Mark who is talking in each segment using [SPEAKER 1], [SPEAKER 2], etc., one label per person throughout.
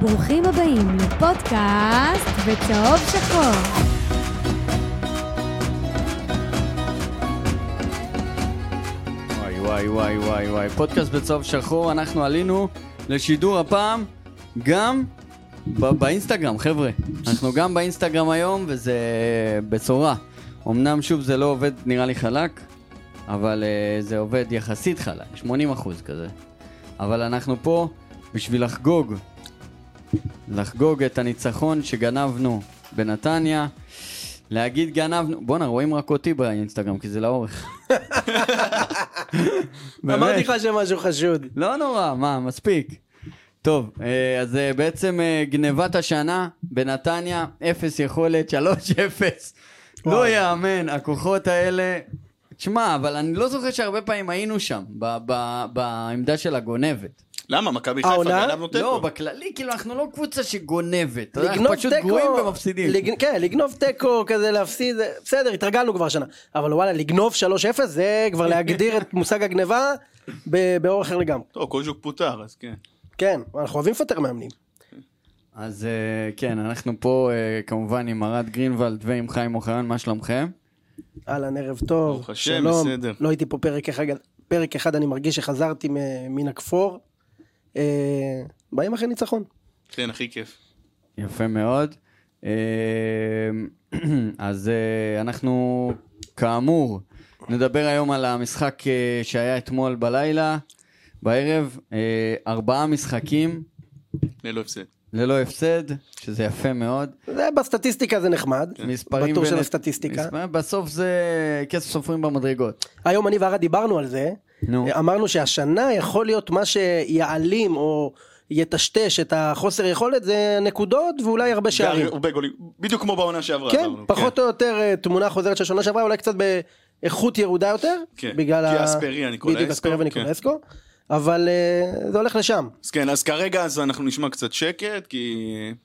[SPEAKER 1] ברוכים הבאים לפודקאסט בצהוב שחור.
[SPEAKER 2] וואי וואי וואי וואי וואי, פודקאסט בצהוב שחור, אנחנו עלינו לשידור הפעם גם ב- באינסטגרם, חבר'ה. אנחנו גם באינסטגרם היום, וזה בשורה. אמנם שוב זה לא עובד נראה לי חלק, אבל אה, זה עובד יחסית חלק, 80 אחוז כזה. אבל אנחנו פה בשביל לחגוג, לחגוג את הניצחון שגנבנו בנתניה. להגיד גנבנו, בואנה רואים רק אותי באינסטגרם כי זה לאורך. באמת.
[SPEAKER 3] אמרתי לך שמשהו חשוד.
[SPEAKER 2] לא נורא, מה, מספיק. טוב, אה, אז אה, בעצם אה, גנבת השנה בנתניה, אפס יכולת, 3-0. לא
[SPEAKER 3] וואי.
[SPEAKER 2] יאמן, הכוחות האלה... תשמע, אבל אני לא זוכר שהרבה פעמים היינו שם, ב- ב- בעמדה של הגונבת.
[SPEAKER 4] למה? מכבי חיפה
[SPEAKER 3] העונה?
[SPEAKER 4] גנבנו
[SPEAKER 2] לא,
[SPEAKER 4] תיקו.
[SPEAKER 2] בכללי, כאילו, אנחנו לא קבוצה שגונבת. אתה יודע, אנחנו פשוט גרועים ומפסידים.
[SPEAKER 3] לגנ- כן, לגנוב תיקו כזה להפסיד, זה- בסדר, התרגלנו כבר שנה. אבל וואלה, לגנוב 3-0 זה כבר להגדיר את מושג הגניבה ב- באור אחר לגמרי.
[SPEAKER 4] טוב, קוז'וק לא, פוטר, אז כן.
[SPEAKER 3] כן, אנחנו אוהבים לפטר מאמנים.
[SPEAKER 2] אז אה, כן, אנחנו פה אה, כמובן עם ארד גרינוולד ועם חיים אוחיון, מה שלומכם?
[SPEAKER 3] אהלן, ערב טוב,
[SPEAKER 4] ברוך השם,
[SPEAKER 3] שלום.
[SPEAKER 4] בסדר.
[SPEAKER 3] לא הייתי פה פרק אחד, פרק אחד אני מרגיש שחזרתי מ- מן הכפור. אה, באים אחרי ניצחון.
[SPEAKER 4] כן, הכי כיף.
[SPEAKER 2] יפה מאוד. אה, אז אה, אנחנו, כאמור, נדבר היום על המשחק אה, שהיה אתמול בלילה, בערב, אה, ארבעה משחקים
[SPEAKER 4] ללא הפסד.
[SPEAKER 2] ללא הפסד, שזה יפה מאוד.
[SPEAKER 3] זה בסטטיסטיקה זה נחמד.
[SPEAKER 4] כן.
[SPEAKER 2] מספרים...
[SPEAKER 3] כן. בטור של
[SPEAKER 2] ונת-
[SPEAKER 3] הסטטיסטיקה.
[SPEAKER 2] מספרים- בסוף זה כסף סופרים במדרגות.
[SPEAKER 3] היום אני וערד דיברנו על זה.
[SPEAKER 2] נו.
[SPEAKER 3] אמרנו שהשנה יכול להיות מה שיעלים או יטשטש את החוסר יכולת זה נקודות ואולי הרבה שערים.
[SPEAKER 4] הרבה גולים. בדיוק כמו בעונה שעברה.
[SPEAKER 3] כן,
[SPEAKER 4] אמרנו,
[SPEAKER 3] פחות או יותר אה, תמונה חוזרת של שנה שעברה, אולי קצת באיכות ירודה יותר.
[SPEAKER 4] כן,
[SPEAKER 3] בגלל
[SPEAKER 4] כי אספריה, ניקולאסקו,
[SPEAKER 3] בדיוק, אספריה
[SPEAKER 4] כן.
[SPEAKER 3] וניקולסקו. אבל אה, זה הולך לשם.
[SPEAKER 4] אז כן, אז כרגע אז אנחנו נשמע קצת שקט, כי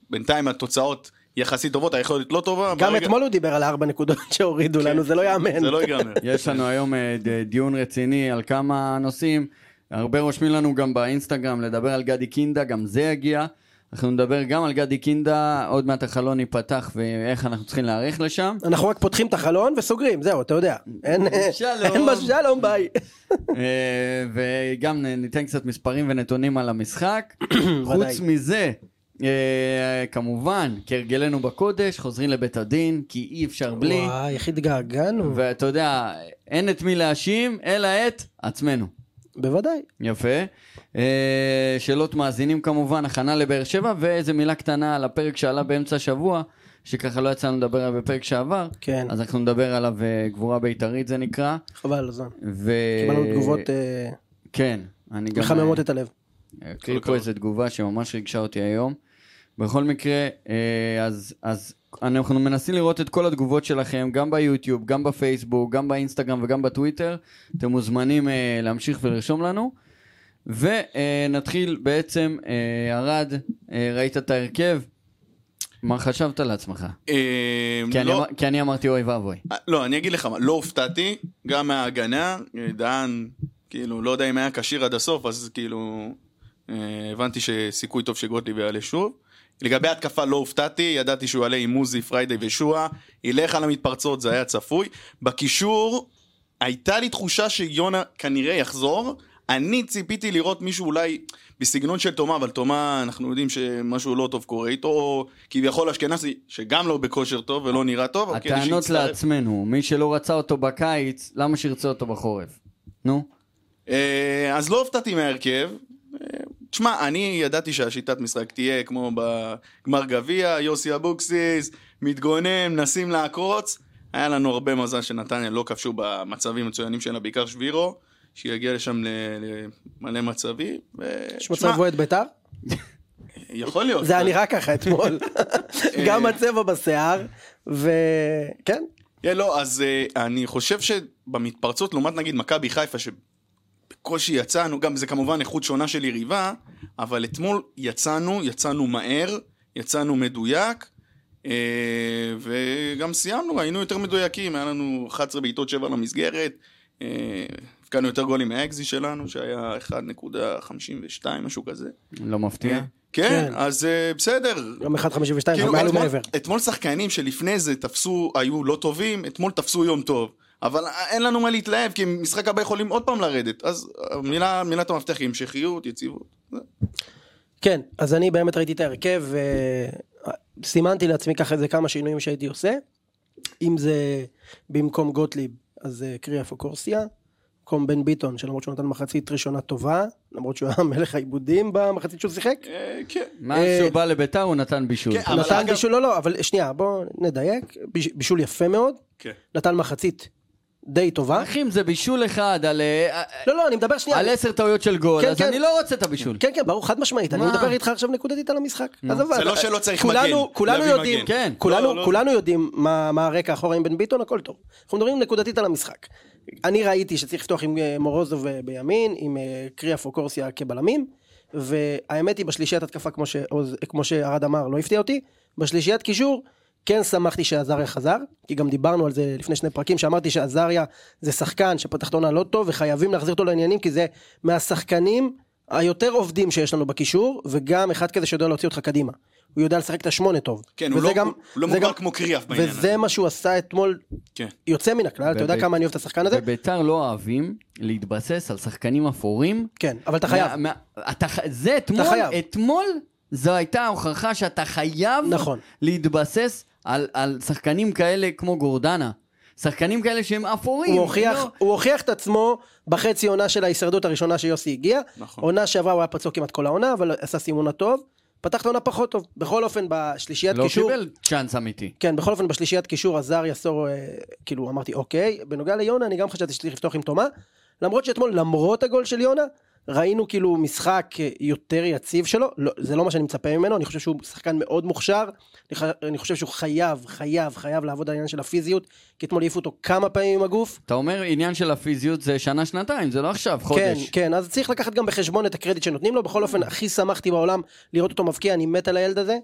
[SPEAKER 4] בינתיים התוצאות יחסית טובות, היכולת לא טובה.
[SPEAKER 3] גם
[SPEAKER 4] ברגע-
[SPEAKER 3] אתמול הוא דיבר על ארבע נקודות שהורידו
[SPEAKER 4] כן.
[SPEAKER 3] לנו, זה לא יאמן.
[SPEAKER 4] זה לא ייגמר.
[SPEAKER 2] יש לנו היום אה, ד- דיון רציני על כמה נושאים. הרבה רושמים לנו גם באינסטגרם לדבר על גדי קינדה, גם זה יגיע. אנחנו נדבר גם על גדי קינדה, עוד מעט החלון ייפתח ואיך אנחנו צריכים להיערך לשם.
[SPEAKER 3] אנחנו רק פותחים את החלון וסוגרים, זהו, אתה יודע. אין, אה,
[SPEAKER 2] שלום.
[SPEAKER 3] אין מה- שלום, ביי.
[SPEAKER 2] אה, וגם נ- ניתן קצת מספרים ונתונים על המשחק. חוץ
[SPEAKER 3] ודאי.
[SPEAKER 2] מזה, אה, כמובן, כהרגלנו בקודש, חוזרים לבית הדין, כי אי אפשר בלי.
[SPEAKER 3] וואי, איך התגעגענו.
[SPEAKER 2] ואתה יודע, אין את מי להאשים, אלא את עצמנו.
[SPEAKER 3] בוודאי.
[SPEAKER 2] יפה. אה, שאלות מאזינים כמובן, הכנה לבאר שבע, ואיזה מילה קטנה על הפרק שעלה באמצע השבוע, שככה לא יצא לנו לדבר עליו בפרק שעבר.
[SPEAKER 3] כן.
[SPEAKER 2] אז אנחנו נדבר עליו אה, גבורה בית"רית זה נקרא.
[SPEAKER 3] חבל על הזמן.
[SPEAKER 2] ו...
[SPEAKER 3] קיבלנו תגובות אה,
[SPEAKER 2] כן. אני גם...
[SPEAKER 3] מחממות את הלב.
[SPEAKER 2] אקריא אוקיי, פה איזו תגובה שממש ריגשה אותי היום. בכל מקרה, אה, אז, אז אנחנו מנסים לראות את כל התגובות שלכם, גם ביוטיוב, גם בפייסבוק, גם באינסטגרם וגם בטוויטר. אתם מוזמנים אה, להמשיך ולרשום לנו. ונתחיל בעצם, אה, ארד, אה, ראית את ההרכב, מה חשבת לעצמך?
[SPEAKER 4] אה,
[SPEAKER 2] כי, אני,
[SPEAKER 4] לא-
[SPEAKER 2] אמר- כי אני אמרתי אוי ואבוי.
[SPEAKER 4] אה, לא, אני אגיד לך מה, לא הופתעתי, גם מההגנה, אה, דהן, כאילו, לא יודע אם היה כשיר עד הסוף, אז כאילו, אה, הבנתי שסיכוי טוב שגוטליב יעלה שוב. לגבי התקפה לא הופתעתי, ידעתי שהוא יעלה עם מוזי, פריידי ושועה, ילך על המתפרצות, זה היה צפוי. בקישור, הייתה לי תחושה שיונה כנראה יחזור. אני ציפיתי לראות מישהו אולי בסגנון של תומה, אבל תומה, אנחנו יודעים שמשהו לא טוב קורה איתו, או כביכול אשכנזי, שגם לא בכושר טוב ולא נראה טוב. אבל כן, כדי
[SPEAKER 2] הטענות
[SPEAKER 4] שיצטרף-
[SPEAKER 2] לעצמנו, מי שלא רצה אותו בקיץ, למה שירצה אותו בחורף? נו,
[SPEAKER 4] אה, אז לא הופתעתי מההרכב. אה, תשמע, אני ידעתי שהשיטת משחק תהיה כמו בגמר גביע, יוסי אבוקסיס, מתגונן, מנסים לעקוץ. היה לנו הרבה מזל שנתניה לא כבשו במצבים המצוינים שלה, בעיקר שבירו, שיגיע לשם ל- למלא מצבים. ו-
[SPEAKER 3] יש מצב
[SPEAKER 4] תשמע,
[SPEAKER 3] בועט בית"ר?
[SPEAKER 4] יכול להיות.
[SPEAKER 3] זה היה נראה ככה אתמול. גם הצבע בשיער, וכן,
[SPEAKER 4] כן, לא, אז אה, אני חושב שבמתפרצות, לעומת נגיד מכבי חיפה, שבקושי יצאנו, גם זה כמובן איכות שונה של יריבה, אבל אתמול יצאנו, יצאנו מהר, יצאנו מדויק, אה, וגם סיימנו, היינו יותר מדויקים, היה לנו 11 בעיטות 7 למסגרת, אה, הבקענו יותר גולים מהאקזי שלנו, שהיה 1.52, משהו כזה.
[SPEAKER 2] לא מפתיע.
[SPEAKER 4] כן,
[SPEAKER 3] כן.
[SPEAKER 4] אז אה, בסדר.
[SPEAKER 3] גם 1.52,
[SPEAKER 4] כאילו,
[SPEAKER 3] זה מעל
[SPEAKER 4] אתמול-
[SPEAKER 3] כן, ומעבר.
[SPEAKER 4] אתמול שחקנים שלפני זה תפסו, היו לא טובים, אתמול תפסו יום טוב. אבל אין לנו מה להתלהב, כי משחק הבא יכולים עוד פעם לרדת. אז המילה- מילת המפתח היא המשכיות, יציבות. זה.
[SPEAKER 3] כן, אז אני באמת ראיתי את ההרכב, וסימנתי לעצמי ככה איזה כמה שינויים שהייתי עושה. אם זה במקום גוטליב, אז אה, קריאף או קורסיה. במקום בן ביטון, שלמרות שהוא נתן מחצית ראשונה טובה, למרות שהוא היה מלך העיבודים במחצית שהוא שיחק.
[SPEAKER 4] אה, כן.
[SPEAKER 2] מאז
[SPEAKER 3] אה,
[SPEAKER 2] שהוא בא לביתר הוא נתן בישול.
[SPEAKER 4] כן, אבל
[SPEAKER 3] נתן
[SPEAKER 4] אגב-
[SPEAKER 3] בישול, לא, לא, אבל שנייה, בוא נדייק. ביש- בישול יפה מאוד,
[SPEAKER 4] כן.
[SPEAKER 3] נתן מחצית די טובה.
[SPEAKER 2] אחים זה בישול אחד על אה,
[SPEAKER 3] לא, לא, אני מדבר שנייה.
[SPEAKER 2] על עשר טעויות של גול,
[SPEAKER 3] כן,
[SPEAKER 2] אז
[SPEAKER 3] כן.
[SPEAKER 2] אני לא רוצה את הבישול.
[SPEAKER 3] כן, כן, ברור, חד משמעית. אני
[SPEAKER 2] מה?
[SPEAKER 3] מדבר איתך עכשיו נקודתית על המשחק. עזוב,
[SPEAKER 4] זה
[SPEAKER 3] אז-
[SPEAKER 4] לא שלא צריך
[SPEAKER 3] כולנו-
[SPEAKER 4] מגן,
[SPEAKER 3] כולנו
[SPEAKER 4] להביא
[SPEAKER 3] יודעים,
[SPEAKER 4] מגן.
[SPEAKER 2] כן.
[SPEAKER 4] לא,
[SPEAKER 3] כולנו
[SPEAKER 4] לא.
[SPEAKER 3] כולנו יודעים מה מה הרקע אחורה עם בן ביטון, הכל טוב. אנחנו מדברים נקודתית על המשחק. אני ראיתי שצריך לפתוח עם אה, מורוזוב אה, בימין, עם אה, קריאף או קורסיה כבלמים, והאמת היא בשלישיית התקפה, כמו שעוז- כמו שארד אמר, לא הפתיע אותי. בשלישיית קישור, כן שמחתי שעזריה חזר, כי גם דיברנו על זה לפני שני פרקים, שאמרתי שעזריה זה שחקן שפתח את העונה לא טוב, וחייבים להחזיר אותו לעניינים, כי זה מהשחקנים היותר עובדים שיש לנו בקישור, וגם אחד כזה שיודע להוציא אותך קדימה. הוא יודע לשחק את השמונה טוב.
[SPEAKER 4] כן, הוא
[SPEAKER 3] וזה
[SPEAKER 4] לא- הוא לא
[SPEAKER 3] זה
[SPEAKER 4] מוגדר
[SPEAKER 3] גם-
[SPEAKER 4] כמו קריאף בעניין הזה.
[SPEAKER 3] וזה מה שהוא עשה אתמול,
[SPEAKER 4] כן.
[SPEAKER 3] יוצא מן הכלל, אתה יודע
[SPEAKER 2] ובית-
[SPEAKER 3] כמה אני אוהב את השחקן הזה?
[SPEAKER 2] בביתר לא אוהבים להתבסס על שחקנים אפורים.
[SPEAKER 3] כן, אבל אתה חייב.
[SPEAKER 2] מה- מה- אתה ח- זה אתמול,
[SPEAKER 3] חייב.
[SPEAKER 2] אתמול זו הייתה ההוכחה שאתה חייב
[SPEAKER 3] נכון.
[SPEAKER 2] להתבסס על- על שחקנים כאלה כמו גורדנה. שחקנים כאלה שהם אפורים.
[SPEAKER 3] הוא הוכיח,
[SPEAKER 2] לא-
[SPEAKER 3] הוא הוכיח את עצמו בחצי עונה של ההישרדות הראשונה שיוסי הגיע.
[SPEAKER 4] נכון.
[SPEAKER 3] עונה שעברה הוא היה פצוע כמעט כל העונה, אבל עשה סימונה טוב. פתח את העונה פחות טוב. בכל אופן, בשלישיית
[SPEAKER 2] לא
[SPEAKER 3] קישור...
[SPEAKER 2] קיבל צ'אנס אמיתי.
[SPEAKER 3] כן, בכל אופן, בשלישיית קישור עזריה סורו, אה, כאילו, אמרתי, אוקיי. בנוגע ליונה, אני גם חשבתי שצריך לפתוח עם תומה. למרות שאתמול, למרות הגול של יונה, ראינו כאילו משחק אה, יותר יציב שלו. לא, זה לא מה שאני מצפה ממנו, אני חושב שהוא שחקן מאוד מוכשר. אני ח- אני חושב שהוא חייב, חייב, חייב לעבוד על העניין של הפיזיות, כי אתמול העיפו אותו כמה פעמים עם הגוף.
[SPEAKER 2] אתה אומר עניין של הפיזיות זה שנה-שנתיים, זה לא עכשיו, חודש.
[SPEAKER 3] כן, כן, אז צריך לקחת גם בחשבון את הקרדיט שנותנים לו. בכל אופן, הכי שמחתי בעולם לראות אותו מבקיע, אני מת על הילד הזה.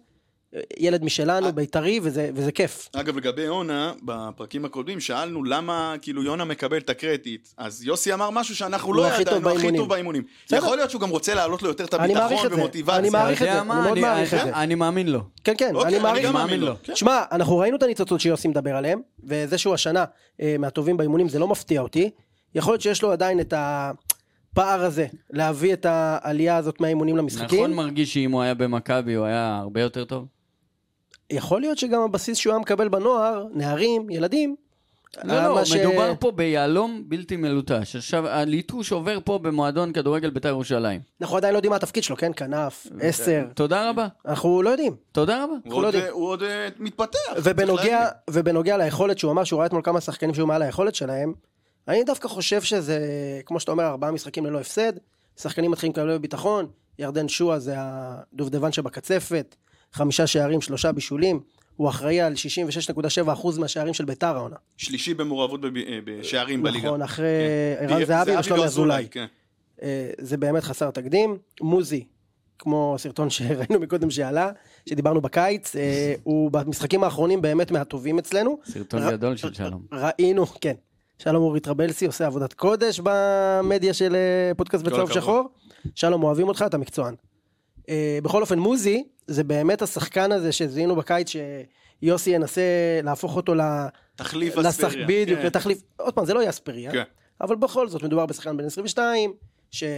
[SPEAKER 3] אה, ילד משלנו, בית"רי, וזה, וזה כיף.
[SPEAKER 4] אגב, לגבי יונה, בפרקים הקודמים שאלנו למה כאילו יונה מקבל את הקרדיט. אז יוסי אמר משהו שאנחנו
[SPEAKER 3] הוא
[SPEAKER 4] לא
[SPEAKER 3] הכי
[SPEAKER 4] ידענו,
[SPEAKER 3] טוב
[SPEAKER 4] הכי
[SPEAKER 3] באימונים.
[SPEAKER 4] טוב באימונים.
[SPEAKER 3] בסדר.
[SPEAKER 4] יכול להיות שהוא גם רוצה להעלות לו יותר את
[SPEAKER 3] אני מעריך
[SPEAKER 4] הביטחון
[SPEAKER 3] את זה. אני
[SPEAKER 4] ומוטיבציה.
[SPEAKER 2] אתה
[SPEAKER 3] מעריך את
[SPEAKER 2] יודע
[SPEAKER 3] זה,
[SPEAKER 2] מה?
[SPEAKER 3] אני מאוד
[SPEAKER 2] אני-
[SPEAKER 3] מעריך את
[SPEAKER 2] אני-
[SPEAKER 3] זה.
[SPEAKER 2] אני מאמין לו.
[SPEAKER 3] כן, כן,
[SPEAKER 4] אוקיי,
[SPEAKER 3] אני מעריך
[SPEAKER 4] גם
[SPEAKER 3] את זה.
[SPEAKER 4] מאמין לו. כן.
[SPEAKER 3] שמע, אנחנו ראינו את הניצוצות שיוסי מדבר עליהם, וזה שהוא השנה אה, מהטובים באימונים זה לא מפתיע אותי. יכול להיות שיש לו עדיין את הפער הזה, להביא את העלייה הזאת מהאימונים למשחקים.
[SPEAKER 2] נכון מרגיש שאם הוא היה במכבי הוא היה הרבה יותר טוב?
[SPEAKER 3] יכול להיות שגם הבסיס שהוא היה מקבל בנוער, נערים, ילדים.
[SPEAKER 2] לא,
[SPEAKER 3] היה
[SPEAKER 2] לא,
[SPEAKER 3] מה ש-
[SPEAKER 2] מדובר פה ביהלום בלתי מלוטש. עכשיו, הליטוש עובר פה במועדון כדורגל בית"ר ירושלים.
[SPEAKER 3] אנחנו עדיין לא יודעים מה התפקיד שלו, כן? כנף, עשר.
[SPEAKER 2] תודה רבה,
[SPEAKER 3] אנחנו לא יודעים.
[SPEAKER 2] תודה רבה.
[SPEAKER 4] הוא עוד-
[SPEAKER 3] לא יודעים.
[SPEAKER 4] הוא עוד אה, מתפתח. צריך
[SPEAKER 3] ובנוגע,
[SPEAKER 4] להגיד.
[SPEAKER 3] ובנוגע ליכולת שהוא אמר שהוא ראה אתמול כמה שחקנים שהיו מעל היכולת שלהם, אני דווקא חושב שזה, כמו שאתה אומר, ארבעה משחקים ללא הפסד, שחקנים מתחילים לקבל ביטחון, ירדן שואה זה הדובדבן שבקצפת, חמישה שערים, שלושה בישולים, הוא אחראי על 66.7% מהשערים של ביתר העונה.
[SPEAKER 4] שלישי במעורבות בב- אה, בשערים בליגה.
[SPEAKER 3] נכון, אחרי
[SPEAKER 4] כן.
[SPEAKER 3] ערן
[SPEAKER 4] ב-
[SPEAKER 3] זהבי ושלומי
[SPEAKER 4] ואזולאי,
[SPEAKER 3] אזולאי.
[SPEAKER 4] כן.
[SPEAKER 3] אה, זה באמת חסר תקדים. מוזי, כמו סרטון שראינו מקודם שעלה, שדיברנו בקיץ, אה, הוא במשחקים האחרונים באמת מהטובים אצלנו.
[SPEAKER 2] סרטון
[SPEAKER 3] ר-
[SPEAKER 2] גדול של שלום.
[SPEAKER 3] ראינו, כן. שלום אורי טרבלסי עושה עבודת קודש במדיה של אה, פודקאסט
[SPEAKER 4] כל
[SPEAKER 3] בצהוב
[SPEAKER 4] הכבוד.
[SPEAKER 3] שחור. שלום, אוהבים אותך, אתה מקצוען. אה, בכל אופן, מוזי, זה באמת השחקן הזה שזיהינו בקיץ שיוסי ינסה להפוך אותו ל...
[SPEAKER 4] תחליף
[SPEAKER 3] לשח-
[SPEAKER 4] אספריה.
[SPEAKER 3] בדיוק,
[SPEAKER 4] כן.
[SPEAKER 3] לתחליף, עוד פעם, זה לא יהיה אספריה,
[SPEAKER 4] כן.
[SPEAKER 3] אבל בכל זאת, מדובר בשחקן בן 22,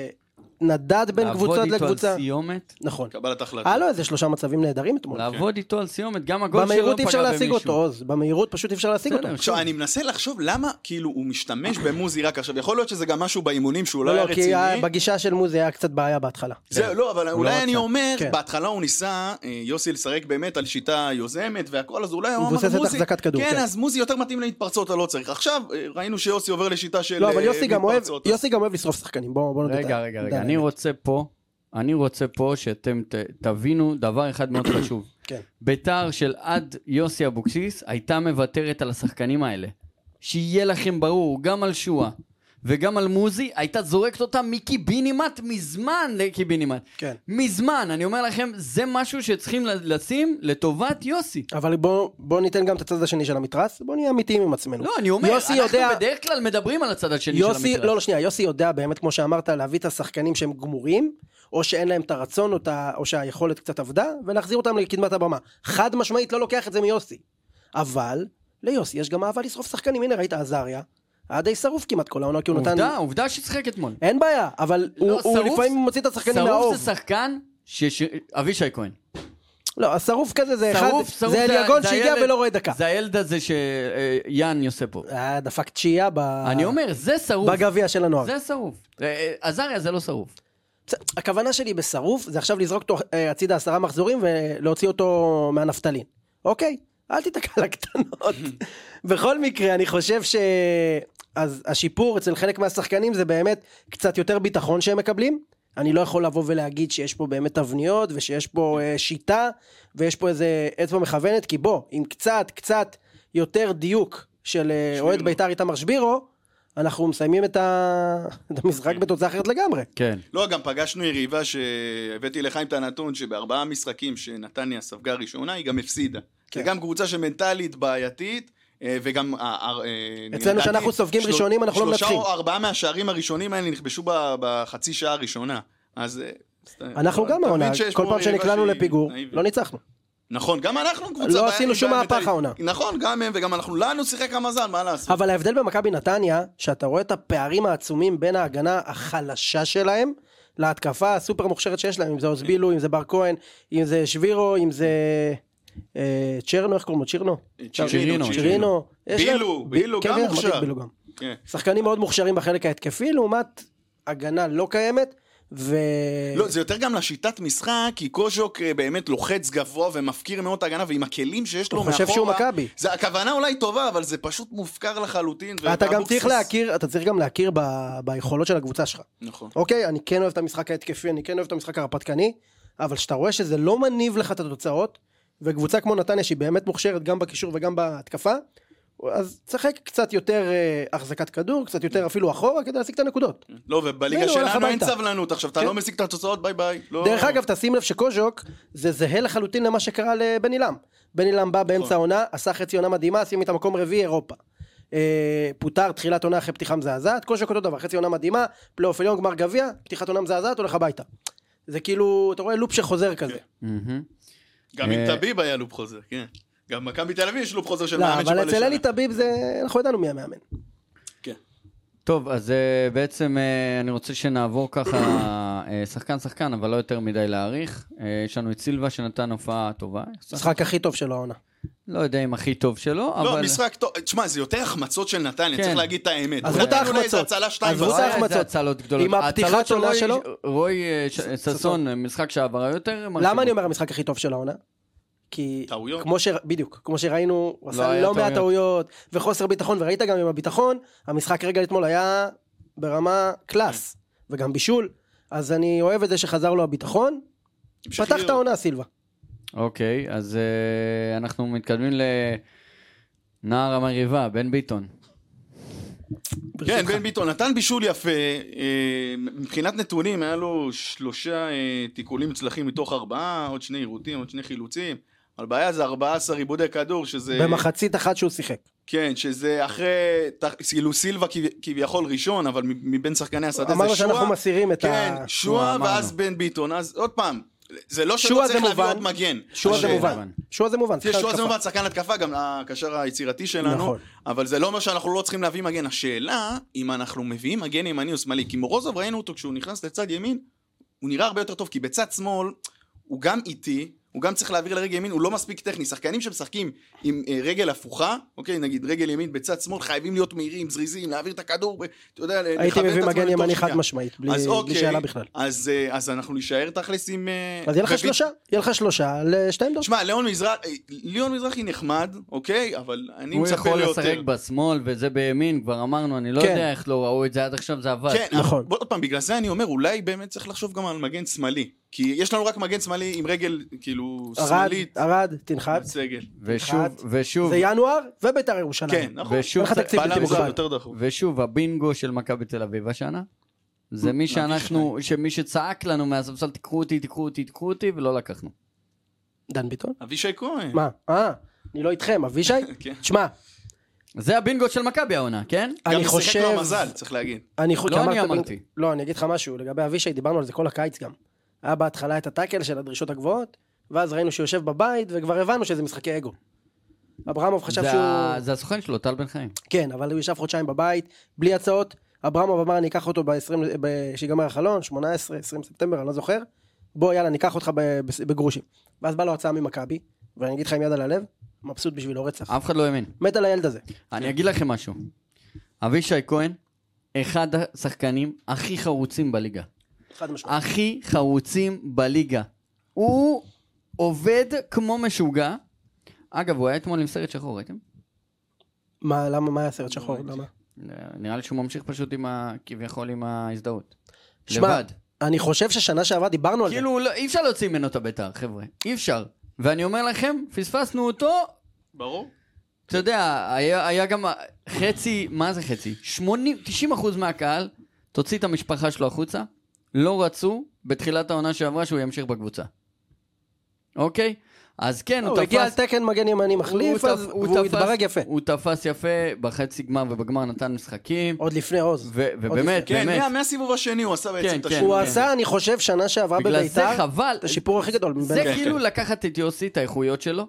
[SPEAKER 3] שנדד בין קבוצות
[SPEAKER 2] לעבוד איתו
[SPEAKER 3] לקבוצה.
[SPEAKER 2] על סיומת,
[SPEAKER 3] נכון.
[SPEAKER 4] קבלת החלטה.
[SPEAKER 3] היה לו איזה שלושה מצבים נהדרים אתמול.
[SPEAKER 2] לעבוד איתו על סיומת, גם הגול שלו לא
[SPEAKER 3] במהירות אי אפשר
[SPEAKER 2] פגע
[SPEAKER 3] להשיג אותו,
[SPEAKER 2] במישהו.
[SPEAKER 3] עוז, במהירות פשוט אי אפשר להשיג אותו.
[SPEAKER 2] בסדר,
[SPEAKER 4] עכשיו, אני מנסה לחשוב למה כאילו הוא משתמש במוזי רק עכשיו. יכול להיות שזה גם משהו באימונים שהוא לא
[SPEAKER 3] לא,
[SPEAKER 4] היה
[SPEAKER 3] לא, כי כן.
[SPEAKER 4] רציני.
[SPEAKER 3] בגישה של מוזי היה קצת בעיה בהתחלה.
[SPEAKER 4] זהו, לא, אבל
[SPEAKER 2] לא
[SPEAKER 4] אולי
[SPEAKER 2] רצה.
[SPEAKER 4] אני אומר,
[SPEAKER 3] כן.
[SPEAKER 4] בהתחלה הוא ניסה, אה, יוסי, לשחק באמת על שיטה יוזמת והכל, אז אולי הוא אמר,
[SPEAKER 3] מבוססת
[SPEAKER 4] מוזי,
[SPEAKER 3] החזקת כדור,
[SPEAKER 4] כן,
[SPEAKER 3] כן.
[SPEAKER 4] אז מוזי יותר מתאים להתפרצות, אתה לא צריך. עכשיו, אה, ראינו שיוסי עובר לשיטה של
[SPEAKER 3] לא, אבל
[SPEAKER 4] אה,
[SPEAKER 3] יוסי גם אוהב,
[SPEAKER 4] מתפרצות, אז-
[SPEAKER 3] יוסי גם אוהב לשרוף שחקנים, בואו בואו נודה.
[SPEAKER 2] רגע,
[SPEAKER 3] את
[SPEAKER 2] רגע,
[SPEAKER 3] ה-
[SPEAKER 2] רגע,
[SPEAKER 3] את
[SPEAKER 2] אני
[SPEAKER 3] האמת.
[SPEAKER 2] רוצה פה, אני רוצה פה שאתם ת- תבינו דבר אחד מאוד חשוב.
[SPEAKER 3] כן.
[SPEAKER 2] ביתר של עד יוסי אבוקסיס הייתה מוותרת על השחקנים האלה. שיהיה לכם ברור, גם על שואה, וגם על מוזי, הייתה זורקת אותה מקיבינימט מזמן לקיבינימט.
[SPEAKER 3] כן.
[SPEAKER 2] מזמן, אני אומר לכם, זה משהו שצריכים ל- לשים לטובת יוסי.
[SPEAKER 3] אבל בואו בוא ניתן גם את הצד השני של המתרס, בואו נהיה אמיתיים עם עצמנו.
[SPEAKER 2] לא, אני אומר,
[SPEAKER 3] יוסי
[SPEAKER 2] אנחנו
[SPEAKER 3] יודע,
[SPEAKER 2] בדרך כלל מדברים על הצד השני של
[SPEAKER 3] יוסי,
[SPEAKER 2] המתרס.
[SPEAKER 3] לא, לא, שנייה, יוסי יודע באמת, כמו שאמרת, להביא את השחקנים שהם גמורים, או שאין להם את הרצון, או, את ה... או שהיכולת קצת עבדה, ולהחזיר אותם לקדמת הבמה. חד משמעית לא לוקח את זה מיוסי. אבל, ליוסי יש גם אהבה לשרוף שחקנים, הנה ראית עזריה, היה די שרוף כמעט כל העונה, כי הוא נתן...
[SPEAKER 2] עובדה, עובדה ששיחק אתמול.
[SPEAKER 3] אין בעיה, אבל
[SPEAKER 2] לא,
[SPEAKER 3] הוא, הוא
[SPEAKER 2] שרוף-
[SPEAKER 3] לפעמים מוציא את השחקנים
[SPEAKER 2] שרוף
[SPEAKER 3] מהאוב.
[SPEAKER 2] זה שחקן, ש- ש- אבישי כהן.
[SPEAKER 3] לא, השרוף כזה זה אחד,
[SPEAKER 2] שרוף, שרוף
[SPEAKER 3] זה אליגון
[SPEAKER 2] זה
[SPEAKER 3] שהגיע
[SPEAKER 2] הילד-
[SPEAKER 3] ולא רואה דקה.
[SPEAKER 2] זה הילד הזה שיאן עושה פה.
[SPEAKER 3] אה, דפק תשיעייה ב...
[SPEAKER 2] אני אומר, זה שרוף.
[SPEAKER 3] בגביע של הנוער.
[SPEAKER 2] זה שרוף. אה, אה, עזריה זה לא שרוף.
[SPEAKER 3] בסדר, הכוונה שלי בשרוף זה עכשיו לזרוק אותו אה, הצידה עשרה מחזורים ולהוציא אותו מהנפטלין. אוקיי? אל תיתקע לקטנות. בכל מקרה, אני חושב ש... אז השיפור אצל חלק מהשחקנים זה באמת קצת יותר ביטחון שהם מקבלים. אני לא יכול לבוא ולהגיד שיש פה באמת תבניות ושיש פה אה, שיטה ויש פה איזה אצבע מכוונת, כי בוא, עם קצת קצת יותר דיוק של אה, אוהד בית"ר איתמר שבירו, אנחנו מסיימים את ה- את המשחק בתוצאה אחרת לגמרי.
[SPEAKER 2] כן.
[SPEAKER 4] לא, גם פגשנו יריבה שהבאתי לחיים את הנתון שבארבעה משחקים שנתניה ספגה ראשונה, היא גם הפסידה.
[SPEAKER 3] כן.
[SPEAKER 4] זה גם קבוצה שמנטלית בעייתית, אה, וגם... ה- ה- אה,
[SPEAKER 3] אצלנו
[SPEAKER 4] לדעתי,
[SPEAKER 3] שאנחנו סופגים
[SPEAKER 4] של-
[SPEAKER 3] ראשונים, אנחנו לא מנצחים.
[SPEAKER 4] שלושה או ארבעה מהשערים הראשונים האלה נכבשו ב- בחצי שעה הראשונה. אז... אה, סתם.
[SPEAKER 3] אנחנו
[SPEAKER 4] אתה
[SPEAKER 3] גם
[SPEAKER 4] מבין
[SPEAKER 3] העונה,
[SPEAKER 4] שיש
[SPEAKER 3] כל
[SPEAKER 4] פה
[SPEAKER 3] פעם
[SPEAKER 4] יריבה
[SPEAKER 3] שנקלענו
[SPEAKER 4] שהיא
[SPEAKER 3] לפיגור,
[SPEAKER 4] נאיבית.
[SPEAKER 3] לא ניצחנו.
[SPEAKER 4] נכון, גם אנחנו קבוצה...
[SPEAKER 3] לא
[SPEAKER 4] בעיה-
[SPEAKER 3] עשינו שום
[SPEAKER 4] בעיה
[SPEAKER 3] מהפך
[SPEAKER 4] מנטלית.
[SPEAKER 3] העונה.
[SPEAKER 4] נכון, גם הם וגם אנחנו, לנו שיחק המזל, מה לעשות?
[SPEAKER 3] אבל ההבדל במכבי נתניה, שאתה רואה את הפערים העצומים בין ההגנה החלשה שלהם, להתקפה הסופר מוכשרת שיש להם, אם זה אוזבילו, אם זה בר כהן, אם זה שבירו, אם זה... אה, צ'רנו, איך קוראים לו? צ'ירנו?
[SPEAKER 2] צ'ירינו,
[SPEAKER 3] צ'ירינו. יש להם-
[SPEAKER 4] בילו,
[SPEAKER 3] ב-
[SPEAKER 4] בילו,
[SPEAKER 3] כן,
[SPEAKER 4] גם
[SPEAKER 3] כן,
[SPEAKER 4] מוכשר.
[SPEAKER 3] מדהים, בילו גם.
[SPEAKER 4] כן.
[SPEAKER 3] שחקנים מאוד מוכשרים בחלק ההתקפי, לעומת הגנה לא קיימת, ו...
[SPEAKER 4] לא, זה יותר גם לשיטת משחק, כי קוז'וק אה, באמת לוחץ גבוה ומפקיר מאוד את ההגנה, ועם הכלים שיש לו
[SPEAKER 3] הוא
[SPEAKER 4] מאחורה...
[SPEAKER 3] חושב שהוא מכבי.
[SPEAKER 4] זה הכוונה אולי טובה, אבל זה פשוט מופקר לחלוטין.
[SPEAKER 3] אתה גם
[SPEAKER 4] ואבוקסיס-
[SPEAKER 3] צריך להכיר, אתה צריך גם להכיר ב- ביכולות של הקבוצה שלך.
[SPEAKER 4] נכון.
[SPEAKER 3] אוקיי, אני כן אוהב את המשחק ההתקפי, אני כן אוהב את המשחק ההרפתקני, אבל כשאתה רואה שזה לא מניב לך את התוצאות, וקבוצה כמו נתניה שהיא באמת מוכשרת גם בקישור וגם בהתקפה, אז תשחק קצת יותר אה, החזקת כדור, קצת יותר אפילו אחורה, כדי להשיג את הנקודות.
[SPEAKER 4] לא, ובליגה
[SPEAKER 3] בילו, הלך
[SPEAKER 4] שלנו אין
[SPEAKER 3] הביתה.
[SPEAKER 4] סבלנות עכשיו, אתה
[SPEAKER 3] כן.
[SPEAKER 4] לא משיג את התוצאות, ביי ביי. לא-
[SPEAKER 3] דרך אגב, תשים לב שקוז'וק זה זהה לחלוטין למה שקרה לבן עילם. בן עילם בא
[SPEAKER 4] נכון.
[SPEAKER 3] באמצע העונה, עשה חצי עונה מדהימה, שים איתה מקום רביעי אירופה. אה, פוטר תחילת עונה אחרי פתיחה מזעזעת, קוז'וק אותו דבר, חצי עונה מדהימה, פלייאוף עליון, גמר גביע, פתיחת עונה מזעזעת, הולך הביתה. זה כאילו, אתה רואה לופ שחוזר
[SPEAKER 4] כן,
[SPEAKER 3] כזה.
[SPEAKER 2] מהמם.
[SPEAKER 4] גם עם
[SPEAKER 2] אה,
[SPEAKER 4] טביב היה לופ חוזר, כן. גם מכבי תל אביב יש לופ חוזר של
[SPEAKER 3] לא,
[SPEAKER 4] מאמן שבא
[SPEAKER 3] אבל
[SPEAKER 4] לשנה.
[SPEAKER 3] אצל אלי טביב זה, אנחנו ידענו מי המאמן.
[SPEAKER 4] כן.
[SPEAKER 2] טוב, אז אה, בעצם אה, אני רוצה שנעבור ככה אה, שחקן-שחקן, אבל לא יותר מדי להעריך. אה, יש לנו את סילבה שנתן הופעה טובה.
[SPEAKER 3] המשחק הכי טוב שלו העונה.
[SPEAKER 2] לא יודע אם הכי טוב שלו, אבל...
[SPEAKER 4] לא, משחק טוב, תשמע, זה יותר החמצות של נתניה,
[SPEAKER 2] כן.
[SPEAKER 4] צריך להגיד את האמת.
[SPEAKER 3] עזבו את
[SPEAKER 4] אולי זה
[SPEAKER 3] ההחמצות.
[SPEAKER 4] הצלה שתיים
[SPEAKER 3] עזבו את
[SPEAKER 4] בסוף.
[SPEAKER 2] לא היה
[SPEAKER 3] ההחמצות.
[SPEAKER 2] איזה הצלות גדולות.
[SPEAKER 3] עם הפתיחת
[SPEAKER 2] ההצלות
[SPEAKER 3] עונה
[SPEAKER 2] רוי-
[SPEAKER 3] שלו?
[SPEAKER 2] רוי אה, ש- ששון,
[SPEAKER 3] ששון.
[SPEAKER 2] משחק שעבר היה יותר...
[SPEAKER 3] למה
[SPEAKER 2] מרשים.
[SPEAKER 3] אני אומר המשחק הכי טוב של העונה? כי
[SPEAKER 4] טעויות.
[SPEAKER 3] כמו ש... בדיוק, כמו שראינו, הוא
[SPEAKER 2] לא
[SPEAKER 3] עשה
[SPEAKER 2] היה
[SPEAKER 3] לא מעט
[SPEAKER 2] טעויות.
[SPEAKER 3] טעויות וחוסר ביטחון, וראית גם עם הביטחון, המשחק רגע אתמול היה ברמה
[SPEAKER 4] כן.
[SPEAKER 3] קלאס, וגם בישול, אז אני אוהב את זה שחזר לו הביטחון, פתח את העונה
[SPEAKER 4] כן,
[SPEAKER 3] סילבה.
[SPEAKER 2] אוקיי, אז אה, אנחנו מתקדמים לנער המריבה, בן ביטון.
[SPEAKER 4] כן,
[SPEAKER 3] ברשותך.
[SPEAKER 4] בן ביטון נתן בישול יפה, אה, מבחינת נתונים היה לו שלושה אה, תיקולים מוצלחים מתוך ארבעה, עוד שני עירותים, עוד שני חילוצים, אבל הבעיה זה 14 עיבודי כדור, שזה...
[SPEAKER 3] במחצית אחת שהוא שיחק.
[SPEAKER 4] כן, שזה אחרי, ת- כאילו סילבה כב- כביכול ראשון, אבל מ- מבין שחקני השדה זה
[SPEAKER 3] אמרנו שאנחנו
[SPEAKER 4] שועה,
[SPEAKER 3] מסירים את
[SPEAKER 4] כן,
[SPEAKER 3] ה...
[SPEAKER 4] שועה
[SPEAKER 2] אמרנו.
[SPEAKER 4] ואז בן ביטון, אז עוד פעם, זה לא שלא
[SPEAKER 3] שועה
[SPEAKER 4] צריך
[SPEAKER 3] זה
[SPEAKER 4] להביא
[SPEAKER 3] מובן.
[SPEAKER 4] עוד מגן.
[SPEAKER 3] שועה זה
[SPEAKER 4] השאלה-
[SPEAKER 3] מובן. שועה זה מובן.
[SPEAKER 4] תראה,
[SPEAKER 3] שחקן
[SPEAKER 4] שועה זה
[SPEAKER 3] התקפה.
[SPEAKER 4] מובן, שחקן התקפה, גם הקשר היצירתי שלנו,
[SPEAKER 3] נכון.
[SPEAKER 4] אבל זה לא אומר שאנחנו לא צריכים להביא מגן. השאלה, אם אנחנו מביאים מגן ימני או שמאלי, כי מורוזוב ראינו אותו כשהוא נכנס לצד ימין, הוא נראה הרבה יותר טוב, כי בצד שמאל הוא גם איטי, הוא גם צריך להעביר לרגל ימין, הוא לא מספיק טכני. שחקנים שמשחקים עם אה, רגל הפוכה, אוקיי, נגיד רגל ימין בצד שמאל, חייבים להיות מהירים, זריזים, להעביר את הכדור, אתה יודע, לכוון את
[SPEAKER 3] הייתי מביא
[SPEAKER 4] עצמם
[SPEAKER 3] מגן
[SPEAKER 4] לתוך
[SPEAKER 3] ימני
[SPEAKER 4] שנייה.
[SPEAKER 3] חד משמעית, בלי
[SPEAKER 4] אז
[SPEAKER 3] בלי
[SPEAKER 4] אוקיי,
[SPEAKER 3] שאלה בכלל.
[SPEAKER 4] אז, אה, אז אנחנו נישאר תכלס עם... אה,
[SPEAKER 3] אז יהיה לך
[SPEAKER 4] בביט-
[SPEAKER 3] שלושה, יהיה לך שלושה לשתי עמדות.
[SPEAKER 4] תשמע, ליאון מזרחי, ליאון מזרחי נחמד, אוקיי? אבל אני
[SPEAKER 2] הוא
[SPEAKER 4] מצפה
[SPEAKER 2] יכול
[SPEAKER 4] ליותר.
[SPEAKER 2] לשחק בשמאל וזה בימין, כבר אמרנו, אני לא
[SPEAKER 3] כן.
[SPEAKER 2] יודע איך לא ראו את זה עד עכשיו, זה עבד.
[SPEAKER 4] כן,
[SPEAKER 3] נכון.
[SPEAKER 4] נכון. עוד פעם, בגלל זה אני אומר, אולי באמת צריך לחשוב גם על מגן שמאלי. כי יש לנו רק מגן שמאלי עם רגל, כאילו,
[SPEAKER 3] ערד,
[SPEAKER 4] שמאלית,
[SPEAKER 3] ערד, תנחת.
[SPEAKER 4] בסגל.
[SPEAKER 2] ושוב,
[SPEAKER 3] אחד.
[SPEAKER 2] ושוב,
[SPEAKER 3] זה ינואר וביתר ירושלים.
[SPEAKER 4] כן, נכון.
[SPEAKER 2] ושוב,
[SPEAKER 3] אין לך תקציב בלתי
[SPEAKER 4] בלם זר
[SPEAKER 3] מוגבל.
[SPEAKER 4] יותר דחוף.
[SPEAKER 2] ושוב, הבינגו של מכבי תל אביב השנה, זה מי שאנחנו, שמי שצעק לנו מהספסל, תיקחו אותי, תיקחו אותי, תיקחו אותי, ולא לקחנו.
[SPEAKER 3] דן ביטון?
[SPEAKER 4] אבישי כהן.
[SPEAKER 3] מה? אה, אני לא איתכם, אבישי?
[SPEAKER 4] כן.
[SPEAKER 3] תשמע,
[SPEAKER 2] זה הבינגו של מכבי העונה, כן?
[SPEAKER 4] גם
[SPEAKER 3] אני
[SPEAKER 4] משחק
[SPEAKER 3] חושב...
[SPEAKER 4] לו המזל, צריך להגיד.
[SPEAKER 3] אני חושב...
[SPEAKER 2] לא
[SPEAKER 3] שאמרת
[SPEAKER 2] אני
[SPEAKER 3] בנ-
[SPEAKER 2] אמרתי.
[SPEAKER 3] לא, אני אגיד לך משהו, לגבי אבישי, דיברנו על זה כל הקיץ גם. היה בהתחלה את הטאקל של הדרישות הגבוהות, ואז ראינו שהוא יושב בבית, וכבר הבנו שזה משחקי אגו. אברמוב חשב
[SPEAKER 2] זה
[SPEAKER 3] שהוא...
[SPEAKER 2] ה- זה הסוכן שלו, טל בן חיים.
[SPEAKER 3] כן, אבל הוא ישב חודשיים בבית, בלי הצעות. אברמוב אמר, אני אקח אותו ב-20, ב- שיגמר החלון, 18, 20 ספטמבר, אני לא זוכר. בוא, יאללה, ניקח אותך ב- ב- בגרושים. ואז בא לו הצעה ממכבי, ואני אגיד לך עם יד על הלב, מבסוט בשבילו רצח.
[SPEAKER 2] אף אחד לא האמין.
[SPEAKER 3] מת על הילד הזה.
[SPEAKER 4] כן.
[SPEAKER 2] אני אגיד לכם משהו. אבישי כהן, אחד השחקנים הכי חרוצים בליגה.
[SPEAKER 3] חד משמעית.
[SPEAKER 2] הכי חרוצים בליגה. הוא עובד כמו משוגע. אגב, הוא היה אתמול עם סרט שחור, ראיתם?
[SPEAKER 3] מה, למה, מה היה סרט שחור? למה?
[SPEAKER 2] נראה לי שהוא ממשיך פשוט עם ה... כביכול עם ההזדהות.
[SPEAKER 3] שמע, אוקיי.
[SPEAKER 2] לבד.
[SPEAKER 3] אני חושב ששנה שעברה דיברנו על זה.
[SPEAKER 2] כאילו, לא- אי אפשר להוציא ממנו את הבית"ר, חבר'ה. אי אפשר. ואני אומר לכם, פספסנו אותו,
[SPEAKER 4] ברור.
[SPEAKER 2] אתה יודע, היה, היה גם חצי, מה זה חצי? 80, 90 אחוז מהקהל, תוציא את המשפחה שלו החוצה, לא רצו בתחילת העונה שעברה שהוא ימשיך בקבוצה. אוקיי? אז כן, הוא
[SPEAKER 3] לא, הוא הגיע על
[SPEAKER 2] תפס...
[SPEAKER 3] תקן מגן ימני מחליף, אז
[SPEAKER 2] תפ-
[SPEAKER 3] והוא
[SPEAKER 2] תפס-
[SPEAKER 3] התברג יפה.
[SPEAKER 2] הוא תפס יפה בחצי גמר ובגמר נתן משחקים,
[SPEAKER 3] עוד לפני עוז.
[SPEAKER 2] ו- ובאמת,
[SPEAKER 4] כן,
[SPEAKER 2] באמת,
[SPEAKER 4] מה- מהסיבוב השני הוא עשה
[SPEAKER 2] כן,
[SPEAKER 4] בעצם את
[SPEAKER 2] כן.
[SPEAKER 3] הוא
[SPEAKER 4] השינוי.
[SPEAKER 3] עשה, אני חושב, שנה שעברה
[SPEAKER 2] בגלל זה
[SPEAKER 3] בביתר,
[SPEAKER 2] חבל,
[SPEAKER 3] את השיפור הכי גדול. מבין-
[SPEAKER 2] זה
[SPEAKER 4] כן,
[SPEAKER 2] כאילו
[SPEAKER 4] כן.
[SPEAKER 2] לקחת את יוסי, את האיכויות שלו,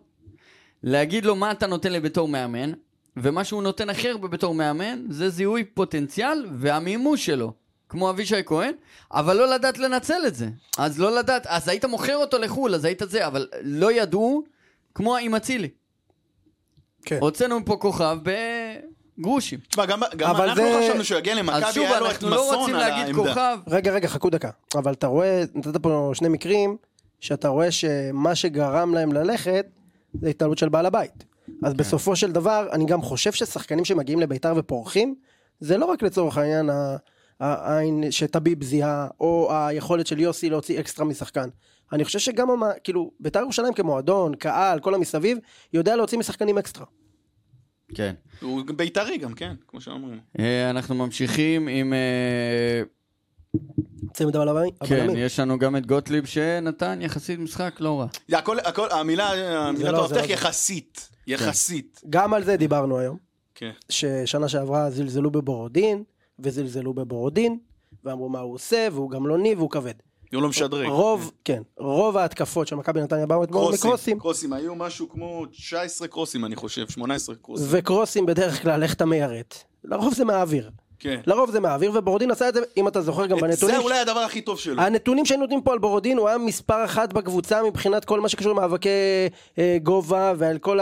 [SPEAKER 2] להגיד לו מה אתה נותן לי בתור מאמן, ומה שהוא נותן הכי הרבה בתור מאמן, זה זיהוי פוטנציאל והמימוש שלו, כמו אבישי כהן, אבל לא לדעת לנצל את זה. אז לא לדעת, אז היית מוכר אותו לחו"ל, אז היית זה, אבל לא ידעו, כמו עם אצילי.
[SPEAKER 3] כן.
[SPEAKER 2] הוצאנו פה כוכב בגרושים.
[SPEAKER 4] תשמע, גם גם
[SPEAKER 3] אבל
[SPEAKER 4] אנחנו
[SPEAKER 3] זה-
[SPEAKER 4] חשבנו שהוא יגיע
[SPEAKER 2] אז
[SPEAKER 4] למכבי,
[SPEAKER 2] שוב,
[SPEAKER 4] היה לו את
[SPEAKER 2] אנחנו לא
[SPEAKER 4] מסון
[SPEAKER 2] רוצים
[SPEAKER 4] על
[SPEAKER 2] להגיד
[SPEAKER 4] העמדה.
[SPEAKER 2] כוכב.
[SPEAKER 3] רגע, רגע, חכו דקה. אבל אתה רואה, נתת פה שני מקרים, שאתה רואה שמה שגרם להם ללכת, זה התנהלות של בעל הבית.
[SPEAKER 2] כן.
[SPEAKER 3] אז בסופו של דבר, אני גם חושב ששחקנים שמגיעים לביתר ופורחים, זה לא רק לצורך העניין ה- העין שטביב זיהה, או היכולת של יוסי להוציא אקסטרה משחקן. אני חושב שגם, המ- כאילו, ביתר ירושלים כמועדון, קהל, כל המסביב, יודע להוציא משחקנים אקסטרה.
[SPEAKER 2] כן.
[SPEAKER 4] הוא בית"רי גם, כן, כמו שאומרים.
[SPEAKER 2] אה, אנחנו ממשיכים עם... אה,
[SPEAKER 3] צמד הבלמים.
[SPEAKER 2] כן, יש לנו גם את גוטליב שנתן יחסית משחק לא רע.
[SPEAKER 4] זה הכל, הכל, המילה, המילת
[SPEAKER 3] לא, זה
[SPEAKER 4] המפתח
[SPEAKER 3] לא זה.
[SPEAKER 4] יחסית. יחסית.
[SPEAKER 3] גם על זה דיברנו היום.
[SPEAKER 4] כן.
[SPEAKER 3] ששנה שעברה זלזלו בבורודין, וזלזלו בבורודין, ואמרו מה הוא עושה, והוא גמלוני והוא כבד.
[SPEAKER 4] הוא לא משדרג.
[SPEAKER 3] רוב, כן, רוב ההתקפות של מכבי נתניה באו אתמול
[SPEAKER 4] קרוסים.
[SPEAKER 3] מקרוסים,
[SPEAKER 4] קרוסים, היו משהו כמו 19 קרוסים, אני חושב, 18 קרוסים.
[SPEAKER 3] וקרוסים בדרך כלל, איך אתה מיירט? לרוב זה מהאוויר.
[SPEAKER 4] כן.
[SPEAKER 3] לרוב זה מהאוויר, ובורודין עשה את זה, אם אתה זוכר לא, גם
[SPEAKER 4] את זה
[SPEAKER 3] בנתונים.
[SPEAKER 4] אולי הדבר הכי טוב שלו.
[SPEAKER 3] הנתונים שהיינו נותנים פה על בורודין, הוא היה מספר אחת בקבוצה מבחינת כל מה שקשור למאבקי אה, גובה ועל כל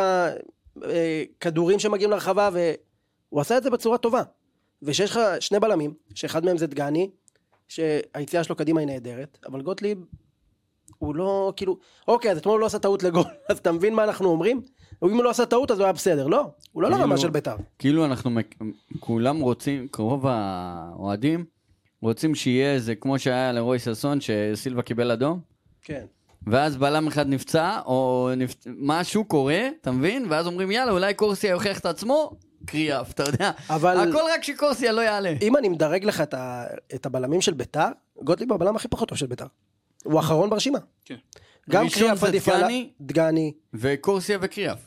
[SPEAKER 3] הכדורים שמגיעים לרחבה, והוא עשה את זה בצורה טובה. ושיש לך שני בלמים, שאחד מהם זה דגני, שהיציאה שלו קדימה היא נהדרת, אבל גוטליב, הוא לא, כאילו, אוקיי, אז אתמול הוא לא עשה טעות לגול, אז אתה מבין מה אנחנו אומרים? אם הוא לא עשה טעות אז הוא היה בסדר, לא, הוא לא
[SPEAKER 2] כאילו-
[SPEAKER 3] לרמה של בית"ר.
[SPEAKER 2] כאילו אנחנו, מק- כולם רוצים, קרוב האוהדים, רוצים שיהיה איזה, כמו שהיה לרוי ששון, שסילבה קיבל אדום,
[SPEAKER 3] כן.
[SPEAKER 2] ואז בלם אחד נפצע, או נפ... משהו קורה, אתה מבין? ואז אומרים, יאללה, אולי קורסיה יוכיח את עצמו, קריאף, אתה יודע.
[SPEAKER 3] אבל-
[SPEAKER 2] הכל רק שקורסיה לא יעלה.
[SPEAKER 3] אם אני מדרג לך את, ה, את הבלמים של ביתר, גוטליב הוא הבלם הכי פחות טוב של ביתר. הוא האחרון ברשימה.
[SPEAKER 4] כן.
[SPEAKER 3] גם
[SPEAKER 2] ראשון
[SPEAKER 3] קריאף
[SPEAKER 2] זה
[SPEAKER 3] עדיף על...
[SPEAKER 2] דגני?
[SPEAKER 3] דגני,
[SPEAKER 2] וקורסיה וקריאף.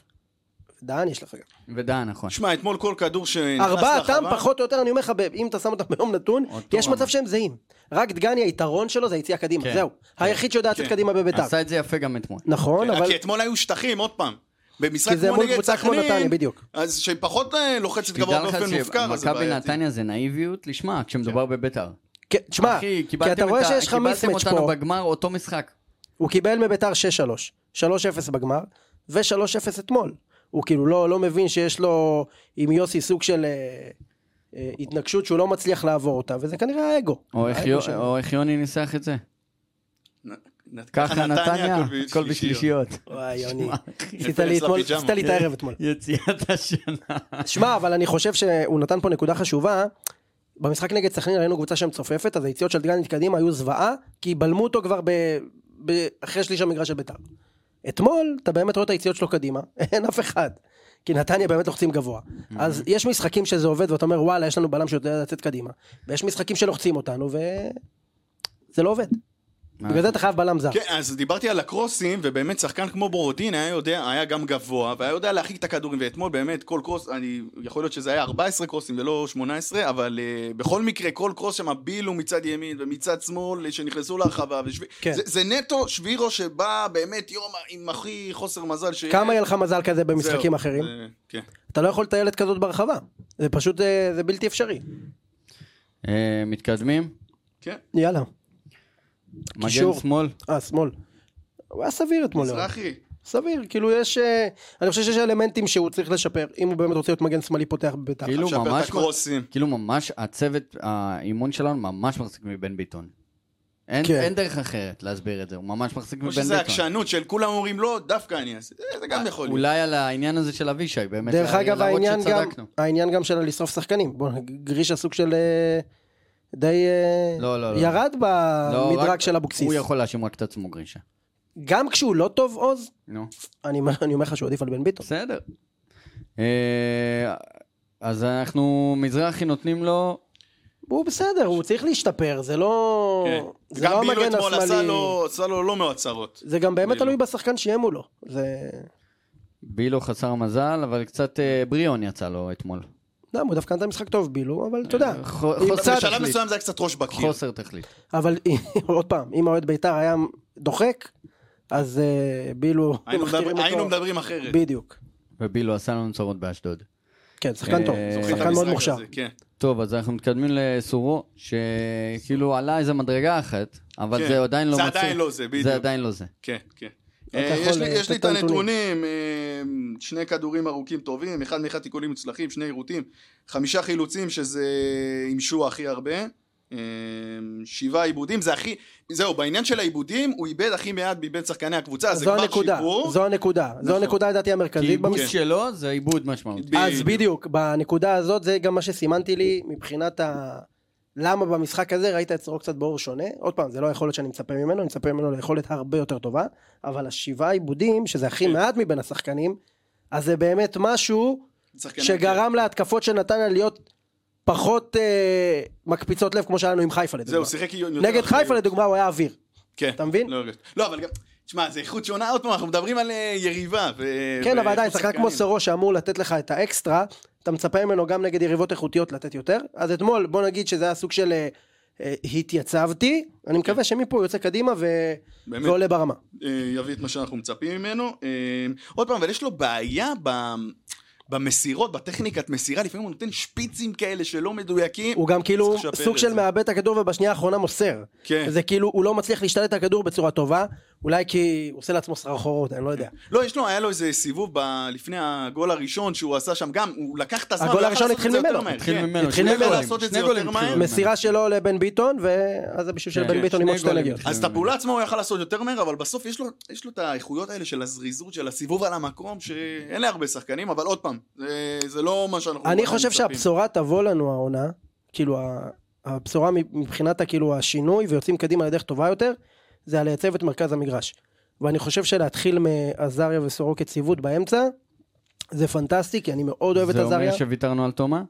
[SPEAKER 3] דהן יש לך גם.
[SPEAKER 2] ודעה, נכון.
[SPEAKER 4] שמע, אתמול כל כדור שנכנס
[SPEAKER 3] ארבעתם
[SPEAKER 4] לרחבה-
[SPEAKER 3] פחות או יותר, אני אומר לך, ב- אם אתה שם אותם ביום נתון,
[SPEAKER 2] אותו
[SPEAKER 3] יש
[SPEAKER 2] רמה.
[SPEAKER 3] מצב שהם זהים. רק דגני, היתרון שלו זה היציאה קדימה,
[SPEAKER 2] כן.
[SPEAKER 3] זהו. היחיד שיודע לצאת
[SPEAKER 4] כן.
[SPEAKER 3] קדימה בביתר.
[SPEAKER 2] עשה כן. את זה יפה גם אתמול.
[SPEAKER 3] נכון, אבל...
[SPEAKER 4] כי אתמול היו שטחים, עוד פעם. במשחק
[SPEAKER 3] כי זה
[SPEAKER 4] כמו
[SPEAKER 3] מול
[SPEAKER 4] נגד
[SPEAKER 3] קבוצה כמו נתניה,
[SPEAKER 4] סכנין,
[SPEAKER 3] בדיוק.
[SPEAKER 4] אז שהיא פחות אה, לוחצת גבוה
[SPEAKER 2] תדע לך
[SPEAKER 4] באופן מופקר, אז זה
[SPEAKER 2] שמכבי
[SPEAKER 4] בעייתי.
[SPEAKER 2] נתניה זה נאיביות לשמה כשמדובר בביתר.
[SPEAKER 3] כן, תשמע,
[SPEAKER 2] אחי,
[SPEAKER 3] כי
[SPEAKER 2] קיבלתם
[SPEAKER 3] אתה רואה
[SPEAKER 2] את ה-
[SPEAKER 3] שיש לך מיסמץ'
[SPEAKER 2] קיבלתם אותנו
[SPEAKER 3] פה.
[SPEAKER 2] בגמר אותו משחק.
[SPEAKER 3] הוא קיבל מביתר 6-3, 3-0 בגמר, ו-3-0 אתמול. הוא כאילו לא, לא מבין שיש לו עם יוסי סוג של אה, אה, התנגשות שהוא לא מצליח לעבור אותה, וזה כנראה האגו.
[SPEAKER 2] או איך
[SPEAKER 4] אה,
[SPEAKER 3] האגו
[SPEAKER 2] יו-
[SPEAKER 3] שלו.
[SPEAKER 2] או איך יוני ניסח את זה?
[SPEAKER 4] נ- נ-
[SPEAKER 2] ככה נתניה, הכל בשלישיות.
[SPEAKER 3] וואי, יוני, עשית
[SPEAKER 4] נפל
[SPEAKER 3] לי
[SPEAKER 4] אצלה
[SPEAKER 3] אתמול,
[SPEAKER 4] פיג'מה.
[SPEAKER 3] עשית לי את הערב אתמול.
[SPEAKER 2] יציאת השנה.
[SPEAKER 3] שמע, אבל אני חושב שהוא נתן פה נקודה חשובה. במשחק נגד סכנין ראינו קבוצה שם צופפת, אז היציאות של דגנית קדימה היו זוועה, כי בלמו אותו כבר ב... ב- אחרי שליש המגרש של ביתר. אתמול אתה באמת רואה את היציאות שלו קדימה, אין אף אחד. כי נתניה באמת לוחצים גבוה. אז יש משחקים שזה עובד ואתה אומר וואלה יש לנו בלם שיודע לצאת קדימה. ויש משחקים שלוחצים אותנו ו... זה לא עובד. בגלל זה אתה חייב בלם זר.
[SPEAKER 4] כן, אז דיברתי על הקרוסים, ובאמת שחקן כמו בורודין היה יודע, היה גם גבוה, והיה יודע להרחיק את הכדורים, ואתמול באמת כל קרוס, אני, יכול להיות שזה היה 14 קרוסים ולא 18, אבל uh, בכל מקרה, כל קרוס שם בילו מצד ימין ומצד שמאל, שנכנסו להרחבה, ושבי...
[SPEAKER 3] כן.
[SPEAKER 4] זה, זה נטו שבירו שבא באמת יום עם הכי חוסר מזל שיש.
[SPEAKER 3] כמה יהיה לך מזל כזה במשחקים
[SPEAKER 4] זהו,
[SPEAKER 3] אחרים?
[SPEAKER 4] זה- כן.
[SPEAKER 3] אתה לא יכול לטייל את כזאת ברחבה. זה פשוט אה, זה בלתי אפשרי.
[SPEAKER 2] אה, מתקדמים?
[SPEAKER 4] כן.
[SPEAKER 3] יאללה.
[SPEAKER 2] מגן
[SPEAKER 3] קישור.
[SPEAKER 2] שמאל?
[SPEAKER 3] אה, שמאל. הוא היה סביר אתמול. ליאור.
[SPEAKER 4] מזרחי.
[SPEAKER 3] סביר, כאילו יש... אה, אני חושב שיש אלמנטים שהוא צריך לשפר, אם הוא באמת רוצה להיות מגן שמאלי פותח בביתר.
[SPEAKER 2] כאילו
[SPEAKER 4] שפר את
[SPEAKER 2] ממש...
[SPEAKER 4] הקרוסים.
[SPEAKER 2] כאילו ממש הצוות האימון שלנו ממש מחזיק מבן ביטון. אין,
[SPEAKER 3] כן.
[SPEAKER 2] אין דרך אחרת להסביר את זה, הוא ממש מחזיק מבן
[SPEAKER 4] כמו
[SPEAKER 2] ביטון.
[SPEAKER 4] שזה עקשנות של כולם אומרים לא, דווקא אני אעשה. זה- זה
[SPEAKER 3] אה,
[SPEAKER 4] גם יכול להיות.
[SPEAKER 2] אולי על העניין הזה של אבישי, באמת.
[SPEAKER 3] דרך
[SPEAKER 2] לה-
[SPEAKER 3] אגב,
[SPEAKER 2] להראות
[SPEAKER 3] העניין גם,
[SPEAKER 2] שצדקנו.
[SPEAKER 3] העניין גם של לשרוף שחקנים. בוא, גרישה סוג של אה, די אה,
[SPEAKER 2] לא, לא, לא.
[SPEAKER 3] ירד
[SPEAKER 2] לא,
[SPEAKER 3] במדרג
[SPEAKER 2] רק-
[SPEAKER 3] של אבוקסיס.
[SPEAKER 2] הוא יכול להאשים רק את עצמו גרישה.
[SPEAKER 3] גם כשהוא לא טוב עוז,
[SPEAKER 2] נו,
[SPEAKER 3] אני אני אומר לך שהוא עדיף על בן ביטון.
[SPEAKER 2] בסדר. אה, אז אנחנו, מזרחי נותנים לו...
[SPEAKER 3] הוא בסדר, הוא צריך להשתפר, זה לא...
[SPEAKER 4] כן.
[SPEAKER 3] זה לא
[SPEAKER 4] גם בילו
[SPEAKER 3] המגן
[SPEAKER 4] אתמול עשה
[SPEAKER 3] השמאלי.
[SPEAKER 4] לו- עשה לו לא מאות צרות.
[SPEAKER 3] זה גם באמת
[SPEAKER 4] בילו.
[SPEAKER 3] תלוי בשחקן שיהיה מולו. זה...
[SPEAKER 2] בילו חסר מזל, אבל קצת אה, בריאון יצא לו אתמול.
[SPEAKER 3] למה, לא, הוא דווקא נתן משחק טוב בילו, אבל אתה יודע.
[SPEAKER 2] ח-
[SPEAKER 3] אם
[SPEAKER 2] חוסר
[SPEAKER 4] אה, בשלב
[SPEAKER 2] תכלית.
[SPEAKER 4] מסוים זה היה קצת ראש בקיר.
[SPEAKER 2] חוסר תכלית.
[SPEAKER 3] אבל עוד פעם, אם האוהד בית"ר היה דוחק, אז אה, בילו...
[SPEAKER 4] היינו
[SPEAKER 3] מכתירים
[SPEAKER 4] מדבר-
[SPEAKER 3] אותו.
[SPEAKER 4] היינו מדברים אחרת.
[SPEAKER 3] בדיוק.
[SPEAKER 2] ובילו עשה לנו צרות באשדוד.
[SPEAKER 3] כן, שחקן טוב,
[SPEAKER 2] אה,
[SPEAKER 4] זוכרים את
[SPEAKER 3] שחקן מאוד
[SPEAKER 4] המשחק
[SPEAKER 3] מוכשר.
[SPEAKER 4] הזה, כן.
[SPEAKER 2] טוב, אז אנחנו מתקדמים לסורו, שכאילו עלה איזה מדרגה אחת, אבל
[SPEAKER 4] כן.
[SPEAKER 2] זה עדיין לא
[SPEAKER 4] זה
[SPEAKER 2] מצליח.
[SPEAKER 4] עדיין לא זה, בדיוק.
[SPEAKER 2] זה עדיין לא זה.
[SPEAKER 4] כן, כן.
[SPEAKER 3] אתה
[SPEAKER 4] אה,
[SPEAKER 3] יכול
[SPEAKER 4] יש לי-
[SPEAKER 3] לתת
[SPEAKER 4] יש לי את
[SPEAKER 3] את הנתונים.
[SPEAKER 4] הנתונים, אה, שני כדורים ארוכים טובים, אחד מאחד תיקולים מוצלחים, שני עירותים, חמישה חילוצים שזה עם שועה הכי הרבה, אה, שבעה עיבודים, זה הכי, זהו, בעניין של העיבודים, הוא איבד הכי מעט מבין שחקני הקבוצה, אז אה, זה
[SPEAKER 3] זו
[SPEAKER 4] כבר
[SPEAKER 3] הנקודה,
[SPEAKER 4] שיפור.
[SPEAKER 3] זו הנקודה. זו
[SPEAKER 4] נכון. כן,
[SPEAKER 3] הנקודה לדעתי
[SPEAKER 2] כי
[SPEAKER 3] המרכזית
[SPEAKER 2] עיבוד
[SPEAKER 3] במשחק.
[SPEAKER 2] שלו זה עיבוד משמעותי.
[SPEAKER 3] אז בדיוק, בנקודה הזאת זה גם מה שסימנתי לי מבחינת ה... למה במשחק הזה ראית את סורו קצת באור שונה? עוד פעם, זה לא היכולת שאני מצפה ממנו, אני מצפה ממנו ליכולת הרבה יותר טובה, אבל השבעה עיבודים, שזה
[SPEAKER 4] כן.
[SPEAKER 3] הכי מעט מבין השחקנים, אז זה באמת משהו
[SPEAKER 4] שחקני-
[SPEAKER 3] שגרם להתקפות של נתניה להיות פחות אה, מקפיצות לב כמו שהיה לנו עם חיפה לדוגמה.
[SPEAKER 4] זהו, שיחק יותר
[SPEAKER 3] נגד
[SPEAKER 4] אחריות.
[SPEAKER 3] חיפה לדוגמה הוא היה אוויר.
[SPEAKER 4] כן.
[SPEAKER 3] אתה מבין?
[SPEAKER 4] לא, הרגשתי. לא, אבל גם, תשמע, זה איכות שונה, עוד פעם, אנחנו מדברים על אה, יריבה. ו-
[SPEAKER 3] כן, אבל
[SPEAKER 4] ואיכות
[SPEAKER 3] עדיין, שחקן כמו
[SPEAKER 4] שחקנים.
[SPEAKER 3] סורו שאמור לתת לך את האקסטרה, אתה מצפה ממנו גם נגד יריבות איכותיות לתת יותר. אז אתמול, בוא נגיד שזה היה סוג של אה, אה, התייצבתי, אני מקווה שמפה הוא יוצא קדימה ו-
[SPEAKER 4] כן. באמת.
[SPEAKER 3] ועולה ברמה.
[SPEAKER 4] אה, יביא את מה שאנחנו מצפים ממנו. אה, עוד פעם, אבל יש לו בעיה ב... במסירות, בטכניקת מסירה, לפעמים הוא נותן שפיצים כאלה שלא מדויקים.
[SPEAKER 3] הוא גם כאילו
[SPEAKER 4] צריך לשפר
[SPEAKER 3] סוג
[SPEAKER 4] את
[SPEAKER 3] של
[SPEAKER 4] זה.
[SPEAKER 3] מאבד את הכדור ובשנייה האחרונה מוסר.
[SPEAKER 4] כן.
[SPEAKER 3] זה כאילו, הוא לא מצליח להשתלט על הכדור בצורה טובה, אולי כי הוא עושה לעצמו סחרחורות, אני לא יודע.
[SPEAKER 4] לא, יש לו, היה לו איזה סיבוב ב... לפני הגול הראשון שהוא עשה שם, גם, הוא לקח את הזמן.
[SPEAKER 3] הגול
[SPEAKER 4] הוא היה
[SPEAKER 3] הראשון
[SPEAKER 4] יכול לעשות את
[SPEAKER 3] התחיל
[SPEAKER 4] זה יותר
[SPEAKER 3] ממנו.
[SPEAKER 4] מהר,
[SPEAKER 2] התחיל
[SPEAKER 4] כן.
[SPEAKER 2] ממנו,
[SPEAKER 3] התחיל
[SPEAKER 2] שני
[SPEAKER 3] ממנו
[SPEAKER 2] גולים,
[SPEAKER 4] לעשות את
[SPEAKER 2] שני
[SPEAKER 4] זה
[SPEAKER 2] גולים
[SPEAKER 4] יותר
[SPEAKER 2] התחילו
[SPEAKER 4] מהר.
[SPEAKER 2] ממנו.
[SPEAKER 3] כן, מסירה שלו לבן ביטון, ואז זה בשביל של
[SPEAKER 2] כן,
[SPEAKER 3] בן ביטון עם
[SPEAKER 2] שני
[SPEAKER 3] עוד שתי
[SPEAKER 2] גולים
[SPEAKER 3] נגיעות.
[SPEAKER 2] התחילו.
[SPEAKER 4] אז את הפעולה עצמה הוא יכל לעשות יותר מהר, אבל בסוף יש לו, יש לו את האיכויות האלה של הזריזות, של הסיבוב על המקום, שאין להרבה שחקנים, אבל עוד פעם, זה, זה לא מה שאנחנו...
[SPEAKER 3] אני
[SPEAKER 4] אנחנו
[SPEAKER 3] חושב
[SPEAKER 4] מצפים.
[SPEAKER 3] שהבשורה תבוא לנו העונה, כאילו ה- הבשורה מבחינת כאילו השינוי ויוצאים קדימה לדרך טובה יותר, זה על לייצב את מרכז המגרש. ואני חושב שלהתחיל מעזריה וסורו כציוות באמצע, זה פנטסטי, כי אני מאוד אוהב את
[SPEAKER 2] זה
[SPEAKER 3] עזריה.
[SPEAKER 2] אומר שוויתרנו על תומה?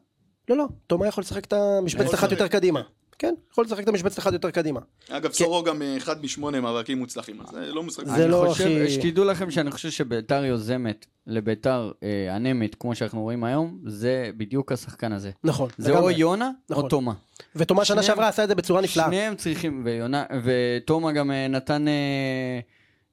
[SPEAKER 3] לא, לא, תומא יכול לשחק את המשבצת
[SPEAKER 4] יכול
[SPEAKER 3] אחת יותר
[SPEAKER 4] לשחק.
[SPEAKER 3] קדימה. כן, יכול לשחק את המשבצת אחת יותר קדימה.
[SPEAKER 4] אגב, סורו גם אה, אחד משמונה מאבקים מוצלחים, אז זה לא משחק.
[SPEAKER 3] כן. זה
[SPEAKER 2] אני
[SPEAKER 3] לא
[SPEAKER 2] חושב,
[SPEAKER 3] הכי-
[SPEAKER 2] שתדעו לכם שאני חושב שביתר יוזמת לביתר אה, אנמית, כמו שאנחנו רואים היום, זה בדיוק השחקן הזה.
[SPEAKER 3] נכון.
[SPEAKER 2] זה
[SPEAKER 3] לגמרי.
[SPEAKER 2] או יונה
[SPEAKER 3] נכון.
[SPEAKER 2] או תומה.
[SPEAKER 3] ותומא שנה
[SPEAKER 2] שניהם-
[SPEAKER 3] שעברה עשה את זה בצורה נפלאה.
[SPEAKER 2] שניהם צריכים, ויונה- ותומה גם אה, נתן אה,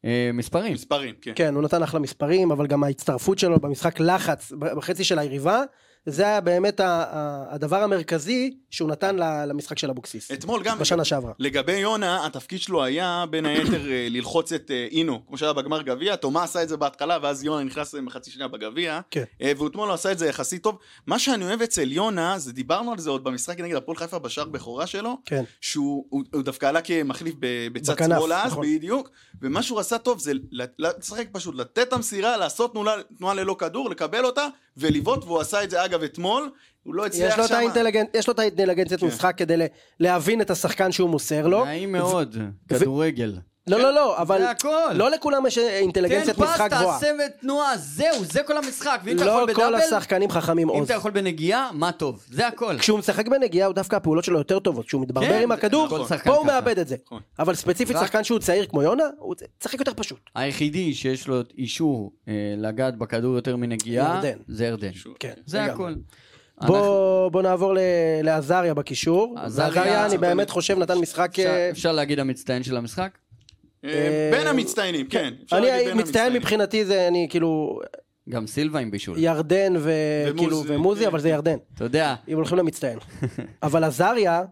[SPEAKER 2] אה, מספרים.
[SPEAKER 4] מספרים, כן.
[SPEAKER 3] כן, הוא נתן אחלה מספרים, אבל גם ההצטרפות שלו במשחק לחץ בחצי של היריבה, זה היה באמת ה- ה- הדבר המרכזי שהוא נתן ל- למשחק של אבוקסיס.
[SPEAKER 4] אתמול גם...
[SPEAKER 3] כן. בשנה שעברה.
[SPEAKER 4] לגבי יונה, התפקיד שלו היה בין היתר אה, ללחוץ את אה, אינו, כמו שהיה בגמר גביע, תומה עשה את זה בהתחלה, ואז יונה נכנס אה, מחצי שנייה בגביע,
[SPEAKER 3] כן.
[SPEAKER 4] אה, ואתמול הוא עשה את זה יחסית טוב. מה שאני אוהב אצל יונה, זה דיברנו על זה עוד במשחק נגד הפועל חיפה בשער בכורה שלו,
[SPEAKER 3] כן.
[SPEAKER 4] שהוא הוא, הוא דווקא עלה כמחליף ב- בצד
[SPEAKER 3] בכנף,
[SPEAKER 4] שמאל אז,
[SPEAKER 3] נכון.
[SPEAKER 4] בדיוק, ומה שהוא עשה טוב זה ל- ל- לשחק פשוט, לתת את המסירה, לעשות תנועה, תנועה ללא כדור, לקבל אותה, ולבעוט, והוא עשה את זה אגב אתמול, הוא לא הצליח
[SPEAKER 3] יש לו, את
[SPEAKER 4] שמה.
[SPEAKER 3] האינטליגנ... יש לו את
[SPEAKER 2] כן.
[SPEAKER 3] לא? האינטליגנציית משחק כדי ל- להבין את השחקן שהוא מוסר לו.
[SPEAKER 2] נעים מאוד, כדורגל.
[SPEAKER 3] לא, לא, לא, אבל...
[SPEAKER 2] זה הכל.
[SPEAKER 3] לא לכולם יש
[SPEAKER 2] תן
[SPEAKER 3] אינטליגנציית
[SPEAKER 2] כן, פס,
[SPEAKER 3] משחק גבוהה.
[SPEAKER 2] תעשה ותנועה, זהו, זה כל המשחק. ואם אתה
[SPEAKER 3] לא
[SPEAKER 2] יכול
[SPEAKER 3] כל
[SPEAKER 2] בדאבל,
[SPEAKER 3] השחקנים חכמים
[SPEAKER 2] אם
[SPEAKER 3] עוז.
[SPEAKER 2] אתה יכול בנגיעה, מה טוב. זה הכל.
[SPEAKER 3] כשהוא משחק בנגיעה, הוא דווקא הפעולות שלו יותר טובות. כשהוא מתברבר
[SPEAKER 2] כן,
[SPEAKER 3] עם
[SPEAKER 2] נכון.
[SPEAKER 3] הכדור,
[SPEAKER 2] כל שחקן
[SPEAKER 3] פה הוא
[SPEAKER 2] ככה.
[SPEAKER 3] מאבד את זה.
[SPEAKER 4] נכון.
[SPEAKER 3] אבל ספציפית
[SPEAKER 2] רק-
[SPEAKER 3] שחקן שהוא צעיר כמו יונה, הוא צחק יותר פשוט.
[SPEAKER 2] היחידי שיש לו אישור אה, לגעת בכדור יותר מנגיעה,
[SPEAKER 3] ירדן.
[SPEAKER 2] זה ירדן.
[SPEAKER 3] כן,
[SPEAKER 2] זה
[SPEAKER 3] לגמרי.
[SPEAKER 2] הכל. אנחנו-
[SPEAKER 3] בוא בוא נעבור ל- לעזריה בקישור.
[SPEAKER 2] עזריה-
[SPEAKER 3] עזריה, אני באמת
[SPEAKER 4] באמת-
[SPEAKER 3] חושב, נתן משחק...
[SPEAKER 2] אפשר-
[SPEAKER 3] אה,
[SPEAKER 2] אפשר להגיד המצטיין של המשחק?
[SPEAKER 4] אה, בין המצטיינים, כן. אפשר להגיד
[SPEAKER 3] אני
[SPEAKER 4] בין
[SPEAKER 3] מצטיין
[SPEAKER 4] המצטיינים.
[SPEAKER 3] מבחינתי, זה אני כאילו
[SPEAKER 2] גם סילבה עם בישול.
[SPEAKER 3] ירדן ו-
[SPEAKER 4] ומוזי,
[SPEAKER 3] כאילו, ומוזי,
[SPEAKER 4] כן.
[SPEAKER 3] אבל זה ירדן.
[SPEAKER 2] אתה יודע,
[SPEAKER 3] אם הולכים למצטיין. אבל עזריה,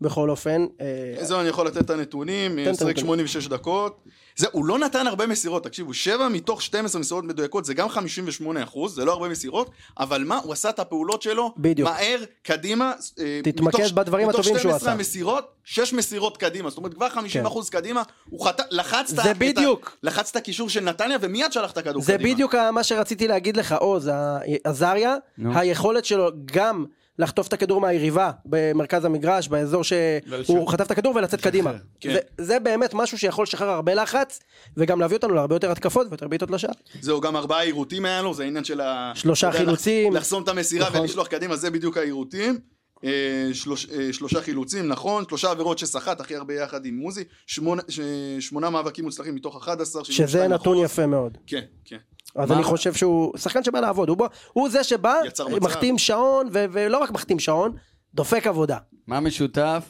[SPEAKER 3] בכל אופן, אה,
[SPEAKER 4] זהו, אני יכול לתת את הנתונים, אה,
[SPEAKER 3] את
[SPEAKER 4] משחק
[SPEAKER 3] הנתונים.
[SPEAKER 4] 86 דקות. זה, הוא לא נתן הרבה מסירות, תקשיבו, 7 מתוך 12 מסירות מדויקות, זה גם 58 אחוז, זה לא הרבה מסירות, אבל מה, הוא עשה את הפעולות שלו,
[SPEAKER 3] בדיוק.
[SPEAKER 4] מהר, קדימה, אה,
[SPEAKER 3] תתמקד
[SPEAKER 4] מתוך-
[SPEAKER 3] בדברים הטובים שהוא
[SPEAKER 4] מתוך
[SPEAKER 3] עשה.
[SPEAKER 4] 12 מסירות, 6 מסירות קדימה, זאת אומרת, כבר 50
[SPEAKER 3] כן.
[SPEAKER 4] אחוז קדימה, הוא חת... לחץ את
[SPEAKER 3] זה
[SPEAKER 4] ה- את ה-
[SPEAKER 3] בדיוק.
[SPEAKER 4] לחץ את הקישור של נתניה, ומיד שלח את הכדור
[SPEAKER 3] זה
[SPEAKER 4] קדימה.
[SPEAKER 3] בדיוק ה- מה שרציתי להגיד לך, עוז, ה- עזריה,
[SPEAKER 2] נו.
[SPEAKER 3] היכולת שלו גם לחטוף את הכדור מהיריבה במרכז המגרש, באזור שהוא
[SPEAKER 5] ולשחרר.
[SPEAKER 3] חטף את הכדור ולצאת קדימה.
[SPEAKER 4] כן.
[SPEAKER 3] זה- זה באמת משהו שיכול לשחרר הרבה לחץ, וגם להביא אותנו להרבה יותר התקפות ויותר בעיטות לשער.
[SPEAKER 4] זהו, גם ארבעה עירותים היה לו, זה העניין של ה...
[SPEAKER 3] שלושה
[SPEAKER 4] אתה יודע,
[SPEAKER 3] חילוצים.
[SPEAKER 4] לח- לחסום את המסירה
[SPEAKER 3] נכון.
[SPEAKER 4] ולשלוח קדימה, זה בדיוק העירותים. אה, שלוש- אה, שלושה חילוצים, נכון, שלושה עבירות שסחט הכי הרבה יחד עם מוזי, שמונה- ש- שמונה מאבקים מוצלחים מתוך 11,
[SPEAKER 3] שזה
[SPEAKER 4] 72%.
[SPEAKER 3] נתון יפה מאוד.
[SPEAKER 4] נכון. כן, כן.
[SPEAKER 3] אז
[SPEAKER 2] מה-
[SPEAKER 3] אני חושב שהוא שחקן שבא לעבוד, הוא בא- הוא זה שבא,
[SPEAKER 4] יצר מצב.
[SPEAKER 3] מחתים שעון, ו- ולא רק מחתים שעון, דופק עבודה.
[SPEAKER 2] מה משותף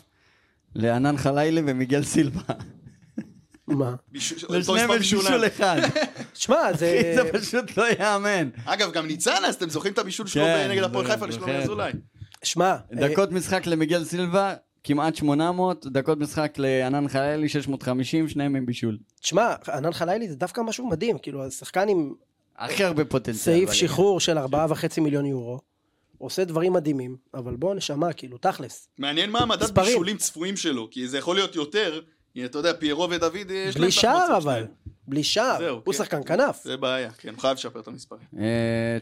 [SPEAKER 2] לענן חלילה ומיגל סילבה?
[SPEAKER 3] מה?
[SPEAKER 4] בישול- אותו
[SPEAKER 2] לשניהם
[SPEAKER 4] מספר
[SPEAKER 2] יש
[SPEAKER 4] בישול
[SPEAKER 2] בישול
[SPEAKER 4] היה.
[SPEAKER 2] אחד.
[SPEAKER 3] שמע, זה... אה,
[SPEAKER 2] אחי, זה פשוט לא ייאמן.
[SPEAKER 4] אגב, גם ניצן, אז אתם זוכרים את הבישול שלו
[SPEAKER 2] כן,
[SPEAKER 4] נגד הפועל
[SPEAKER 2] זוכר,
[SPEAKER 4] חיפה לשלומי
[SPEAKER 2] זוכר.
[SPEAKER 4] אזולאי.
[SPEAKER 3] שמע, אה,
[SPEAKER 2] דקות משחק למיגל סילבה, כמעט 800, דקות משחק לענן חלילי, 650, שניהם עם בישול.
[SPEAKER 3] תשמע, ענן חלילי זה דווקא משהו מדהים, כאילו השחקן עם
[SPEAKER 2] הכי הרבה פוטנציאל.
[SPEAKER 3] סעיף
[SPEAKER 2] בליגה.
[SPEAKER 3] שחרור של ארבעה וחצי מיליון יורו, עושה דברים מדהימים, אבל בוא נשמה, כאילו, תכלס.
[SPEAKER 4] מעניין מה המדד
[SPEAKER 3] מספרים.
[SPEAKER 4] בישולים צפויים שלו, כי זה יכול להיות יותר, כי אתה יודע, פיירו ודוד, אה, יש להם את
[SPEAKER 3] בלי שער
[SPEAKER 4] המוצא
[SPEAKER 3] אבל,
[SPEAKER 4] שלהם.
[SPEAKER 3] בלי שער,
[SPEAKER 4] זהו,
[SPEAKER 3] הוא
[SPEAKER 4] כן.
[SPEAKER 3] שחקן כנף.
[SPEAKER 4] זה בעיה, כן, חייב לשפר את המספרים.
[SPEAKER 2] אה,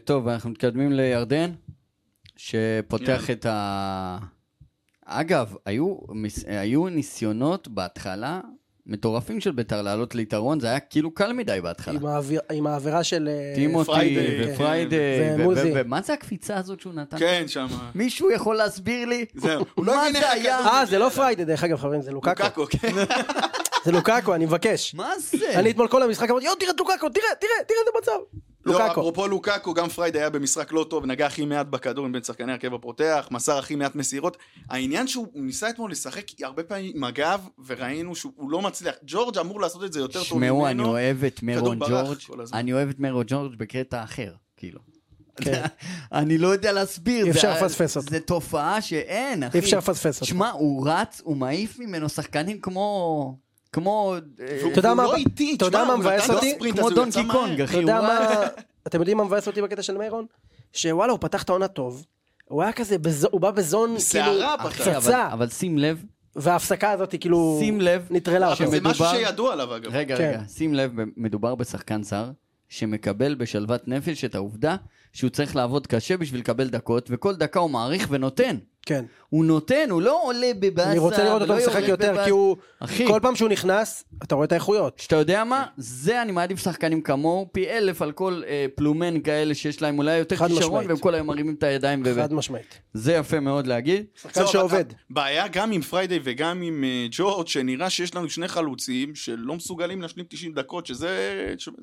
[SPEAKER 2] טוב, אנחנו מתקדמים לירדן, שפותח
[SPEAKER 4] יאללה.
[SPEAKER 2] את ה... אגב, היו, מס- היו ניסיונות בהתחלה מטורפים של ביתר לעלות ליתרון, זה היה כאילו קל מדי בהתחלה.
[SPEAKER 3] עם האוויר- עם העבירה של... אה,
[SPEAKER 2] טימותי
[SPEAKER 4] פריידי,
[SPEAKER 2] ופריידי,
[SPEAKER 3] כן,
[SPEAKER 2] ו- ו-
[SPEAKER 3] ומוזי.
[SPEAKER 2] ומה זה הקפיצה הזאת שהוא נתן?
[SPEAKER 4] כן, שמה.
[SPEAKER 2] מישהו יכול להסביר לי?
[SPEAKER 4] זהו, הוא לא
[SPEAKER 2] מה
[SPEAKER 4] הבין איך
[SPEAKER 2] זה היה?
[SPEAKER 4] הכדור-
[SPEAKER 3] אה, זה לא פריידי, דרך אגב, חברים, זה לוקקו.
[SPEAKER 4] קקו, כן.
[SPEAKER 3] זה לוקקו, אני מבקש.
[SPEAKER 2] מה זה?
[SPEAKER 3] אני אתמול כל המשחק אמרתי, יואו, תראה את לוקקו, תראה, תראה, תראה את המצב.
[SPEAKER 4] לא,
[SPEAKER 3] לוקקו.
[SPEAKER 4] אפרופו לוקקו, גם פרייד היה במשחק לא טוב, נגע הכי מעט בכדור מבין שחקני הרכב הפותח, מסר הכי מעט מסירות. העניין שהוא ניסה אתמול לשחק הרבה פעמים עם הגב, וראינו שהוא לא מצליח. ג'ורג' אמור לעשות את זה יותר טוב ממנו.
[SPEAKER 2] שמעו, אני אוהב את
[SPEAKER 4] כדור
[SPEAKER 2] מרון
[SPEAKER 4] ברח
[SPEAKER 2] ג'ורג',
[SPEAKER 4] כל הזמן.
[SPEAKER 2] אני אוהב את מרון ג'ורג' בקטע אחר, כאילו.
[SPEAKER 3] כן.
[SPEAKER 2] אני לא יודע להסביר.
[SPEAKER 3] אי
[SPEAKER 2] זה-
[SPEAKER 3] אפשר לפספס אותה.
[SPEAKER 2] זה תופעה שאין, אחי.
[SPEAKER 3] אי אפשר לפספס אותה.
[SPEAKER 2] שמע, הוא רץ, הוא מעיף ממנו שחקנים כמו... כמו... אה,
[SPEAKER 4] והוא-
[SPEAKER 3] אתה יודע
[SPEAKER 4] והוא
[SPEAKER 3] מה-
[SPEAKER 4] לא איטי,
[SPEAKER 3] אתה יודע
[SPEAKER 4] תשמע,
[SPEAKER 3] מה
[SPEAKER 4] הוא נתן
[SPEAKER 3] מבאס
[SPEAKER 4] לו
[SPEAKER 3] אותי?
[SPEAKER 4] ספרינט,
[SPEAKER 2] כמו
[SPEAKER 4] אז הוא
[SPEAKER 2] דונקי
[SPEAKER 4] יצא מהר.
[SPEAKER 2] קונג,
[SPEAKER 3] אתה
[SPEAKER 2] אחי. הוא
[SPEAKER 3] יודע
[SPEAKER 2] רץ.
[SPEAKER 3] מה, אתם יודעים מה מבאס אותי בקטע של מיירון? שוואלה, הוא פתח את העונה טוב, הוא היה כזה, בז- הוא בא בזון, כאילו,
[SPEAKER 4] בסערה פתח.
[SPEAKER 2] אחי, אבל-
[SPEAKER 3] פצצה,
[SPEAKER 2] אבל שים לב,
[SPEAKER 3] וההפסקה הזאת היא כאילו,
[SPEAKER 2] שים לב,
[SPEAKER 3] נטרלה
[SPEAKER 4] אבל
[SPEAKER 3] אותו.
[SPEAKER 4] זה משהו
[SPEAKER 2] שמדובר-
[SPEAKER 4] שידוע עליו אגב.
[SPEAKER 2] רגע,
[SPEAKER 3] כן.
[SPEAKER 2] רגע, שים לב, מדובר בשחקן זר שמקבל בשלוות נפש את העובדה שהוא צריך לעבוד קשה בשביל לקבל דקות, וכל דקה הוא מעריך ונותן.
[SPEAKER 3] כן.
[SPEAKER 2] הוא נותן, הוא לא עולה בבאסה.
[SPEAKER 3] אני רוצה לראות אותו
[SPEAKER 2] ולא
[SPEAKER 3] משחק
[SPEAKER 2] יורד
[SPEAKER 3] יותר,
[SPEAKER 2] בבאסה.
[SPEAKER 3] כי הוא,
[SPEAKER 2] אחי.
[SPEAKER 3] כל פעם שהוא נכנס, אתה רואה את האיכויות.
[SPEAKER 2] שאתה יודע מה?
[SPEAKER 3] כן.
[SPEAKER 2] זה אני מעדיף שחקנים כמוהו, פי אלף על כל אה, פלומן כאלה שיש להם אולי יותר
[SPEAKER 3] חד
[SPEAKER 2] כישרון,
[SPEAKER 3] משמעית.
[SPEAKER 2] והם כל היום מרימים את הידיים. ו-
[SPEAKER 3] חד משמעית.
[SPEAKER 2] זה יפה מאוד להגיד.
[SPEAKER 3] שחקן
[SPEAKER 4] זהו,
[SPEAKER 3] שעובד.
[SPEAKER 4] אבל הבעיה גם עם פריידי וגם עם אה, ג'ורג' שנראה שיש לנו שני חלוצים שלא מסוגלים להשלים 90 דקות, שזה,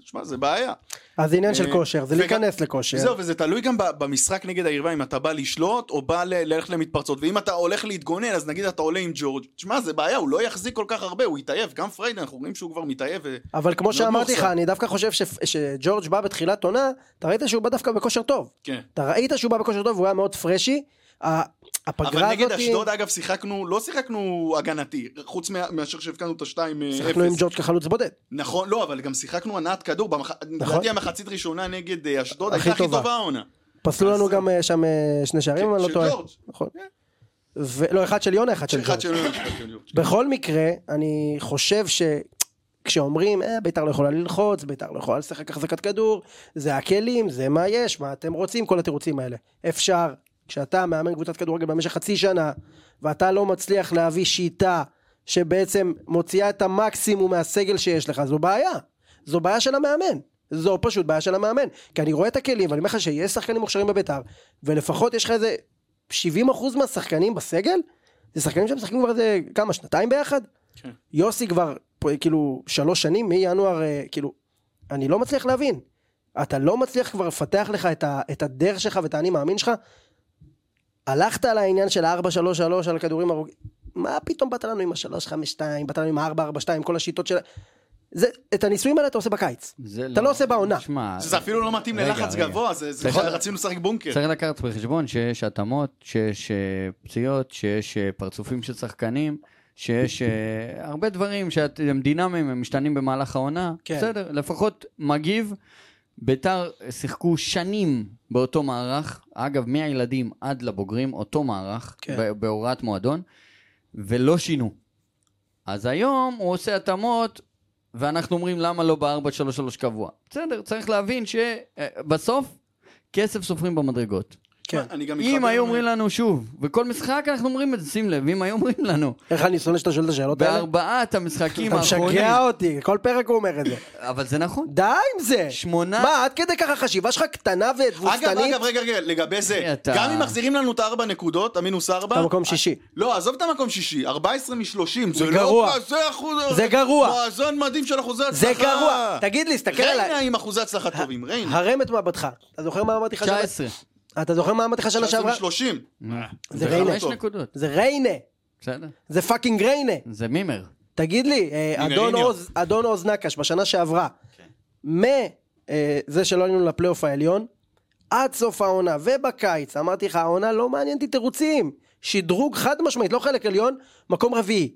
[SPEAKER 4] תשמע, זה בעיה.
[SPEAKER 3] אז זה עניין של
[SPEAKER 4] אה,
[SPEAKER 3] כושר, זה
[SPEAKER 4] וגם-
[SPEAKER 3] להיכנס לכושר.
[SPEAKER 4] זהו, וזה תלוי גם ב- במשחק נגד היריבה, אם אתה בא לשלוט או בא ל- ללכת למתפרצות. ואם אתה הולך להתגונן, אז נגיד אתה עולה עם ג'ורג', תשמע, זה בעיה, הוא לא יחזיק כל כך הרבה, הוא יתעייף. גם פריידי, אנחנו רואים שהוא כבר מתעייף. ו-
[SPEAKER 3] אבל כמו
[SPEAKER 4] מאוד
[SPEAKER 3] שאמרתי לך,
[SPEAKER 4] מאוכזב.
[SPEAKER 3] אני דווקא חושב ש- שג'ורג' בא בתחילת עונה, אתה ראית שהוא בא דווקא בכושר טוב.
[SPEAKER 4] כן.
[SPEAKER 3] אתה ראית שהוא בא בכושר טוב, והוא היה מאוד פרשי. ה- הפגרה הזאת...
[SPEAKER 4] אבל נגד אשדוד, אגב, שיחקנו, לא שיחקנו הגנתי, חוץ מה- מאשר שהבקענו את
[SPEAKER 3] שיחקנו עם
[SPEAKER 4] ה-2-0.
[SPEAKER 3] ג'ורג' כחלוץ בודד.
[SPEAKER 4] נכון, לא, אבל גם שיחקנו הנעת כדור. במח- לדעתי המחצית ראשונה נגד אה, אשדוד
[SPEAKER 3] נכון. הכי
[SPEAKER 4] הייתה הכי
[SPEAKER 3] טובה.
[SPEAKER 4] טובה העונה.
[SPEAKER 3] פסלו לנו
[SPEAKER 4] אז-
[SPEAKER 3] גם אה, שם אה, שני שערים,
[SPEAKER 4] כן,
[SPEAKER 3] אם אני לא
[SPEAKER 4] של
[SPEAKER 3] טועה.
[SPEAKER 4] ג'ורג'.
[SPEAKER 3] נכון. ולא, אחד של יונה, אחד של
[SPEAKER 4] שאחד
[SPEAKER 3] ג'ורג'.
[SPEAKER 4] שלא ימשיך את ג'ורג'.
[SPEAKER 3] בכל מקרה, אני חושב ש... כשאומרים, אה, ביתר לא יכולה ללחוץ, ביתר לא יכולה לשחק החזקת כדור, זה הכלים, זה מה יש, מה אתם רוצים, כל התירוצים האלה. אפשר, כשאתה מאמן קבוצת כדורגל במשך חצי שנה, ואתה לא מצליח להביא שיטה שבעצם מוציאה את המקסימום מהסגל שיש לך, זו בעיה. זו בעיה של המאמן. זו פשוט בעיה של המאמן. כי אני רואה את הכלים, ואני אומר לך שיש שחקנים מוכשרים בביתר, ולפחות יש לך איזה 70% מהשחקנים בסגל, זה שחקנים שמשחקים כבר איזה כמה, שנתיים ביחד?
[SPEAKER 4] כן.
[SPEAKER 3] יוסי כבר פה, כאילו שלוש שנים מינואר, אה, כאילו, אני לא מצליח להבין. אתה לא מצליח כבר לפתח לך את, ה, את הדרך שלך ואת האני מאמין שלך. הלכת על העניין של ה-4-3-3 על הכדורים ארוכים, מה פתאום באת לנו עם ה-3-5-2, באת לנו עם ה-4-4-2, כל השיטות של... זה, את הניסויים האלה אתה עושה בקיץ.
[SPEAKER 2] זה
[SPEAKER 3] אתה לא עושה בעונה.
[SPEAKER 2] שמע,
[SPEAKER 4] זה אפילו כן. לא מתאים
[SPEAKER 2] רגע,
[SPEAKER 4] ללחץ
[SPEAKER 2] רגע.
[SPEAKER 4] גבוה, זה- זה-
[SPEAKER 3] נכון.
[SPEAKER 2] צריך-
[SPEAKER 4] רצינו לשחק בונקר.
[SPEAKER 2] צריך לקחת בחשבון שיש התאמות, שיש אה, פציעות, שיש אה, פרצופים של שחקנים, שיש אה, הרבה דברים שהם דינמיים, הם משתנים במהלך העונה.
[SPEAKER 3] כן.
[SPEAKER 2] בסדר, לפחות מגיב. ביתר שיחקו שנים באותו מערך, אגב, מהילדים עד לבוגרים, אותו מערך,
[SPEAKER 3] כן.
[SPEAKER 2] ב- בהוראת מועדון, ולא שינו. אז היום הוא עושה התאמות, ואנחנו אומרים למה לא ב-433 קבוע. בסדר, צריך להבין שבסוף כסף סופרים במדרגות.
[SPEAKER 3] כן.
[SPEAKER 4] אני גם
[SPEAKER 2] אם
[SPEAKER 4] מתחבר
[SPEAKER 2] היו
[SPEAKER 4] עם-
[SPEAKER 2] אומרים לנו שוב, וכל משחק אנחנו אומרים את זה, שים לב, אם היו אומרים לנו,
[SPEAKER 3] איך אני שונא שאתה שואל את השאלות האלה?
[SPEAKER 2] בארבעת המשחקים
[SPEAKER 3] אתה
[SPEAKER 2] האחרונים,
[SPEAKER 3] משגע אותי, כל פרק הוא אומר את זה.
[SPEAKER 2] אבל זה נכון,
[SPEAKER 3] די עם זה!
[SPEAKER 2] שמונה-
[SPEAKER 3] מה, עד כדי ככה חשיבה שלך קטנה
[SPEAKER 4] אגב,
[SPEAKER 3] ותבוסתנית?
[SPEAKER 4] אגב, רגע, רגע, לגבי זה,
[SPEAKER 2] אתה-
[SPEAKER 4] גם אם מחזירים לנו את הארבע נקודות, המינוס ארבע,
[SPEAKER 3] אתה מקום שישי.
[SPEAKER 4] לא, עזוב את המקום שישי, 14 מ-30, זה
[SPEAKER 3] זה
[SPEAKER 4] לא
[SPEAKER 3] גרוע.
[SPEAKER 4] כזה אחוז...
[SPEAKER 3] זה גרוע.
[SPEAKER 4] מאזן מדהים של אחוזי הצלחה.
[SPEAKER 3] זה גרוע! תגיד לי, תסתכל
[SPEAKER 4] ריינה
[SPEAKER 3] עליי.
[SPEAKER 4] עם אחוזי הצלחה טובים, ריינה.
[SPEAKER 3] הרם את מבטך. אתה זוכר מה אמרתי לך שנה- אה,
[SPEAKER 2] 19.
[SPEAKER 3] אתה זוכר מה אמרתי לך שנה
[SPEAKER 4] 19
[SPEAKER 3] שעברה?
[SPEAKER 4] מ-30.
[SPEAKER 3] אה,
[SPEAKER 2] זה
[SPEAKER 3] ריינה.
[SPEAKER 2] חמש נקודות,
[SPEAKER 3] זה ריינה.
[SPEAKER 2] בסדר?
[SPEAKER 3] זה פאקינג ריינה.
[SPEAKER 2] זה מימר.
[SPEAKER 3] תגיד לי, אה,
[SPEAKER 4] הנה,
[SPEAKER 3] אדון
[SPEAKER 4] ריניו.
[SPEAKER 3] עוז- אדון עוז נקש בשנה שעברה,
[SPEAKER 2] כן.
[SPEAKER 3] מזה שלא עלינו לפלייאוף העליון, עד סוף העונה ובקיץ, אמרתי לך, העונה לא מעניינת אותי תירוצים. שדרוג חד משמעית, לא חלק עליון, מקום רביעי.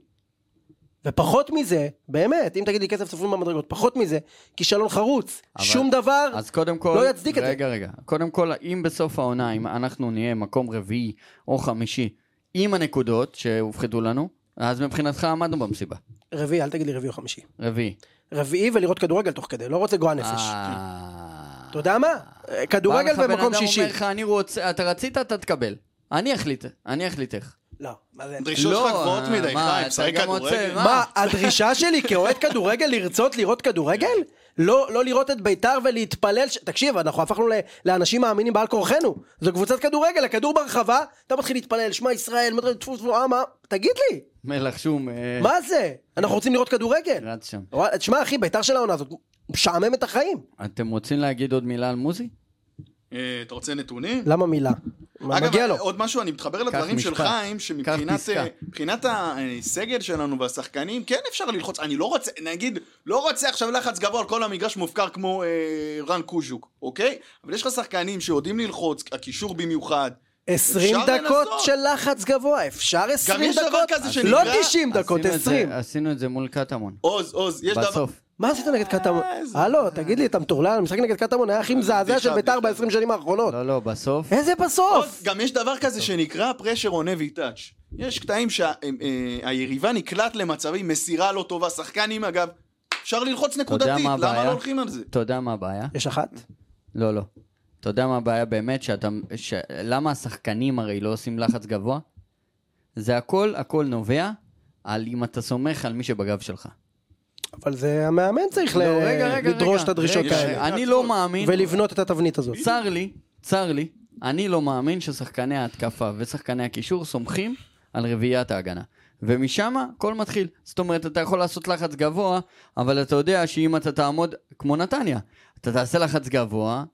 [SPEAKER 3] ופחות מזה, באמת, אם תגיד לי כסף סופרים במדרגות, פחות מזה, כישלון חרוץ,
[SPEAKER 2] אבל-
[SPEAKER 3] שום דבר,
[SPEAKER 2] אז קודם כל,
[SPEAKER 3] לא יצדיק את זה.
[SPEAKER 2] רגע, רגע. קודם כל, אם בסוף העונה, אם אנחנו נהיה מקום רביעי או חמישי עם הנקודות שהופחדו לנו, אז מבחינתך עמדנו במסיבה.
[SPEAKER 3] רביעי, אל תגיד לי רביעי או חמישי.
[SPEAKER 2] רביעי.
[SPEAKER 3] רביעי ולראות כדורגל תוך כדי, לא רוצה גועל נפש.
[SPEAKER 2] אה.
[SPEAKER 3] אתה יודע מה? אה, כדורגל
[SPEAKER 2] בא לך בן
[SPEAKER 3] במקום
[SPEAKER 2] אדם,
[SPEAKER 3] שישי.
[SPEAKER 2] אומר לך, אני רוצה, אתה רצית, אתה תקבל. אני אחליט, אני אחליט איך.
[SPEAKER 3] לא, מה זה?
[SPEAKER 4] דרישות שלך
[SPEAKER 2] לא,
[SPEAKER 4] גבוהות מדי,
[SPEAKER 2] מה,
[SPEAKER 4] חיים,
[SPEAKER 2] אתה
[SPEAKER 4] שחק
[SPEAKER 2] גם רוצה,
[SPEAKER 4] כדורגל.
[SPEAKER 2] מה?
[SPEAKER 3] מה, הדרישה שלי כאוהד כדורגל לרצות לראות כדורגל? לא, לא לראות את ביתר ולהתפלל ש... תקשיב, אנחנו הפכנו ל- לאנשים מאמינים בעל כורחנו. זו קבוצת כדורגל, הכדור ברחבה, אתה מתחיל להתפלל, שמע ישראל, מטר- טפו טפו, אה, מה? תגיד לי,
[SPEAKER 2] מלח שום, אה,
[SPEAKER 4] כן.
[SPEAKER 3] מה זה? אנחנו רוצים לראות כדורגל.
[SPEAKER 2] רץ שם.
[SPEAKER 3] וואלה, תשמע, אחי, ביתר של העונה הזאת משעמם את החיים.
[SPEAKER 2] אתם רוצים להגיד עוד מילה על מוזי?
[SPEAKER 4] אה, אתה רוצה נתונים?
[SPEAKER 3] למה מילה? מה,
[SPEAKER 4] אגב,
[SPEAKER 3] מגיע לו.
[SPEAKER 4] עוד משהו, אני מתחבר לדברים של
[SPEAKER 2] משפט.
[SPEAKER 4] חיים,
[SPEAKER 2] קח
[SPEAKER 4] שמבחינת
[SPEAKER 2] פסקה.
[SPEAKER 4] אה, מבחינת הסגל שלנו והשחקנים, כן אפשר ללחוץ, אני לא רוצה, נגיד, לא רוצה עכשיו לחץ גבוה על כל המגרש מופקר כמו אה, רן קוז'וק, אוקיי? אבל יש לך שחקנים שיודעים ללחוץ, הקישור במיוחד.
[SPEAKER 3] 20
[SPEAKER 4] אפשר
[SPEAKER 3] דקות
[SPEAKER 4] לנסות.
[SPEAKER 3] של לחץ גבוה, אפשר 20
[SPEAKER 4] יש דבר
[SPEAKER 3] דקות?
[SPEAKER 4] כזה
[SPEAKER 3] לא
[SPEAKER 4] שנקרא-
[SPEAKER 3] 90 דקות,
[SPEAKER 2] עשינו את זה-
[SPEAKER 3] 20.
[SPEAKER 2] עשינו את זה מול קטמון.
[SPEAKER 4] עוז, עוז, יש דבר...
[SPEAKER 2] בסוף.
[SPEAKER 3] מה עשית נגד
[SPEAKER 2] אה,
[SPEAKER 3] קטמון?
[SPEAKER 4] איזה-
[SPEAKER 3] הלו, תגיד לי, אתה מטורלל? המשחק נגד קטמון היה הכי מזעזע של
[SPEAKER 4] בדיחה,
[SPEAKER 3] ביתר
[SPEAKER 4] בדיחה.
[SPEAKER 3] ב-20 שנים האחרונות.
[SPEAKER 2] לא, לא, בסוף.
[SPEAKER 3] איזה
[SPEAKER 4] עוז,
[SPEAKER 3] בסוף!
[SPEAKER 4] גם יש דבר כזה שנקרא pressure on heavy touch. יש קטעים אה, שהיריבה נקלעת למצבים, מסירה לא טובה, שחקנים אגב, אפשר ללחוץ נקודתית,
[SPEAKER 2] מה
[SPEAKER 4] למה
[SPEAKER 2] הבעיה?
[SPEAKER 4] לא הולכים על זה?
[SPEAKER 2] אתה יודע מה הבעיה?
[SPEAKER 3] יש אחת?
[SPEAKER 2] לא, לא. אתה יודע מה הבעיה באמת? שאתה... ש... למה השחקנים הרי לא עושים לחץ גבוה? זה הכל, הכל נובע על אם אתה סומך על מי שבגב שלך.
[SPEAKER 3] אבל זה המאמן צריך
[SPEAKER 2] לא,
[SPEAKER 3] ל-
[SPEAKER 2] רגע, רגע,
[SPEAKER 3] לדרוש
[SPEAKER 2] רגע.
[SPEAKER 3] את הדרישות
[SPEAKER 2] רגע,
[SPEAKER 3] האלה.
[SPEAKER 2] אני לא מאמין,
[SPEAKER 3] ולבנות את התבנית הזאת.
[SPEAKER 2] צר לי, צר לי, אני לא מאמין ששחקני ההתקפה ושחקני הקישור סומכים על רביעיית ההגנה. ומשם הכל מתחיל. זאת אומרת, אתה יכול לעשות לחץ גבוה, אבל אתה יודע שאם אתה תעמוד, כמו נתניה, אתה תעשה לחץ גבוה,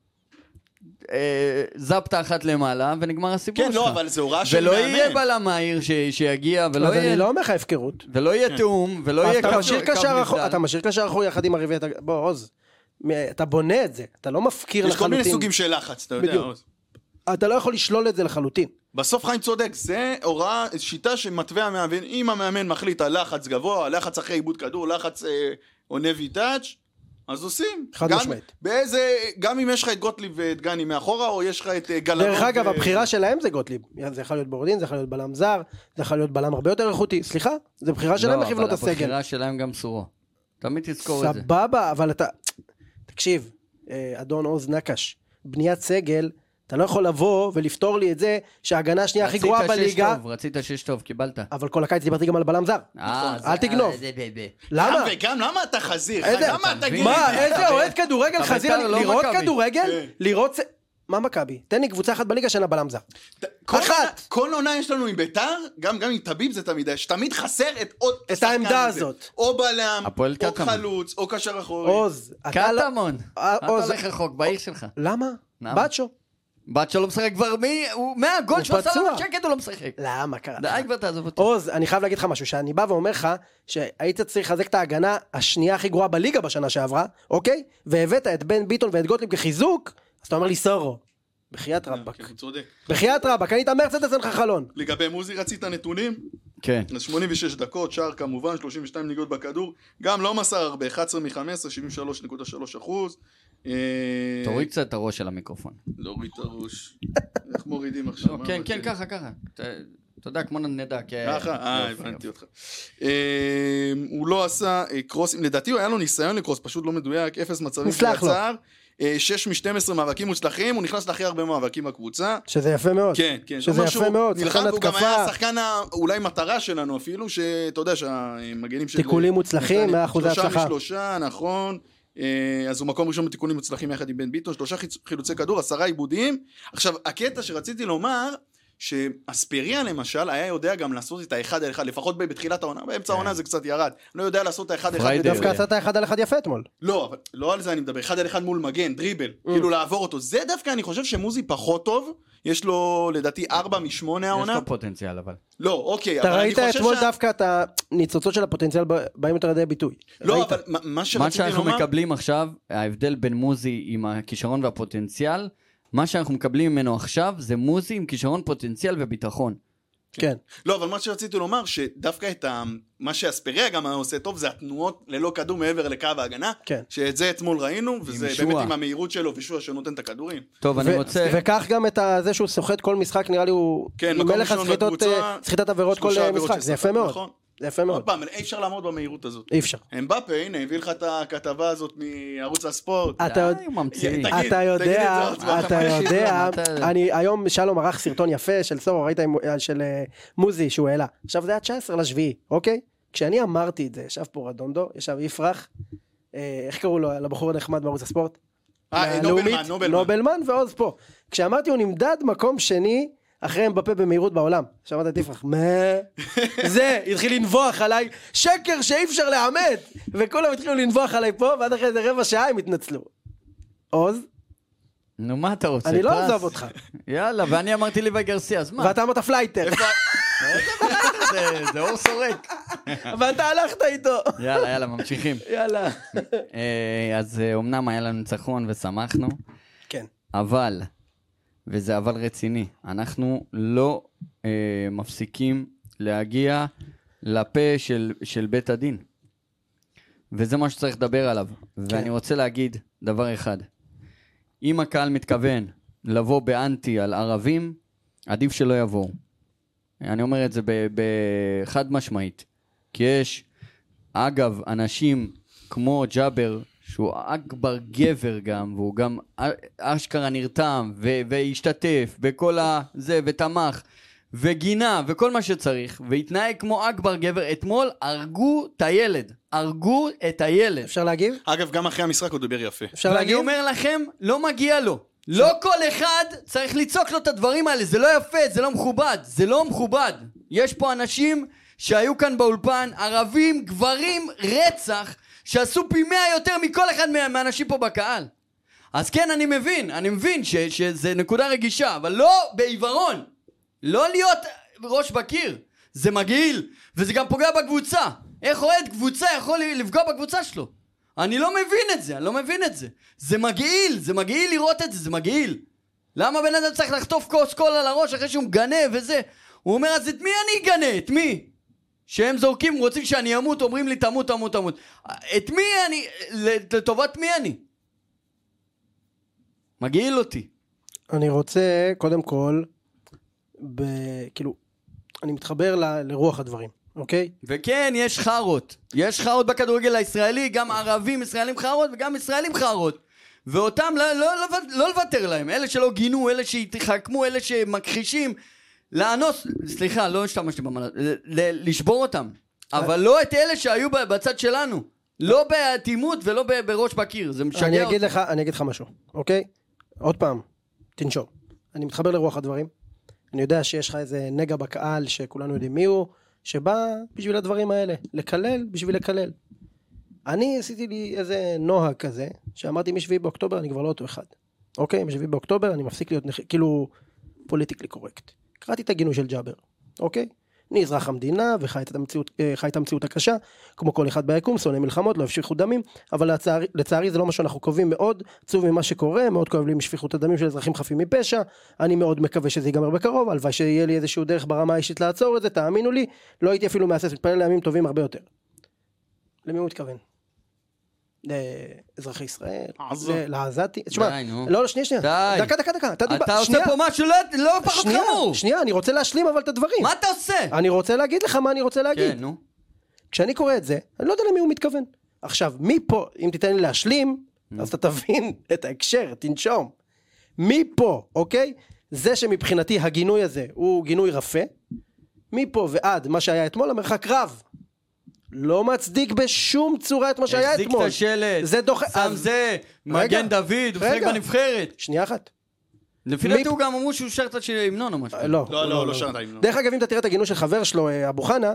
[SPEAKER 2] אה, זפטה אחת למעלה, ונגמר הסיפור
[SPEAKER 4] כן,
[SPEAKER 2] שלך.
[SPEAKER 4] לא, אבל זה הוראה של
[SPEAKER 2] ולא
[SPEAKER 4] מאמן.
[SPEAKER 2] יהיה בלם מהיר ש- שיגיע, ולא
[SPEAKER 3] אז אני
[SPEAKER 2] יהיה...
[SPEAKER 3] לא אומר לך הפקרות.
[SPEAKER 2] ולא
[SPEAKER 4] כן.
[SPEAKER 2] יהיה תיאום, ולא
[SPEAKER 3] אז
[SPEAKER 2] יהיה
[SPEAKER 3] אתה
[SPEAKER 2] קו-
[SPEAKER 3] משאיר
[SPEAKER 2] קו
[SPEAKER 3] קשר אחור,
[SPEAKER 2] נבדל.
[SPEAKER 3] אתה משאיר קשר אחור יחד עם הרביעיית... הג- בוא, עוז. מ- אתה בונה את זה, אתה לא מפקיר
[SPEAKER 4] יש כל מיני
[SPEAKER 3] לחלוטין.
[SPEAKER 4] סוגים של לחץ, אתה יודע.
[SPEAKER 3] בדיוק.
[SPEAKER 4] עוז.
[SPEAKER 3] אתה לא יכול לשלול את זה לחלוטין.
[SPEAKER 4] בסוף חיים צודק, זה הוראה, שיטה שמתווה המאמן, אם המאמן מחליט על לחץ גבוה, לחץ אחרי עיבוד כדור, לחץ אה, עונה ויטאץ', אז עושים.
[SPEAKER 3] חד
[SPEAKER 4] גם-
[SPEAKER 3] משמעית.
[SPEAKER 4] באיזה, גם אם יש לך את גוטליב ואת גני מאחורה, או יש לך את אה, גלנוב.
[SPEAKER 3] דרך אגב,
[SPEAKER 4] ו-
[SPEAKER 3] הבחירה שלהם זה גוטליב. זה יכול להיות בורדין, זה יכול להיות בלם זר, זה יכול להיות בלם הרבה יותר איכותי. סליחה, זה בחירה שלהם איך לבנות את
[SPEAKER 2] לא, אבל
[SPEAKER 3] הסגל.
[SPEAKER 2] הבחירה שלהם גם סורו. תמיד תזכור את זה.
[SPEAKER 3] סבבה, אבל אתה... תקשיב, אה, אדון עוז נקש, בניית סגל אתה לא יכול לבוא ולפתור לי את זה שההגנה השנייה הכי גרועה
[SPEAKER 2] רצית שש
[SPEAKER 3] בליגה,
[SPEAKER 2] טוב, רצית שש טוב, קיבלת.
[SPEAKER 3] אבל כל הקיץ דיברתי גם על בלם זר.
[SPEAKER 2] אה, זה-
[SPEAKER 3] אל תגנוב.
[SPEAKER 2] אה, זה ב- ב-
[SPEAKER 3] למה?
[SPEAKER 4] גם וגם, למה אתה חזיר?
[SPEAKER 3] איזה-
[SPEAKER 4] למה אתה גיל?
[SPEAKER 3] מה, איזה אוהד כדורגל
[SPEAKER 2] אבל
[SPEAKER 3] חזיר?
[SPEAKER 2] בית"ר לא
[SPEAKER 3] לראות
[SPEAKER 2] מכבי.
[SPEAKER 3] כדורגל?
[SPEAKER 4] כן.
[SPEAKER 3] לראות... צ- מה מכבי? תן לי קבוצה אחת בליגה שאין לה בלם זר.
[SPEAKER 4] כל
[SPEAKER 3] אחת.
[SPEAKER 4] עונה- כל עונה יש לנו עם ביתר, גם גם עם טביב זה תמיד, יש תמיד חסר את עוד...
[SPEAKER 3] את
[SPEAKER 4] השחקן
[SPEAKER 3] העמדה
[SPEAKER 4] הזה.
[SPEAKER 3] הזאת.
[SPEAKER 4] או בלם,
[SPEAKER 2] הפועל
[SPEAKER 4] או
[SPEAKER 2] קטמון.
[SPEAKER 4] חלוץ, או קשר אחורי.
[SPEAKER 3] עוז, אתה לא...
[SPEAKER 2] קטמון,
[SPEAKER 3] אה,
[SPEAKER 2] אתה
[SPEAKER 3] עוז-
[SPEAKER 2] הולך רחוק בעיר שלך.
[SPEAKER 3] למה?
[SPEAKER 2] למה?
[SPEAKER 3] בצ'ו.
[SPEAKER 2] בת שלא משחק כבר מי... הוא מהגול
[SPEAKER 3] הוא
[SPEAKER 2] שהוא עשה לנו
[SPEAKER 3] פצוע.
[SPEAKER 2] שקט הוא לא משחק.
[SPEAKER 3] למה קרה?
[SPEAKER 2] די כבר תעזוב אותי.
[SPEAKER 3] עוז, אני חייב להגיד לך משהו, שאני בא ואומר לך שהיית צריך לחזק את ההגנה השנייה הכי גרועה בליגה בשנה שעברה, אוקיי? והבאת את בן ביטון ואת גוטליב כחיזוק, אז אתה אומר לי סורו. בחייאת
[SPEAKER 4] כן,
[SPEAKER 3] רבאק.
[SPEAKER 4] כן, צודק.
[SPEAKER 3] בחייאת רבאק, קנית מרצדס אין לך חלון.
[SPEAKER 4] לגבי מוזי רצית נתונים?
[SPEAKER 3] אוקיי.
[SPEAKER 2] כן.
[SPEAKER 4] אז 86 דקות, שער כמובן, 32 נגיעות בכדור, גם לא מסר הרבה, 11 מ-15, 73.3 אחוז. אה,
[SPEAKER 2] תוריד קצת את הראש של המיקרופון.
[SPEAKER 4] להוריד את הראש. איך מורידים עכשיו?
[SPEAKER 2] לא,
[SPEAKER 4] מה
[SPEAKER 2] כן,
[SPEAKER 4] אמרתי?
[SPEAKER 2] כן, ככה, ככה. ת- אתה יודע, כמו נדע. כי-
[SPEAKER 4] ככה? אה,
[SPEAKER 2] יופי,
[SPEAKER 4] הבנתי
[SPEAKER 2] יופי.
[SPEAKER 4] אותך. אה, הוא לא עשה אה, קרוסים, לדעתי הוא היה לו ניסיון לקרוס, פשוט לא מדויק, אפס מצבים אה,
[SPEAKER 3] נסלח לו.
[SPEAKER 4] קצר. 6 מ-12 מאבקים מוצלחים, הוא נכנס להכי הרבה מאבקים בקבוצה.
[SPEAKER 3] שזה יפה מאוד.
[SPEAKER 4] כן, כן.
[SPEAKER 3] שזה
[SPEAKER 4] זה אומר
[SPEAKER 3] יפה
[SPEAKER 4] שהוא
[SPEAKER 3] מאוד,
[SPEAKER 4] נלחם,
[SPEAKER 3] שחקן
[SPEAKER 4] והוא גם היה
[SPEAKER 3] התקפה.
[SPEAKER 4] השחקן ה- אולי מטרה שלנו אפילו, שאתה יודע שהמגנים של... כן,
[SPEAKER 3] תיקולים מוצלחים, 100%
[SPEAKER 4] שלושה
[SPEAKER 3] הצלחה.
[SPEAKER 4] משלושה, נכון. אה, אז הוא מקום ראשון בתיקונים מוצלחים יחד עם בן ביטון, שלושה חיצ- חילוצי כדור, עשרה עיבודים. עכשיו, הקטע שרציתי לומר, שאספריה למשל היה יודע גם לעשות את האחד על אחד, לפחות ב- בתחילת העונה,
[SPEAKER 3] כן.
[SPEAKER 4] באמצע העונה זה קצת ירד. לא יודע לעשות את האחד על אחד.
[SPEAKER 2] פריידי.
[SPEAKER 3] דווקא עשית אחד על אחד יפה אתמול.
[SPEAKER 4] לא, אבל לא על זה אני מדבר, אחד על אחד מול מגן, דריבל,
[SPEAKER 3] Mm.
[SPEAKER 4] כאילו לעבור אותו. זה דווקא אני חושב שמוזי פחות טוב, יש לו לדעתי ארבע משמונה
[SPEAKER 2] יש
[SPEAKER 4] העונה.
[SPEAKER 2] לו פוטנציאל, אבל.
[SPEAKER 4] לא, אוקיי,
[SPEAKER 3] אתה
[SPEAKER 4] אבל אני
[SPEAKER 3] ראית
[SPEAKER 4] חושב
[SPEAKER 3] אתמול
[SPEAKER 4] שה-
[SPEAKER 3] דווקא את הניצוצות של הפוטנציאל ב- באים יותר לידי ביטוי.
[SPEAKER 4] לא,
[SPEAKER 3] ראית.
[SPEAKER 4] אבל מה- מה
[SPEAKER 2] מה
[SPEAKER 4] שרציתי
[SPEAKER 2] שאנחנו
[SPEAKER 4] לומר...
[SPEAKER 2] מקבלים עכשיו, ההבדל בין מוזי עם הכישרון והפוטנציאל, מה שאנחנו מקבלים ממנו עכשיו זה מוזי עם כישרון, פוטנציאל וביטחון.
[SPEAKER 3] כן.
[SPEAKER 4] לא, אבל מה שרציתי לומר, שדווקא את ה... מה שאספריה גם היה עושה טוב, זה התנועות ללא כדור מעבר לקו ההגנה.
[SPEAKER 3] כן.
[SPEAKER 4] שאת זה אתמול ראינו, וזה
[SPEAKER 2] שועה.
[SPEAKER 4] באמת עם המהירות שלו ושועה שנותן את הכדורים.
[SPEAKER 2] טוב, אני
[SPEAKER 3] ו-
[SPEAKER 2] רוצה...
[SPEAKER 3] וכך גם את ה- זה שהוא סוחט כל משחק, נראה לי הוא...
[SPEAKER 4] כן,
[SPEAKER 3] הוא
[SPEAKER 4] מקום
[SPEAKER 3] מלך
[SPEAKER 4] ראשון
[SPEAKER 3] הסחיטות,
[SPEAKER 4] בקבוצה,
[SPEAKER 3] אה, סחיטת עבירות כל
[SPEAKER 4] שלושה
[SPEAKER 3] אה,
[SPEAKER 4] עבירות
[SPEAKER 3] משחק, זה
[SPEAKER 4] שספג,
[SPEAKER 3] יפה מאוד.
[SPEAKER 4] נכון.
[SPEAKER 3] זה יפה
[SPEAKER 4] עוד
[SPEAKER 3] מאוד.
[SPEAKER 4] פעם, אי אפשר לעמוד במהירות הזאת.
[SPEAKER 3] אי אפשר.
[SPEAKER 4] אמבפה, הנה, הביא לך את הכתבה הזאת מערוץ הספורט.
[SPEAKER 3] אתה
[SPEAKER 2] די,
[SPEAKER 3] יודע-
[SPEAKER 2] הוא ממציא.
[SPEAKER 4] תגיד,
[SPEAKER 3] אתה
[SPEAKER 4] תגיד את
[SPEAKER 3] יודע,
[SPEAKER 4] זה עוד פעם.
[SPEAKER 3] אתה
[SPEAKER 2] יש לי
[SPEAKER 3] יודע,
[SPEAKER 2] זמן, אתה-
[SPEAKER 3] אני היום שלום ערך סרטון יפה של סורו, ראית עם- של אה, מוזי שהוא העלה. עכשיו זה היה 19 לשביעי, אוקיי? כשאני אמרתי את זה, ישב פה רדונדו, ישב יפרח, אה, איך קראו לו, לבחור הנחמד בערוץ הספורט?
[SPEAKER 4] אה,
[SPEAKER 3] מהלאומית,
[SPEAKER 4] נובלמן, נובלמן.
[SPEAKER 3] נובלמן ועוז פה. כשאמרתי הוא נמדד מקום שני אחרי אמבפה במהירות בעולם. שמעת את יפרח, מה? זה, התחיל לנבוח עליי, שקר שאי אפשר לאמת! וכולם התחילו לנבוח עליי פה, ועד אחרי איזה רבע שעה הם התנצלו. עוז,
[SPEAKER 2] נו, מה אתה רוצה?
[SPEAKER 3] אני לא
[SPEAKER 2] פרס?
[SPEAKER 3] עוזב אותך.
[SPEAKER 2] יאללה, ואני אמרתי ליוואי גרסיה, אז מה?
[SPEAKER 3] ואתה אמרת פלייטר,
[SPEAKER 2] זה- זה אור סורק.
[SPEAKER 3] ואתה הלכת איתו.
[SPEAKER 2] יאללה, יאללה, ממשיכים.
[SPEAKER 3] יאללה.
[SPEAKER 2] אה, אז אה, אומנם היה לנו ניצחון ושמחנו,
[SPEAKER 3] כן.
[SPEAKER 2] אבל, וזה אבל רציני, אנחנו לא אה, מפסיקים להגיע לפה של, של בית הדין. וזה מה שצריך לדבר עליו. כן. ואני רוצה להגיד דבר אחד. אם הקהל מתכוון לבוא באנטי על ערבים, עדיף שלא יבואו. אני אומר את זה ב- ב- חד משמעית. כי יש, אגב, אנשים כמו ג'אבר, שהוא אכבר גבר גם, והוא גם א- אשכרה נרתם, ו- והשתתף, וכל ה... זה, ותמך, וגינה, וכל מה שצריך, והתנהג כמו אכבר גבר. אתמול הרגו את הילד. הרגו את הילד.
[SPEAKER 3] אפשר להגיב?
[SPEAKER 4] אגב, גם אחרי המשחק הוא דיבר יפה.
[SPEAKER 3] אפשר
[SPEAKER 2] ואני
[SPEAKER 3] להגיב?
[SPEAKER 2] אומר לכם, לא מגיע לו. לא כל אחד צריך לצעוק לו את הדברים האלה, זה לא יפה, זה לא מכובד, זה לא מכובד. יש פה אנשים שהיו כאן באולפן, ערבים, גברים, רצח, שעשו פי מאה יותר מכל אחד מה- מהאנשים פה בקהל. אז כן, אני מבין, אני מבין ש- שזה נקודה רגישה, אבל לא בעיוורון. לא להיות ראש בקיר. זה מגעיל, וזה גם פוגע בקבוצה. איך אוהד קבוצה יכול לפגוע בקבוצה שלו? אני לא מבין את זה, אני לא מבין את זה. זה מגעיל, זה מגעיל לראות את זה, זה מגעיל. למה בן אדם צריך לחטוף כוס קול על הראש אחרי שהוא מגנה וזה? הוא אומר, אז את מי אני אגנה? את מי? שהם זורקים, רוצים שאני אמות, אומרים לי תמות, תמות, תמות. את מי אני? לטובת מי אני? מגעיל אותי.
[SPEAKER 3] אני רוצה, קודם כל, ב... כאילו, אני מתחבר ל- לרוח הדברים, אוקיי?
[SPEAKER 2] וכן, יש חארות. יש חארות בכדורגל הישראלי, גם ערבים ישראלים חארות וגם ישראלים חארות. ואותם, לא, לא, לא, לא לוותר להם, אלה שלא גינו, אלה שהתחכמו, אלה שמכחישים, לאנוס, סליחה, לא השתמשתי במל"ט, לשבור אותם, אבל לא את אלה שהיו ב- בצד שלנו, לא באטימות ולא ב- בראש בקיר, זה משגע
[SPEAKER 3] אני
[SPEAKER 2] אותי.
[SPEAKER 3] אגיד לך, אני אגיד לך משהו, אוקיי? עוד פעם, תנשום. אני מתחבר לרוח הדברים. אני יודע שיש לך איזה נגע בקהל שכולנו יודעים מי הוא, שבא בשביל הדברים האלה, לקלל בשביל לקלל. אני עשיתי לי איזה נוהג כזה, שאמרתי מ-7 באוקטובר אני כבר לא אותו אחד. אוקיי? מ-7 באוקטובר אני מפסיק להיות נח... כאילו פוליטיקלי קורקט. קראתי את הגינוי של ג'אבר, אוקיי? אני אזרח המדינה וחי את המציאות, אה, חי את המציאות הקשה, כמו כל אחד ביקום, שונא מלחמות, לא הפשיחו דמים, אבל לצערי, לצערי זה לא מה שאנחנו קובעים מאוד, עצוב ממה שקורה, מאוד כואב לי משפיכות הדמים של אזרחים חפים מפשע, אני מאוד מקווה שזה ייגמר בקרוב, הלוואי שיהיה לי איזשהו דרך ברמה האישית לעצור את זה, תאמינו לי, לא הייתי אפילו מהסס, מתפלל לימים טובים הרבה יותר. למי הוא מתכוון? לאזרחי ישראל?
[SPEAKER 4] עזה.
[SPEAKER 3] לעזתי? תשמע,
[SPEAKER 2] די, נו.
[SPEAKER 3] לא, לא, שנייה, שנייה.
[SPEAKER 2] די.
[SPEAKER 3] דקה, דקה, דקה. אתה דיבר-
[SPEAKER 2] אתה עושה
[SPEAKER 3] שנייה.
[SPEAKER 2] פה משהו לא- לא פחות
[SPEAKER 3] שנייה,
[SPEAKER 2] חמור!
[SPEAKER 3] שנייה, אני רוצה להשלים אבל את הדברים.
[SPEAKER 2] מה אתה עושה?
[SPEAKER 3] אני רוצה להגיד לך מה אני רוצה להגיד.
[SPEAKER 2] כן, נו.
[SPEAKER 3] כשאני קורא את זה, אני לא יודע למי הוא מתכוון. עכשיו, מפה, אם תיתן לי להשלים, אז אתה תבין את ההקשר, תנשום. מפה, אוקיי? זה שמבחינתי הגינוי הזה הוא גינוי רפה, מפה ועד מה שהיה אתמול, המרחק רב. לא מצדיק בשום צורה את מה שהיה
[SPEAKER 2] החזיק
[SPEAKER 3] אתמול.
[SPEAKER 2] את השלט,
[SPEAKER 3] זה דוחה...
[SPEAKER 2] שם
[SPEAKER 3] אז-
[SPEAKER 2] זה,
[SPEAKER 3] רגע,
[SPEAKER 2] מגן דוד, הוא משחק
[SPEAKER 3] רגע.
[SPEAKER 2] בנבחרת.
[SPEAKER 3] שנייה אחת.
[SPEAKER 2] לפי
[SPEAKER 3] מי-
[SPEAKER 2] דעתי הוא גם אמרו שהוא שר את השיר המנון או משהו.
[SPEAKER 3] אה, לא,
[SPEAKER 4] לא, לא, לא שרת ההמנון.
[SPEAKER 3] דרך אגב, אם אתה תראה את הגינוי של חבר שלו, אה, אבו חנה,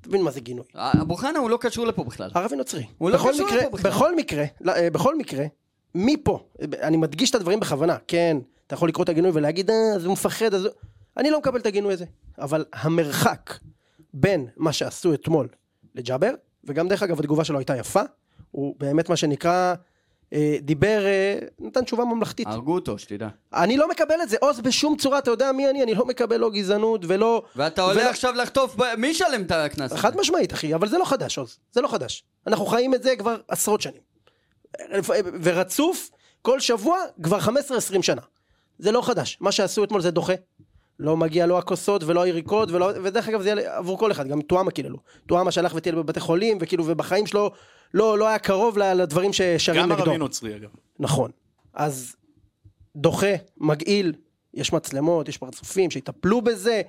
[SPEAKER 3] תבין מה זה גינוי.
[SPEAKER 2] אבו חנה הוא לא קשור לפה בכלל.
[SPEAKER 3] ערבי נוצרי.
[SPEAKER 2] הוא לא
[SPEAKER 3] בכל
[SPEAKER 2] קשור
[SPEAKER 3] מקרה,
[SPEAKER 2] לפה בכלל.
[SPEAKER 3] בכל מקרה, לא, אה, בכל מקרה, מפה, אה, אני מדגיש את הדברים בכוונה, כן, אתה יכול לקרוא את הגינוי ולהגיד, אה, אז הוא מפחד, אז... הוא-" אני לא מקבל את הגינוי הזה. אבל המרחק בין מה שעשו אתמול לג'אבר, וגם דרך אגב התגובה שלו הייתה יפה, הוא באמת מה שנקרא, אה, דיבר, אה, נתן תשובה ממלכתית.
[SPEAKER 2] הרגו אותו, שתדע.
[SPEAKER 3] אני לא מקבל את זה, עוז בשום צורה, אתה יודע מי אני, אני לא מקבל לא גזענות ולא...
[SPEAKER 2] ואתה
[SPEAKER 3] ולא-
[SPEAKER 2] עולה עכשיו לחטוף, ב- מי ישלם את הקנס? הזה?
[SPEAKER 3] חד משמעית אחי, אבל זה לא חדש עוז, זה לא חדש. אנחנו חיים את זה כבר עשרות שנים. ורצוף, כל שבוע, כבר 15-20 שנה. זה לא חדש, מה שעשו אתמול זה דוחה. לא מגיע לא הכוסות ולא היריקות, ולא... ודרך אגב זה יהיה עבור כל אחד, גם טועמה קיללו. טועמה שהלך וטייל בבתי חולים, וכאילו, ובחיים שלו לא, לא היה קרוב ל- לדברים ששרים
[SPEAKER 4] גם
[SPEAKER 3] נגדו.
[SPEAKER 4] ערבי נוצרי אגב.
[SPEAKER 3] נכון. אז דוחה, מגעיל, יש מצלמות, יש פרצופים שיטפלו בזה.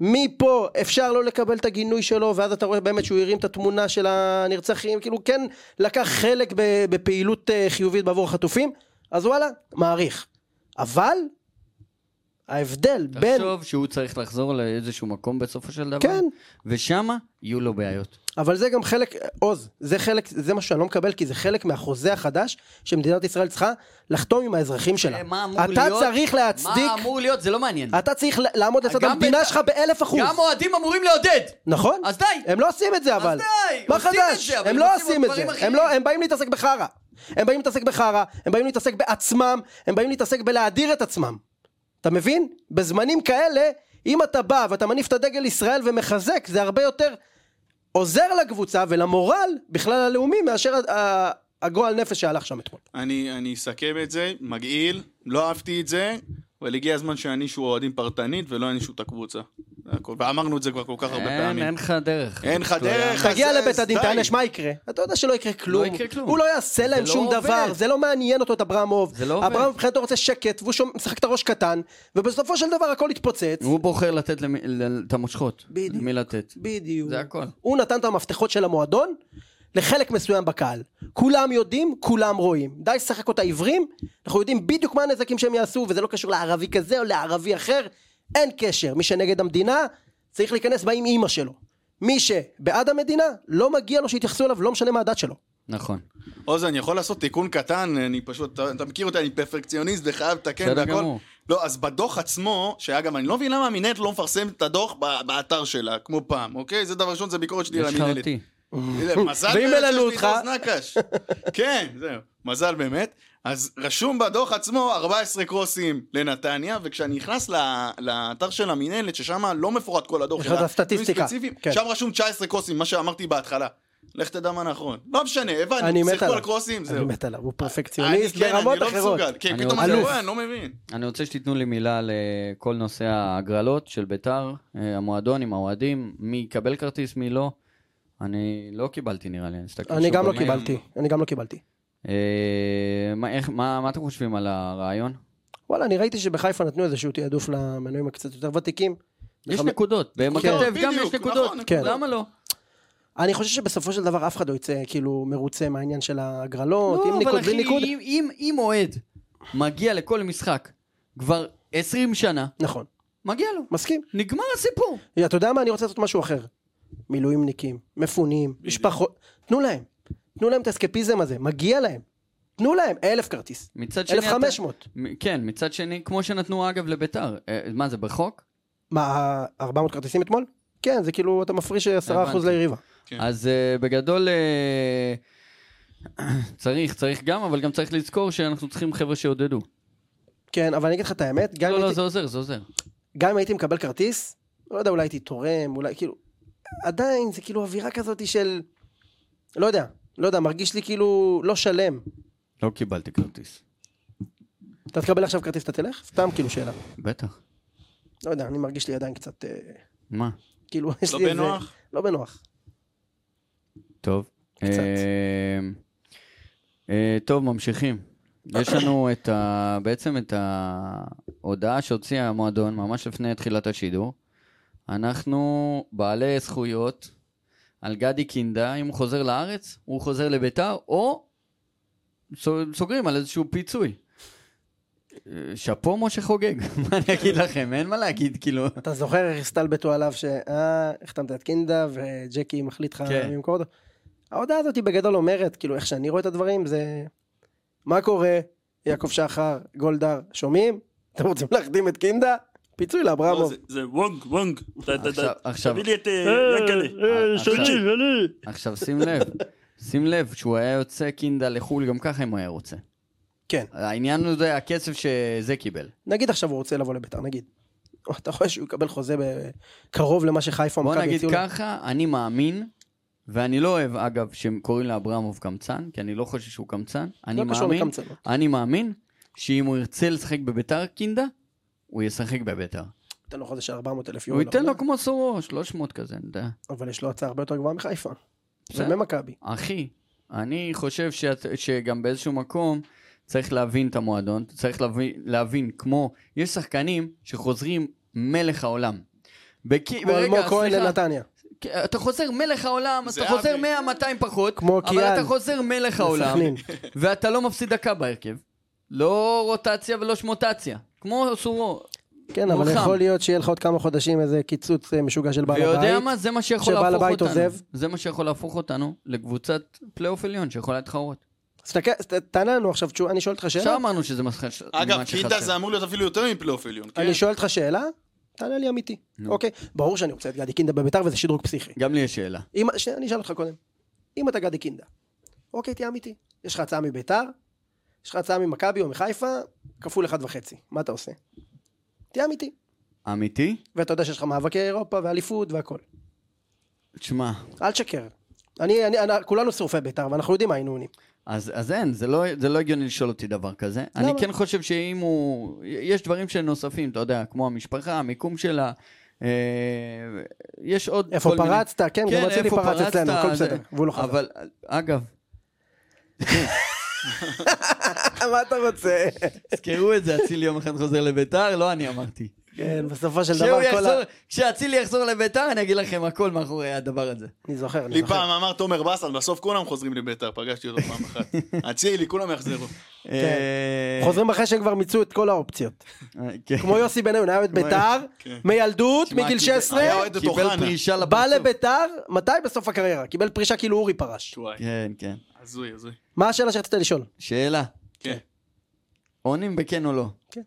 [SPEAKER 3] מפה אפשר לא לקבל את הגינוי שלו, ואז אתה רואה באמת שהוא הרים את התמונה של הנרצחים, כאילו הוא כן לקח חלק ב- בפעילות אה, חיובית בעבור החטופים, אז וואלה, מעריך. אבל ההבדל בין...
[SPEAKER 2] תחשוב שהוא צריך לחזור לאיזשהו מקום בסופו של דבר,
[SPEAKER 3] כן.
[SPEAKER 2] ושמה יהיו לו בעיות.
[SPEAKER 3] אבל זה גם חלק, עוז, זה חלק, זה מה שאני לא מקבל, כי זה חלק מהחוזה החדש שמדינת ישראל צריכה לחתום עם האזרחים שלה.
[SPEAKER 2] אה, מה אמור
[SPEAKER 3] כן. אתה
[SPEAKER 2] להיות?
[SPEAKER 3] צריך להצדיק...
[SPEAKER 2] מה אמור להיות? זה לא מעניין.
[SPEAKER 3] אתה צריך ל- לעמוד לצד
[SPEAKER 2] גם
[SPEAKER 3] המדינה
[SPEAKER 2] בת-
[SPEAKER 3] שלך באלף אחוז.
[SPEAKER 2] גם אוהדים אמורים לעודד!
[SPEAKER 3] נכון?
[SPEAKER 2] אז די.
[SPEAKER 3] הם לא עושים את זה אבל.
[SPEAKER 2] די,
[SPEAKER 3] מה
[SPEAKER 2] עושים את
[SPEAKER 3] חדש?
[SPEAKER 2] זה, אבל
[SPEAKER 3] הם
[SPEAKER 2] הם
[SPEAKER 3] לא
[SPEAKER 2] עושים
[SPEAKER 3] עושים את
[SPEAKER 2] דברים
[SPEAKER 3] זה. הם
[SPEAKER 2] אחרים.
[SPEAKER 3] לא, הם באים להתעסק בחרא. הם באים להתעסק בחרא, הם באים להתעסק בעצמם, הם באים להתעסק בלהדיר את עצמם. אתה מבין? בזמנים כאלה, אם אתה בא ואתה מניף את הדגל ישראל ומחזק, זה הרבה יותר עוזר לקבוצה ולמורל בכלל הלאומי מאשר ה- ה- הגועל נפש שהלך שם אתמול.
[SPEAKER 4] אני, אני אסכם את זה, מגעיל, לא אהבתי את זה, אבל הגיע הזמן שיענישו אוהדים פרטנית ולא יענישו את הקבוצה. זה הכל. ואמרנו את זה כבר כל כך הרבה
[SPEAKER 2] אין,
[SPEAKER 4] פעמים.
[SPEAKER 2] אין לא לך דרך.
[SPEAKER 4] אין לך דרך,
[SPEAKER 3] תגיע
[SPEAKER 4] אז
[SPEAKER 3] לבית הדין,
[SPEAKER 4] די.
[SPEAKER 3] תענש, מה יקרה? אתה יודע שלא יקרה כלום.
[SPEAKER 2] יקרה כלום.
[SPEAKER 3] הוא לא יעשה להם
[SPEAKER 2] לא
[SPEAKER 3] שום
[SPEAKER 2] עובד.
[SPEAKER 3] דבר, זה לא מעניין אותו את אברמוב.
[SPEAKER 2] זה לא עובד.
[SPEAKER 3] אברמוב מבחינתו רוצה שקט, והוא שומ- משחק את הראש קטן, ובסופו של דבר הכל יתפוצץ.
[SPEAKER 2] הוא בוחר לתת למי- ל- את המושכות.
[SPEAKER 3] בדיוק.
[SPEAKER 2] למי לתת.
[SPEAKER 3] בדיוק.
[SPEAKER 2] זה הכל.
[SPEAKER 3] הוא נתן את המפתחות של המועדון לחלק מסוים בקהל. כולם יודעים, כולם רואים. די לשחק אותה עיוורים, אנחנו יודעים בדיוק מה הנזקים שהם יעשו, וזה לא קשור לערבי כזה או לערבי אחר, אין קשר. מי שנגד המדינה, צריך להיכנס בה עם אימא שלו. מי שבעד המדינה, לא מגיע לו שיתייחסו אליו, לא משנה מה הדת שלו.
[SPEAKER 2] נכון.
[SPEAKER 4] עוז, אני יכול לעשות תיקון קטן, אני פשוט, אתה- אתה מכיר אותי, אני פרפקציוניסט וחייב לתקן
[SPEAKER 2] בסדר
[SPEAKER 4] והכל.
[SPEAKER 2] גמור.
[SPEAKER 4] לא, אז בדוח עצמו, שאגב, אני לא מבין למה המינהלת לא מפרסמת את הדוח ב- באתר שלה, כמו פעם, אוקיי? זה דבר ראשון, זה ביקורת שלי על
[SPEAKER 2] יש לך
[SPEAKER 4] המינהלת.
[SPEAKER 2] אותי.
[SPEAKER 4] הנה, מזל
[SPEAKER 3] ואם
[SPEAKER 4] באמת
[SPEAKER 3] העלנו
[SPEAKER 4] שיש
[SPEAKER 3] אותך?
[SPEAKER 4] לי את עוז נקש. כן, זהו, מזל באמת. אז רשום בדוח עצמו 14 קרוסים לנתניה, וכשאני נכנס ל- לאתר של המינהלת, ששם לא מפורט כל הדוח
[SPEAKER 3] יש לך את הסטטיסטיקה,
[SPEAKER 4] דברים ספציפיים,
[SPEAKER 3] כן.
[SPEAKER 4] שם רשום 19 קרוסים, מה שאמרתי בהתחלה. לך תדע מה נכון. לא משנה,
[SPEAKER 3] אני
[SPEAKER 4] הבנתי,
[SPEAKER 3] מת
[SPEAKER 4] שיחקו
[SPEAKER 3] עליו.
[SPEAKER 4] על קרוסים,
[SPEAKER 3] אני
[SPEAKER 4] זהו.
[SPEAKER 3] מת עליו, הוא
[SPEAKER 4] אני-
[SPEAKER 3] פרפקציוניסט
[SPEAKER 4] כן,
[SPEAKER 3] ברמות
[SPEAKER 4] אני לא
[SPEAKER 3] אחרות.
[SPEAKER 4] מסוגל. כן,
[SPEAKER 2] אני
[SPEAKER 4] פתאום
[SPEAKER 2] רוצה-
[SPEAKER 4] אני
[SPEAKER 2] אלוף.
[SPEAKER 4] רואה, אני לא מבין.
[SPEAKER 2] אני רוצה שתיתנו לי מילה לכל נושא ההגרלות של ביתר, אה, המועדון עם האוהדים, מי יקבל כרטיס, מי לא. אני לא קיבלתי נראה לי, אני אסתכל
[SPEAKER 3] אני
[SPEAKER 2] שוב
[SPEAKER 3] גם לא
[SPEAKER 2] במייל.
[SPEAKER 3] קיבלתי, אני גם לא קיבלתי.
[SPEAKER 2] אה, מה, איך, מה, מה אתם חושבים על הרעיון?
[SPEAKER 3] וואלה, אני ראיתי שבחיפה נתנו איזשהו תעדוף למנויים הקצת יותר ותיקים.
[SPEAKER 2] יש
[SPEAKER 3] בחמ-
[SPEAKER 2] נקודות, במכתב גם
[SPEAKER 4] בדיוק,
[SPEAKER 2] יש נקודות,
[SPEAKER 4] נכון,
[SPEAKER 3] נכון. כן.
[SPEAKER 2] למה לא?
[SPEAKER 3] אני חושב שבסופו של דבר אף אחד לא יצא כאילו מרוצה מהעניין של ההגרלות,
[SPEAKER 2] לא,
[SPEAKER 3] אם
[SPEAKER 2] אבל
[SPEAKER 3] ניקוד
[SPEAKER 2] אחי,
[SPEAKER 3] בלי ניקוד.
[SPEAKER 2] אם- אם- אם אוהד מגיע לכל משחק כבר 20 שנה,
[SPEAKER 3] נכון,
[SPEAKER 2] מגיע לו.
[SPEAKER 3] מסכים.
[SPEAKER 2] נגמר הסיפור.
[SPEAKER 3] אתה יודע מה? אני רוצה לעשות משהו אחר. מילואימניקים, מפונים, משפחות, תנו להם. תנו להם את האסקפיזם הזה, מגיע להם. תנו להם אלף כרטיס.
[SPEAKER 2] מצד שני... אתה-
[SPEAKER 3] 1500.
[SPEAKER 2] מ- כן, מצד שני, כמו שנתנו אגב לביתר. אה, מה זה, בחוק?
[SPEAKER 3] מה, 400 כרטיסים אתמול? כן, זה כאילו, אתה מפריש 10%
[SPEAKER 2] הבנתי.
[SPEAKER 3] ליריבה.
[SPEAKER 4] כן.
[SPEAKER 2] אז אה, בגדול אה, צריך, צריך גם, אבל גם צריך לזכור שאנחנו צריכים חבר'ה שיעודדו.
[SPEAKER 3] כן, אבל אני אגיד לך את האמת, גם
[SPEAKER 2] לא,
[SPEAKER 3] אם
[SPEAKER 2] לא,
[SPEAKER 3] הייתי-
[SPEAKER 2] זה עוזר, זה עוזר.
[SPEAKER 3] גם אם הייתי מקבל כרטיס, לא יודע, אולי הייתי תורם, אולי כאילו... עדיין, זה כאילו אווירה כזאת של... לא יודע, לא יודע, מרגיש לי כאילו לא שלם.
[SPEAKER 2] לא קיבלתי כרטיס.
[SPEAKER 3] אתה תקבל עכשיו כרטיס, אתה תלך? סתם כאילו שאלה.
[SPEAKER 2] בטח.
[SPEAKER 3] לא יודע, אני מרגיש לי עדיין קצת... אה,
[SPEAKER 2] מה?
[SPEAKER 3] כאילו, יש
[SPEAKER 4] לא
[SPEAKER 3] לי איזה...
[SPEAKER 4] בנוח?
[SPEAKER 3] לא בנוח.
[SPEAKER 2] טוב.
[SPEAKER 3] קצת.
[SPEAKER 2] אה, אה, טוב, ממשיכים. יש לנו את ה... בעצם את ההודעה שהוציא המועדון ממש לפני תחילת השידור. אנחנו בעלי זכויות על גדי קינדה, אם הוא חוזר לארץ, הוא חוזר לביתר, או סו- סוגרים על איזשהו פיצוי. אה, שאפו משה חוגג, מה אני אגיד לכם, אין מה להגיד, כאילו...
[SPEAKER 3] אתה זוכר איך הסתלבטו עליו ש... אה, החתמת את קינדה וג'קי מחליט לך
[SPEAKER 2] כן.
[SPEAKER 3] מי ימכור אותו? ההודעה הזאת היא בגדול אומרת, כאילו, איך שאני רואה את הדברים, זה... מה קורה? יעקב שחר, גולדהר, שומעים? אתם רוצים להחדים את קינדה? פיצוי
[SPEAKER 5] לא,
[SPEAKER 3] לאברמוב.
[SPEAKER 5] זה- זה וונג, וונג. אתה- אתה-
[SPEAKER 2] עכשיו-
[SPEAKER 5] אתה-
[SPEAKER 2] עכשיו.
[SPEAKER 5] תביא לי את אה, ינקלה.
[SPEAKER 2] עכשיו- עכשיו שים לב, שים לב, שהוא היה יוצא קינדה לחו"ל, גם ככה אם הוא היה רוצה.
[SPEAKER 3] כן.
[SPEAKER 2] העניין הוא זה הכסף שזה קיבל.
[SPEAKER 3] נגיד עכשיו הוא רוצה לבוא לביתר, נגיד. או, אתה רואה שהוא יקבל חוזה ב- קרוב למה שחיפה
[SPEAKER 2] בוא
[SPEAKER 3] ומכבי
[SPEAKER 2] נגיד
[SPEAKER 3] הציעו לו?
[SPEAKER 2] ככה, אני מאמין, ואני לא אוהב, אגב, שהם קוראים לאברמוב קמצן, כי אני לא חושב שהוא קמצן. אני
[SPEAKER 3] לא קשור
[SPEAKER 2] מאמין,
[SPEAKER 3] לקמצנות.
[SPEAKER 2] אני מאמין שאם הוא ירצה לשחק בביתר קינדה, הוא ישחק בביתר.
[SPEAKER 3] ייתן לו חוזה של 400 אלף יורו.
[SPEAKER 2] הוא ייתן לו
[SPEAKER 3] לעונה,
[SPEAKER 2] כמו סורו, 300 כזה, אני יודע.
[SPEAKER 3] אבל יש לו הצעה הרבה יותר גבוהה מחיפה.
[SPEAKER 2] בסדר.
[SPEAKER 3] וממכבי.
[SPEAKER 2] אחי, אני חושב שאת, שגם באיזשהו מקום צריך להבין את המועדון, צריך להבין, להבין כמו, יש שחקנים שחוזרים מלך העולם. בק...
[SPEAKER 3] כמו אלמוג כהן לנתניה.
[SPEAKER 2] כן, אתה חוזר מלך העולם,
[SPEAKER 4] זה
[SPEAKER 2] אתה חוזר
[SPEAKER 4] אבי.
[SPEAKER 2] 100-200 פחות,
[SPEAKER 3] כמו
[SPEAKER 2] אבל
[SPEAKER 3] קיאן.
[SPEAKER 2] אתה חוזר מלך העולם,
[SPEAKER 3] לסכנין.
[SPEAKER 2] ואתה לא מפסיד דקה בהרכב. לא רוטציה ולא שמוטציה, כמו סורו.
[SPEAKER 3] כן, אבל
[SPEAKER 2] מולחם.
[SPEAKER 3] יכול להיות שיהיה לך עוד כמה חודשים איזה קיצוץ אה, משוגע של בעל הבית.
[SPEAKER 2] ויודע מה, זה מה שיכול
[SPEAKER 3] כשבעל
[SPEAKER 2] להפוך
[SPEAKER 3] הבית
[SPEAKER 2] אותנו.
[SPEAKER 3] עוזב.
[SPEAKER 2] זה מה שיכול להפוך אותנו לקבוצת פלייאוף עליון שיכולה להתחרות.
[SPEAKER 3] תסתכל, ת- תענה לנו עכשיו תשובה, אני שואל אותך
[SPEAKER 2] עכשיו
[SPEAKER 3] שאלה,
[SPEAKER 2] אמרנו שזה מה שחסר.
[SPEAKER 5] אה.
[SPEAKER 4] אגב, קינדה זה אמור להיות אפילו יותר מפלייאוף עליון. כן?
[SPEAKER 3] אני שואל אותך שאלה, תענה לי אמיתי. אוקיי, ברור שאני רוצה את גדי קינדה בביתר וזה שדרוג פסיכי.
[SPEAKER 2] גם לי יש שאלה.
[SPEAKER 3] אם, שנייה, אני אשאל אותך קודם. אם אתה גדי קינדה, אוקיי, תהיה אמיתי. יש לך הצעה מביתר, יש לך הצעה ממכבי או מחיפה, כפול אחד וחצי. מה אתה עושה? תהיה אמיתי.
[SPEAKER 2] אמיתי?
[SPEAKER 3] ואתה יודע שיש לך מאבקי אירופה ואליפות והכל.
[SPEAKER 2] תשמע,
[SPEAKER 3] אל תשקר. אני, אני, אני, כולנו שרופי ביתר, ואנחנו יודעים מה היינו עונים.
[SPEAKER 2] אז, אז אין, זה לא, זה לא הגיוני לשאול אותי דבר כזה. למה? אני כן חושב שאם הוא... יש דברים שנוספים, אתה יודע, כמו המשפחה, המיקום שלה. אה, יש עוד
[SPEAKER 3] איפה
[SPEAKER 2] כל מיני-
[SPEAKER 3] פרצת? כן, גם אצילי
[SPEAKER 2] איפה אה,
[SPEAKER 3] פרץ אצלנו, הכל
[SPEAKER 2] זה-
[SPEAKER 3] בסדר, והוא לא חזר.
[SPEAKER 2] אבל, אגב,
[SPEAKER 3] מה אתה רוצה?
[SPEAKER 2] תזכרו את זה, אצילי יום אחד חוזר לביתר, לא אני אמרתי.
[SPEAKER 3] כן, בסופו של
[SPEAKER 2] כשהוא
[SPEAKER 3] דבר כל ה...
[SPEAKER 2] יחזור- כשאצילי יחזור לביתר, אני אגיד לכם הכל מאחורי הדבר הזה.
[SPEAKER 3] אני זוכר, אני
[SPEAKER 4] לי
[SPEAKER 3] זוכר.
[SPEAKER 4] פעם אמר תומר בסן, בסוף כולם חוזרים לביתר, פגשתי אותו פעם אחת. אצילי, כולם יחזרו.
[SPEAKER 2] אה,
[SPEAKER 3] כן. חוזרים אחרי שהם כבר מיצו את כל האופציות.
[SPEAKER 2] אה, כן.
[SPEAKER 3] כמו יוסי בניון, היה אוהד ביתר, מילדות,
[SPEAKER 2] תשמע,
[SPEAKER 3] מגיל
[SPEAKER 2] קיבל-
[SPEAKER 3] 16,
[SPEAKER 4] היה אוהד כן. את
[SPEAKER 2] קיבל
[SPEAKER 4] אוחנה.
[SPEAKER 2] פרישה
[SPEAKER 3] בא
[SPEAKER 2] לפרצוף.
[SPEAKER 3] לביתר, מתי? בסוף הקריירה. קיבל פרישה כאילו אורי פרש.
[SPEAKER 4] וואי,
[SPEAKER 2] כן, כן.
[SPEAKER 4] הזוי, הזוי.
[SPEAKER 3] מה השאלה שרצית לשאול?
[SPEAKER 2] שאלה.
[SPEAKER 4] כן.
[SPEAKER 2] עונים בכן או לא.
[SPEAKER 3] כן.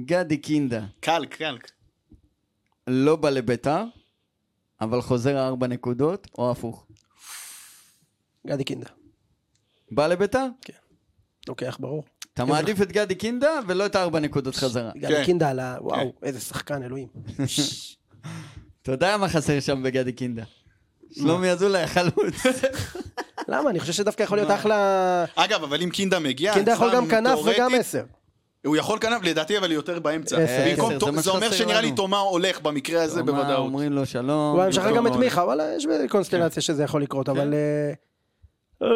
[SPEAKER 2] גדי קינדה
[SPEAKER 4] קלק, קלק.
[SPEAKER 2] לא בא לביתר, אבל חוזר ארבע נקודות, או הפוך.
[SPEAKER 3] גדי קינדה.
[SPEAKER 2] בא לביתר?
[SPEAKER 3] לוקח, ברור.
[SPEAKER 2] אתה מעדיף את גדי קינדה ולא את הארבע נקודות חזרה.
[SPEAKER 3] גדי
[SPEAKER 4] כן.
[SPEAKER 3] קינדה על ה... וואו, איזה שחקן, אלוהים.
[SPEAKER 2] אתה יודע מה חסר שם בגדי קינדה. שלומי אזולאי החלוץ.
[SPEAKER 3] למה? אני חושב שדווקא יכול להיות אחלה...
[SPEAKER 4] אגב, אבל אם קינדה מגיע...
[SPEAKER 3] קינדה יכול
[SPEAKER 4] אצלם
[SPEAKER 3] גם כנף וגם
[SPEAKER 4] כן, תיאורטית,
[SPEAKER 3] עשר.
[SPEAKER 4] הוא יכול כנף, לדעתי, אבל יותר באמצע.
[SPEAKER 3] עשר,
[SPEAKER 4] במקום
[SPEAKER 2] עשר,
[SPEAKER 4] תו-
[SPEAKER 2] זה מה
[SPEAKER 4] זה אומר
[SPEAKER 2] שחסר
[SPEAKER 4] שנראה
[SPEAKER 2] לנו.
[SPEAKER 4] לי תומר הולך במקרה הזה בוודאות.
[SPEAKER 2] אומרים לו שלום.
[SPEAKER 4] לא,
[SPEAKER 3] הוא היה משחרר גם את
[SPEAKER 4] מאוד. כן.
[SPEAKER 3] מיכה, וואלה, יש קונסטלציה שזה יכול לקרות, אבל... אה, אה,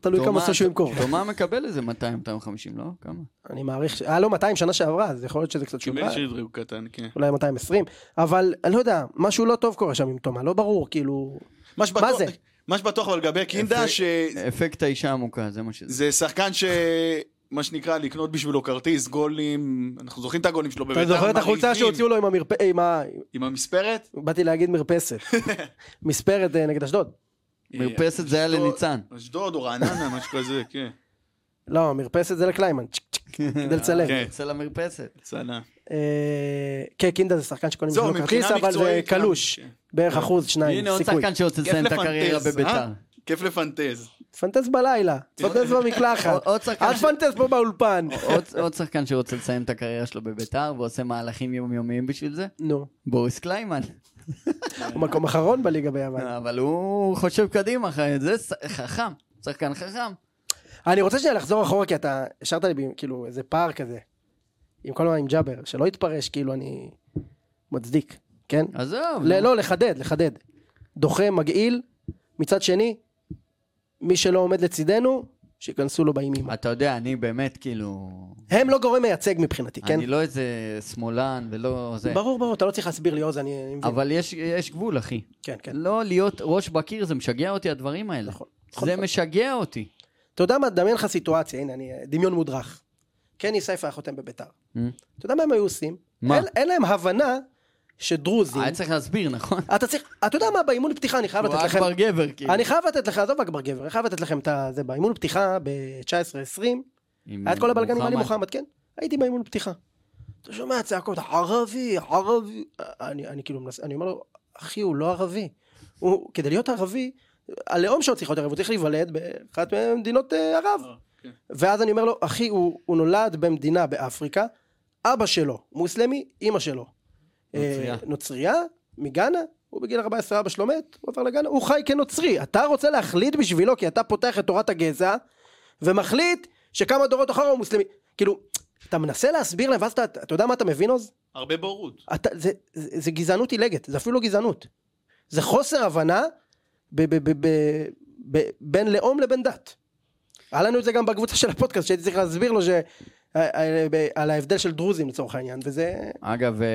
[SPEAKER 3] תלוי כמה
[SPEAKER 2] תומה-
[SPEAKER 3] סושו ימכור.
[SPEAKER 2] תומה מקבל איזה 200, 250, לא? כמה?
[SPEAKER 3] אני מעריך, ש- היה לו 200 שנה שעברה, אז יכול להיות שזה קצת
[SPEAKER 4] קיבל
[SPEAKER 3] שוברה,
[SPEAKER 4] שדרי הוא קטן, כן.
[SPEAKER 3] אולי 220, אבל אני לא יודע, משהו לא טוב קורה שם עם תומה, לא ברור, כאילו...
[SPEAKER 4] מה שבטוח,
[SPEAKER 3] זה?
[SPEAKER 4] מה שבטוח אבל לגבי קינדה,
[SPEAKER 2] אפק-
[SPEAKER 4] שזה
[SPEAKER 2] אפקט האישה המוכה, זה מה שזה.
[SPEAKER 4] שחקן ש... מה שנקרא, לקנות בשבילו כרטיס, גולים, אנחנו זוכרים את הגולים שלו בביתר,
[SPEAKER 3] אתה זוכר את החולצה
[SPEAKER 4] מרהיבים.
[SPEAKER 3] שהוציאו לו עם המרפ- אה, עם ה...
[SPEAKER 4] עם המספרת?
[SPEAKER 3] באתי להגיד מרפסת. מספרת אה, נגד אשדוד.
[SPEAKER 2] מרפסת זה היה
[SPEAKER 4] אשדוד-
[SPEAKER 2] לניצן.
[SPEAKER 4] אשדוד או רעננה, משהו כזה, כן.
[SPEAKER 3] לא, מרפסת זה לקליימן, צ'יק, צ'יק, כדי לצלם.
[SPEAKER 4] כן.
[SPEAKER 2] אצל המרפסת.
[SPEAKER 4] צנה.
[SPEAKER 3] אה, כן, קינדה זה שחקן שקונים
[SPEAKER 4] זהו,
[SPEAKER 3] בשבילו כרטיס,
[SPEAKER 4] מבחינה
[SPEAKER 3] אבל זה
[SPEAKER 4] מקצועית,
[SPEAKER 3] קלוש.
[SPEAKER 4] כן.
[SPEAKER 3] בערך אחוז, שניים,
[SPEAKER 2] הנה עוד
[SPEAKER 3] אה, סיכוי.
[SPEAKER 2] שחקן שרוצה
[SPEAKER 4] כיף
[SPEAKER 2] לסיים את הקריירה
[SPEAKER 4] לפנטז,
[SPEAKER 2] בביתר.
[SPEAKER 4] אה? כיף לפנטז.
[SPEAKER 3] תפנטז בלילה, תפנטז במקלחת.
[SPEAKER 2] עוד שחקן
[SPEAKER 3] אל
[SPEAKER 2] ש-
[SPEAKER 3] תפנטז פה באולפן.
[SPEAKER 2] עוד- עוד שחקן שרוצה לסיים את הקריירה שלו בביתר ועושה מהלכים יומיומיים בשביל זה?
[SPEAKER 3] נו,
[SPEAKER 2] בוריס קליימן.
[SPEAKER 3] הוא מקום אחרון בליגה ביוון.
[SPEAKER 2] אבל הוא חושב קדימה, ח- זה ש- חכם. שחקן חכם.
[SPEAKER 3] אני רוצה שנייה לחזור אחורה, כי אתה השארת לי ב- כאילו איזה פער כזה. עם כל הזמן עם ג'אבר, שלא יתפרש, כאילו אני מצדיק, כן?
[SPEAKER 2] עזוב.
[SPEAKER 3] ל-
[SPEAKER 2] נו.
[SPEAKER 3] לא, לחדד, לחדד. דוחה, מגעיל, מצד שני, מי שלא עומד לצידנו, שייכנסו לו באימים.
[SPEAKER 2] אתה יודע, אני באמת כאילו...
[SPEAKER 3] הם לא גורם מייצג מבחינתי, כן?
[SPEAKER 2] אני לא איזה שמאלן ולא זה.
[SPEAKER 3] ברור, ברור, אתה לא צריך להסביר לי עוז, אני אני מבין.
[SPEAKER 2] אבל יש- יש גבול, אחי.
[SPEAKER 3] כן, כן.
[SPEAKER 2] לא להיות ראש בקיר, זה משגע אותי הדברים האלה.
[SPEAKER 3] נכון.
[SPEAKER 2] זה
[SPEAKER 3] נכון.
[SPEAKER 2] משגע אותי.
[SPEAKER 3] אתה יודע מה, דמיין לך סיטואציה, הנה, אני דמיון מודרך. קני סייפה היה חותם בביתר. אתה יודע מה הם היו עושים?
[SPEAKER 2] Mm. מה?
[SPEAKER 3] אין, אין להם הבנה שדרוזים...
[SPEAKER 2] היה צריך להסביר, נכון?
[SPEAKER 3] אתה צריך, אתה יודע מה, באימון פתיחה אני חייב
[SPEAKER 2] הוא
[SPEAKER 3] לתת
[SPEAKER 2] היה
[SPEAKER 3] לכם...
[SPEAKER 2] כבר גבר, כאילו.
[SPEAKER 3] אני חייב לתת לך, עזוב אכבר גבר, אני חייב לתת לכם את זה, באימון פתיחה ב-19-20,
[SPEAKER 2] עם
[SPEAKER 3] היה את כל הבלגן עם עלי
[SPEAKER 2] מוחמד.
[SPEAKER 3] מוחמד, כן? הייתי באימון פתיחה. אתה שומע צעקות, ערבי, ערבי. אני, אני כאילו מנסה, אני אומר לו, אחי, הוא לא ערבי. הוא, כדי להיות ערבי, הלאום שלו צריך להיות ערבי, הוא צריך להיוולד באחת ממדינות אה, ערב.
[SPEAKER 4] כן.
[SPEAKER 3] ואז אני אומר לו, אחי, הוא, הוא נולד במדינה באפריקה, אבא שלו מוסלמי, אימא שלו.
[SPEAKER 2] נוצרייה.
[SPEAKER 3] אה, נוצרייה, מגאנה, הוא בגיל 14 אבא שלו מת, הוא עבר לגאנה, הוא חי כנוצרי. אתה רוצה להחליט בשבילו, כי אתה פותח את תורת הגזע, ומחליט שכמה דורות אחר הוא מוסלמי. כאילו, אתה מנסה להסביר להם, ואז אתה, אתה יודע מה אתה מבין עוז?
[SPEAKER 4] הרבה בורות.
[SPEAKER 3] אתה, זה, זה, זה גזענות עילגת, זה אפילו לא גזענות. זה חוסר הבנה ב, ב, ב, ב, ב, בין לאום לבין דת. היה לנו את זה גם בקבוצה של הפודקאסט, שהייתי צריך להסביר לו ש... אה, על ההבדל של דרוזים לצורך העניין, וזה...
[SPEAKER 2] אגב, אה,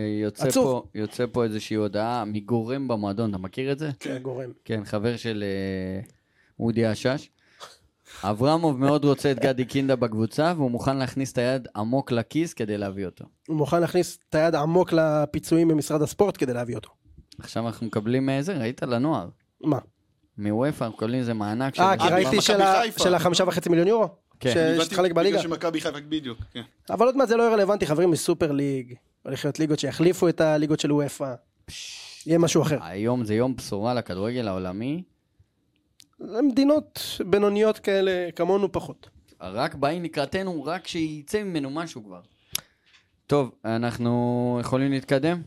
[SPEAKER 2] אה, יוצא
[SPEAKER 3] עצוב.
[SPEAKER 2] פה- יוצא פה איזושהי הודעה מגורם במועדון, אתה מכיר את זה?
[SPEAKER 3] כן. גורם.
[SPEAKER 2] כן, חבר של אה, אודי אשש. אברמוב מאוד רוצה את גדי קינדה בקבוצה, והוא מוכן להכניס את היד עמוק לכיס כדי להביא אותו.
[SPEAKER 3] הוא מוכן להכניס את היד עמוק לפיצויים במשרד הספורט כדי להביא אותו.
[SPEAKER 2] עכשיו אנחנו מקבלים אה, זה, ראית? לנוער.
[SPEAKER 3] מה?
[SPEAKER 2] מוופא, אנחנו מקבלים איזה מענק של...
[SPEAKER 3] אה, כי
[SPEAKER 4] אה,
[SPEAKER 3] ראיתי
[SPEAKER 4] במכבי
[SPEAKER 3] של ה-
[SPEAKER 4] חיפה.
[SPEAKER 3] של החמישה וחצי מיליון יורו?
[SPEAKER 2] כן.
[SPEAKER 3] ש-
[SPEAKER 4] הבנתי,
[SPEAKER 3] שהתחלק
[SPEAKER 4] בגלל
[SPEAKER 3] בליגה?
[SPEAKER 4] שמכבי חיפה, בדיוק, כן.
[SPEAKER 3] אבל עוד מעט זה לא יהיה רלוונטי, חברים, מסופר ליג. הולך להיות ליגות שיחליפו את הליגות של וופא. יהיה משהו אחר.
[SPEAKER 2] היום זה יום בשורה לכדורגל העולמי,
[SPEAKER 3] זה מדינות בינוניות כאלה, כמונו פחות.
[SPEAKER 2] רק באים לקראתנו, רק שייצא ממנו משהו כבר. טוב, אנחנו יכולים להתקדם?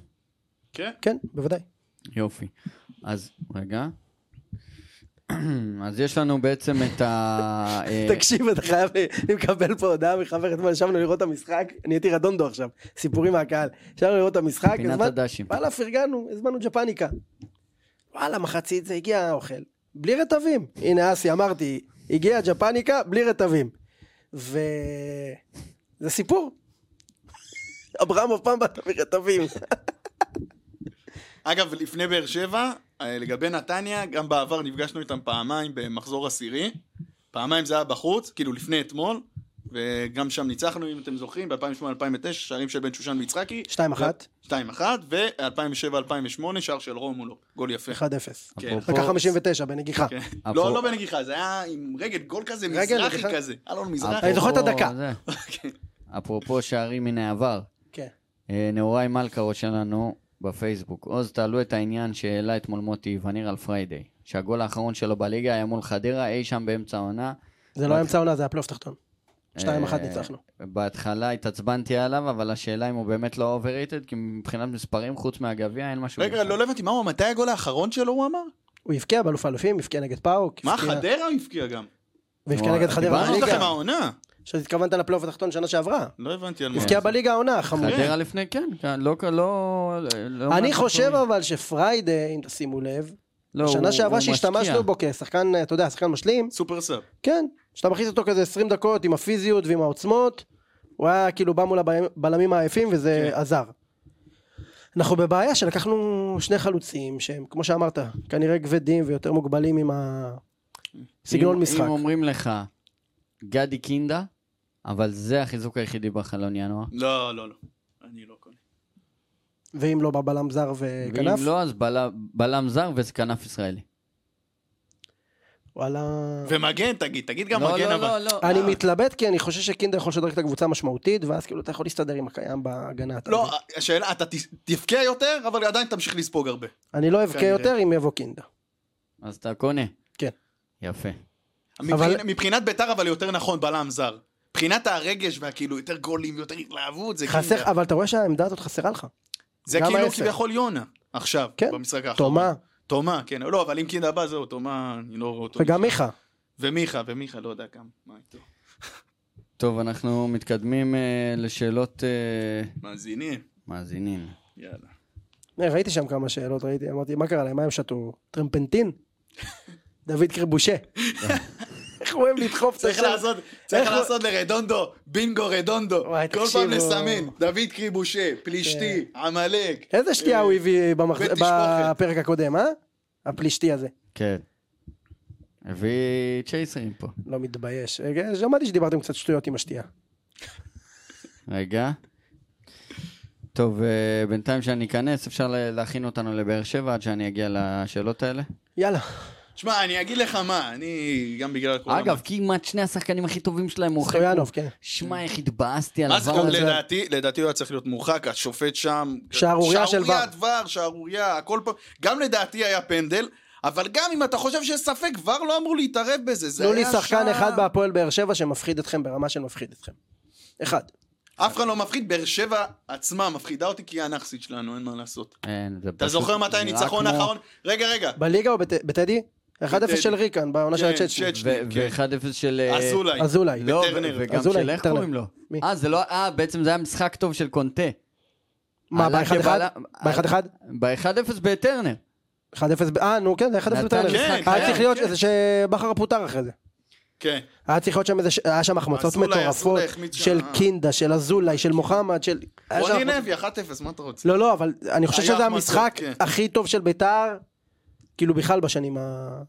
[SPEAKER 4] כן?
[SPEAKER 3] כן, בוודאי.
[SPEAKER 2] יופי. אז, רגע. אז יש לנו בעצם את ה... אה,
[SPEAKER 3] תקשיב, אתה חייב, אני מקבל פה הודעה מחבר אתמול, ישבנו לראות את המשחק, אני הייתי רדונדו עכשיו, סיפורים מהקהל. ישבנו לראות את המשחק,
[SPEAKER 2] פינת
[SPEAKER 3] הזמן-
[SPEAKER 2] הדשים.
[SPEAKER 3] וואלה, פרגנו, הזמנו ג'פניקה. וואלה, מחצית זה הגיע האוכל. בלי רטבים. הנה אסי, אמרתי, הגיע ג'פניקה בלי רטבים. ו... זה סיפור. אברהם אף פעם באת ברטבים.
[SPEAKER 4] אגב, לפני באר שבע, אה, לגבי נתניה, גם בעבר נפגשנו איתם פעמיים במחזור עשירי. פעמיים זה היה בחוץ, כאילו לפני אתמול, וגם שם ניצחנו, אם אתם זוכרים, ב-2008-2009, שערים של בן שושן ויצחקי.
[SPEAKER 3] 2-1,
[SPEAKER 4] 2-1, ו-2007-2008, שער של רומולו. גול יפה.
[SPEAKER 3] 1-0.
[SPEAKER 4] כן.
[SPEAKER 2] אפרופו-
[SPEAKER 3] דקה 59 בנגיחה.
[SPEAKER 4] לא, לא בנגיחה, זה היה עם רגל, גול כזה, מזרחי
[SPEAKER 3] נגיחה.
[SPEAKER 4] כזה. היה לנו
[SPEAKER 2] אפרופו-
[SPEAKER 4] מזרחי.
[SPEAKER 3] אני זוכר את הדקה.
[SPEAKER 2] זה.
[SPEAKER 4] אוקיי.
[SPEAKER 2] אפרופו שערים מן העבר,
[SPEAKER 3] כן.
[SPEAKER 2] אה, נעורי מלכה רושם לנו בפייסבוק. עוז, תעלו את העניין שהעלה אתמול מוטי וניר על פריידי, שהגול האחרון שלו בליגה היה מול חדרה אי שם באמצע העונה.
[SPEAKER 3] זה לא היה אמצע עונה, זה היה פלייאוף תחתון. 2-1
[SPEAKER 2] אה,
[SPEAKER 3] ניצחנו.
[SPEAKER 2] בהתחלה התעצבנתי עליו, אבל השאלה אם הוא באמת לא overrated, כי מבחינת מספרים חוץ מהגביע אין משהו.
[SPEAKER 4] רגע,
[SPEAKER 2] מיוחד.
[SPEAKER 4] לא לא הבנתי, מה הוא, מתי הגול האחרון שלו, הוא אמר?
[SPEAKER 3] הוא הבקיע באלוף האלופים, הבקיע נגד פאוק.
[SPEAKER 4] מה,
[SPEAKER 3] הבקיע-
[SPEAKER 4] חדרה הוא הבקיע גם?
[SPEAKER 3] והבקיע
[SPEAKER 2] נו,
[SPEAKER 3] נגד
[SPEAKER 2] אז
[SPEAKER 3] חדרה
[SPEAKER 4] מה יש לכם
[SPEAKER 3] בליגה.
[SPEAKER 4] העונה?
[SPEAKER 3] שהתכוונת לפלייאוף התחתון שנה שעברה.
[SPEAKER 4] לא הבנתי על מה.
[SPEAKER 3] הבקיע בליגה העונה, חמור.
[SPEAKER 2] כן. חדרה לפני, כן, כן, לא... לא- לא- לא-
[SPEAKER 3] אני חושב
[SPEAKER 2] לא-
[SPEAKER 3] אבל שפריידי, אם תשימו לב,
[SPEAKER 2] לא, הוא-
[SPEAKER 3] שנה
[SPEAKER 2] הוא
[SPEAKER 3] שעברה
[SPEAKER 2] משקיע.
[SPEAKER 3] שהשתמשנו בו כשחקן, אתה יודע, שחקן משלים,
[SPEAKER 4] סופר סאב.
[SPEAKER 3] כן, שאתה מכניס אותו כזה 20 דקות עם הפיזיות ועם העוצמות, הוא היה כאילו בא מול הבלמים העייפים וזה
[SPEAKER 4] כן.
[SPEAKER 3] עזר. אנחנו בבעיה שלקחנו שני חלוצים שהם, כמו שאמרת, כנראה כבדים ויותר מוגבלים עם הסגנון
[SPEAKER 2] אם-
[SPEAKER 3] משחק.
[SPEAKER 2] אם אומרים לך, גדי קינדה, אבל זה החיזוק היחידי בחלון ינואר.
[SPEAKER 3] אה,
[SPEAKER 4] לא, לא, לא. אני לא קונה.
[SPEAKER 3] ואם לא בא בלם זר וכנף,
[SPEAKER 2] ואם לא, אז בלם- בלם זר וכנף ישראלי.
[SPEAKER 3] וואלה...
[SPEAKER 4] ומגן, תגיד, תגיד גם
[SPEAKER 2] לא,
[SPEAKER 4] מגן
[SPEAKER 2] לא,
[SPEAKER 4] אבל.
[SPEAKER 2] לא, לא.
[SPEAKER 3] אני מתלבט כי אני חושב שקינדה יכול לשדרג את הקבוצה משמעותית, ואז כאילו אתה יכול להסתדר עם הקיים בהגנה. אתה
[SPEAKER 4] לא,
[SPEAKER 3] מבין?
[SPEAKER 4] השאלה, אתה ת- תבקיע יותר, אבל עדיין תמשיך לספוג הרבה.
[SPEAKER 3] אני לא אבכה
[SPEAKER 4] כנראה.
[SPEAKER 3] יותר אם יבוא קינדה.
[SPEAKER 2] אז אתה קונה.
[SPEAKER 3] כן.
[SPEAKER 2] יפה.
[SPEAKER 3] אבל-
[SPEAKER 4] מבחינת- מבחינת ביתר, אבל יותר נכון, בלם זר. מבחינת הרגש והכאילו יותר גולים, יותר התלהבות, זה נכון,
[SPEAKER 3] חסר,
[SPEAKER 4] כאילו...
[SPEAKER 3] אבל אתה רואה שהעמדה הזאת חסרה לך.
[SPEAKER 4] זה
[SPEAKER 3] גם
[SPEAKER 4] כאילו
[SPEAKER 3] ההפך.
[SPEAKER 4] כביכול יונה, עכשיו,
[SPEAKER 3] כן.
[SPEAKER 4] במשחק האחרון.
[SPEAKER 3] תומה,
[SPEAKER 4] תומה, כן. לא, אבל אם קינדה בא, זהו, תומה, אני לא רואה אותו.
[SPEAKER 3] וגם מיכה.
[SPEAKER 4] ומיכה, ומיכה, לא יודע כמה. מה איתו?
[SPEAKER 2] טוב, אנחנו מתקדמים אה, לשאלות אה,
[SPEAKER 4] מאזינים,
[SPEAKER 2] מאזינים.
[SPEAKER 4] יאללה.
[SPEAKER 3] אה, ראיתי שם כמה שאלות, ראיתי, אמרתי, מה קרה להם? מה הם שתו? טרמפנטין? דוד קרבושה. איך הוא אוהב לדחוף את
[SPEAKER 4] צריך
[SPEAKER 3] השם.
[SPEAKER 4] לעשות, צריך
[SPEAKER 3] איך-
[SPEAKER 4] לעשות לרדונדו, בינגו רדונדו,
[SPEAKER 3] וואי,
[SPEAKER 4] כל פעם
[SPEAKER 3] תקשיבו. כן.
[SPEAKER 4] לסמן, דוד קריבושה, פלישתי, עמלק. אה,
[SPEAKER 3] איזה שתייה הוא הביא במחז-
[SPEAKER 4] בית תשפוכת.
[SPEAKER 3] בפרק הקודם, אה? הפלישתי הזה.
[SPEAKER 2] כן. הביא צ'ייסרים פה.
[SPEAKER 3] לא מתבייש. רגע, שמעתי שדיברתם קצת שטויות עם השתייה.
[SPEAKER 2] רגע. טוב, אה, בינתיים שאני אכנס, אפשר ל- להכין אותנו לבאר שבע עד שאני אגיע לשאלות האלה.
[SPEAKER 3] יאללה.
[SPEAKER 4] אוקיי. שמע, אני אגיד לך מה, אני גם בגלל הקורונה.
[SPEAKER 2] אגב, כמעט שני השחקנים הכי טובים שלהם מורחקים.
[SPEAKER 3] סטויאנוב, כן.
[SPEAKER 2] שמע, איך התבאסתי על
[SPEAKER 4] מה זה,
[SPEAKER 2] הדבר הזה.
[SPEAKER 4] לדעתי, לדעתי הוא היה צריך להיות מורחק, השופט שם.
[SPEAKER 3] שערורייה של
[SPEAKER 4] שערוריית ור, שערורייה, הכל פה. גם לדעתי היה פנדל, אבל גם אם אתה חושב שיש ספק, ור לא אמור להתערב בזה. זה
[SPEAKER 3] תנו לי
[SPEAKER 4] היה
[SPEAKER 3] שחקן
[SPEAKER 4] שם-
[SPEAKER 3] אחד בהפועל באר שבע שמפחיד אתכם ברמה של מפחיד אתכם. אחד.
[SPEAKER 4] אף אחד לא מפחיד, באר שבע עצמה מפחידה אותי, כי היא הנכסית שלנו, אין מה לעשות.
[SPEAKER 2] אין, זה
[SPEAKER 4] אתה
[SPEAKER 2] פשוט
[SPEAKER 4] זוכר מתי
[SPEAKER 2] נראה
[SPEAKER 4] הניצחון
[SPEAKER 2] כמו-
[SPEAKER 4] האחרון? רגע, רגע.
[SPEAKER 3] בליגה או בט- בטדי? 1-0 של ריקן, בעונה של
[SPEAKER 4] כן,
[SPEAKER 3] הצ'צ'ני.
[SPEAKER 4] צ'צ'ני.
[SPEAKER 2] ו-
[SPEAKER 4] כן.
[SPEAKER 2] ו-1-0 של... אה,
[SPEAKER 4] אזולאי.
[SPEAKER 3] אזולאי.
[SPEAKER 2] לא,
[SPEAKER 4] בטרנר.
[SPEAKER 2] ו- וגם
[SPEAKER 3] אזולאי,
[SPEAKER 2] של איך
[SPEAKER 3] טרנר.
[SPEAKER 2] קוראים לו?
[SPEAKER 3] מי?
[SPEAKER 2] אה, זה לא... אה, בעצם זה היה משחק טוב של קונטה.
[SPEAKER 3] מה,
[SPEAKER 2] עלה
[SPEAKER 3] ב-1-1?
[SPEAKER 2] כבלם-
[SPEAKER 3] ב-1-1?
[SPEAKER 2] ב-1-0 בטרנר.
[SPEAKER 3] 1-0, ב- אה, נו, כן, זה 1-0
[SPEAKER 2] נתן
[SPEAKER 3] בטרנר.
[SPEAKER 2] משחק
[SPEAKER 4] כן,
[SPEAKER 3] היה צריך להיות
[SPEAKER 4] כן.
[SPEAKER 3] איזה שבכר פוטר אחרי זה.
[SPEAKER 4] כן.
[SPEAKER 3] היה צריך להיות שם איזה, ש- היה שם החמצות
[SPEAKER 4] אה, אזולאי,
[SPEAKER 3] מטורפות
[SPEAKER 4] אזולאי החמיץ שם,
[SPEAKER 3] של
[SPEAKER 4] אה.
[SPEAKER 3] קינדה, של אזולאי, של מוחמד, של... היה שם
[SPEAKER 4] רוני
[SPEAKER 3] החמצות-
[SPEAKER 4] לוי, 1-0, מה אתה רוצה?
[SPEAKER 3] לא, לא, אבל אני חושב
[SPEAKER 4] היה
[SPEAKER 3] שזה
[SPEAKER 4] החמצות,
[SPEAKER 3] המשחק
[SPEAKER 4] כן.
[SPEAKER 3] הכי טוב של ביתר, כאילו בכלל בשנים ה-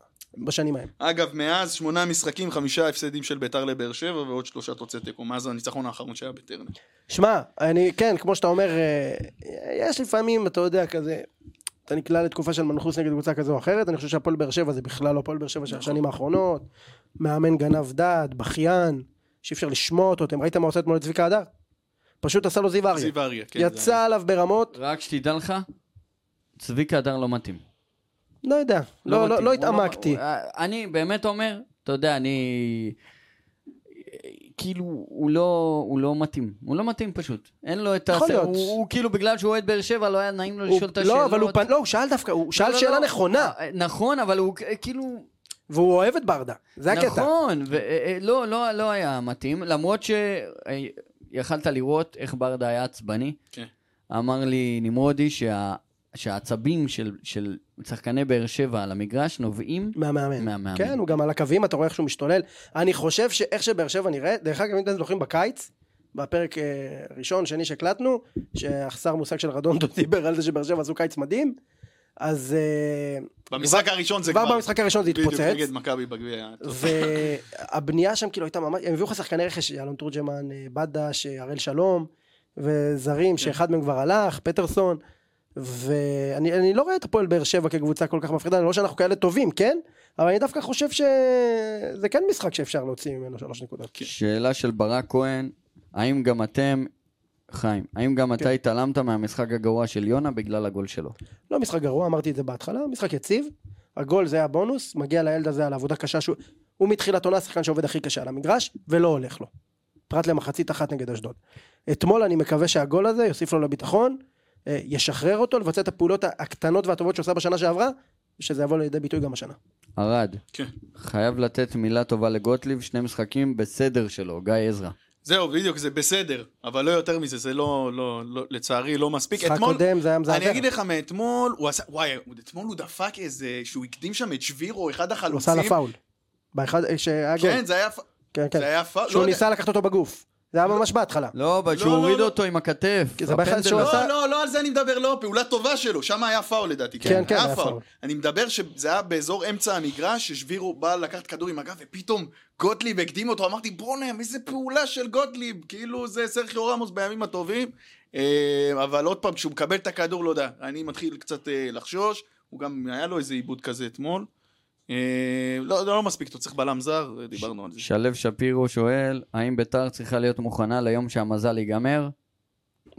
[SPEAKER 3] בשנים ההם.
[SPEAKER 4] אגב, מאז שמונה משחקים, חמישה הפסדים של ביתר לבאר שבע ועוד שלושה תוצאי תיקו. מאז הניצחון האחרון שהיה בטרנר.
[SPEAKER 3] שמע, אני, כן, כמו שאתה אומר, אה, יש לפעמים, אתה יודע, כזה, אתה נקלע לתקופה של מנחוס נגד קבוצה כזו או אחרת, אני חושב שהפועל באר שבע זה בכלל לא הפועל באר שבע של השנים האחרונות, מאמן גנב דעת, בכיין, שאי אפשר לשמוע אותו, אתם ראיתם מה עושה אתמול את צביקה הדר? פשוט עשה לו זיו אריה.
[SPEAKER 4] זיו אריה, כן. זה
[SPEAKER 3] יצא
[SPEAKER 4] היה.
[SPEAKER 3] עליו ברמות,
[SPEAKER 2] רק שתדע לך, צביקה הדר לא מתאים.
[SPEAKER 3] לא יודע, לא-
[SPEAKER 2] מתאים.
[SPEAKER 3] לא לא
[SPEAKER 2] הוא
[SPEAKER 3] התעמקתי.
[SPEAKER 2] הוא- אה, אני באמת אומר, אתה יודע, אני... כאילו, הוא לא, הוא לא מתאים. הוא לא מתאים פשוט. אין לו את ה...
[SPEAKER 3] יכול להיות.
[SPEAKER 2] הוא, הוא כאילו, בגלל שהוא אוהד באר שבע, לא היה נעים לו
[SPEAKER 3] הוא-
[SPEAKER 2] לשאול את השאלות.
[SPEAKER 3] לא, אבל הוא פנ- לא, הוא שאל דווקא, הוא
[SPEAKER 2] לא,
[SPEAKER 3] שאל
[SPEAKER 2] לא,
[SPEAKER 3] שאלה
[SPEAKER 2] לא.
[SPEAKER 3] נכונה,
[SPEAKER 2] אה, נכון, אבל הוא כ- כאילו...
[SPEAKER 3] והוא אוהב את ברדה, זה הקטע.
[SPEAKER 2] נכון, ו- אה, אה, לא, לא, לא היה מתאים, למרות שיכלת לראות איך ברדה היה עצבני.
[SPEAKER 4] כן.
[SPEAKER 2] אמר לי נמרודי שה... שהעצבים של, של שחקני באר שבע על המגרש נובעים...
[SPEAKER 3] מהמאמן.
[SPEAKER 2] מהמאמן.
[SPEAKER 3] כן, הוא גם על הקווים, אתה רואה איך שהוא משתולל. אני חושב שאיך שבאר שבע נראית, דרך אגב, אם אתם זוכרים בקיץ, בפרק אה, ראשון, שני שהקלטנו, שהחסר מושג של רדונדו דיבר על זה שבאר שבע עשו קיץ מדהים, אז אה,
[SPEAKER 4] במשחק הראשון זה כבר...
[SPEAKER 3] כבר במשחק הראשון זה
[SPEAKER 4] בדיוק,
[SPEAKER 3] התפוצץ.
[SPEAKER 4] נגד מכבי בגביע.
[SPEAKER 3] והבנייה שם כאילו הייתה ממש, הם הביאו לך שחקני רכש, אלון תורג'מן, אה, בדש, אה, הראל שלום, וזרים שאחד מהם כבר הלך, פטרסון, ואני אני לא רואה את הפועל באר שבע כקבוצה כל כך מפחידה, לא שאנחנו כאלה טובים, כן? אבל אני דווקא חושב שזה כן משחק שאפשר להוציא ממנו שלוש נקודות.
[SPEAKER 2] כן. שאלה של ברק כהן, האם גם אתם, חיים, האם גם אתה התעלמת מהמשחק הגרוע של יונה בגלל הגול שלו?
[SPEAKER 3] לא משחק גרוע, אמרתי את זה בהתחלה, משחק יציב, הגול זה הבונוס, מגיע לילד הזה על עבודה קשה שהוא, הוא מתחילת עונה השחקן שעובד הכי קשה על המגרש, ולא הולך לו. פרט למחצית אחת נגד אשדוד. אתמול אני מקווה שהגול הזה יוסיף לו לביטחון, אה, ישחרר אותו, לבצע את הפעולות הקטנות והטובות שהוא עשה בשנה שעברה, ושזה יבוא לידי ביטוי גם השנה.
[SPEAKER 2] ארד,
[SPEAKER 4] כן.
[SPEAKER 2] חייב לתת מילה טובה לגוטליב, שני משחקים בסדר שלו, גיא עזרא.
[SPEAKER 4] זהו, בדיוק, זה בסדר, אבל לא יותר מזה, זה לא, לא, לא לצערי, לא מספיק.
[SPEAKER 3] משחק קודם זה היה מזעזע.
[SPEAKER 4] אני אגיד לך, מאתמול, הוא עשה, וואי, אתמול הוא דפק איזה, שהוא הקדים שם את שבירו, אחד
[SPEAKER 3] הוא
[SPEAKER 4] החלוצים.
[SPEAKER 3] עשה לה פאול. באחד, אה, שהיה גול.
[SPEAKER 4] כן, זה היה, פ-
[SPEAKER 3] כן,
[SPEAKER 4] זה היה פאול,
[SPEAKER 3] שהוא
[SPEAKER 4] לא יודע.
[SPEAKER 3] ניסה לקחת אותו בגוף. זה היה ממש בהתחלה.
[SPEAKER 2] לא, אבל שהוא
[SPEAKER 4] לא,
[SPEAKER 2] הוריד
[SPEAKER 4] לא.
[SPEAKER 2] אותו עם הכתף.
[SPEAKER 3] כי זה באחד
[SPEAKER 2] הפנדל
[SPEAKER 3] שהוא
[SPEAKER 2] הזה.
[SPEAKER 3] עשה-
[SPEAKER 4] לא, לא, לא על זה אני מדבר, לא, פעולה טובה שלו, שם היה פאול לדעתי.
[SPEAKER 3] כן, כן, היה
[SPEAKER 4] היה
[SPEAKER 3] פאול.
[SPEAKER 4] פאול. אני מדבר שזה היה באזור אמצע המגרש, ששבירו בא לקחת כדור עם הגב, ופתאום גוטליב הקדים אותו, אמרתי, בואנה, איזה פעולה של גוטליב, כאילו זה סרחיו רמוס בימים הטובים. אה, אבל עוד פעם, כשהוא מקבל את הכדור, לא יודע, אני מתחיל קצת אה, לחשוש, הוא גם, היה לו איזה עיבוד כזה אתמול. אה, לא, לא מספיק, אתה צריך בלם זר, דיברנו על זה.
[SPEAKER 2] שלו שפירו שואל, האם ביתר צריכה להיות מוכנה ליום שהמזל ייגמר?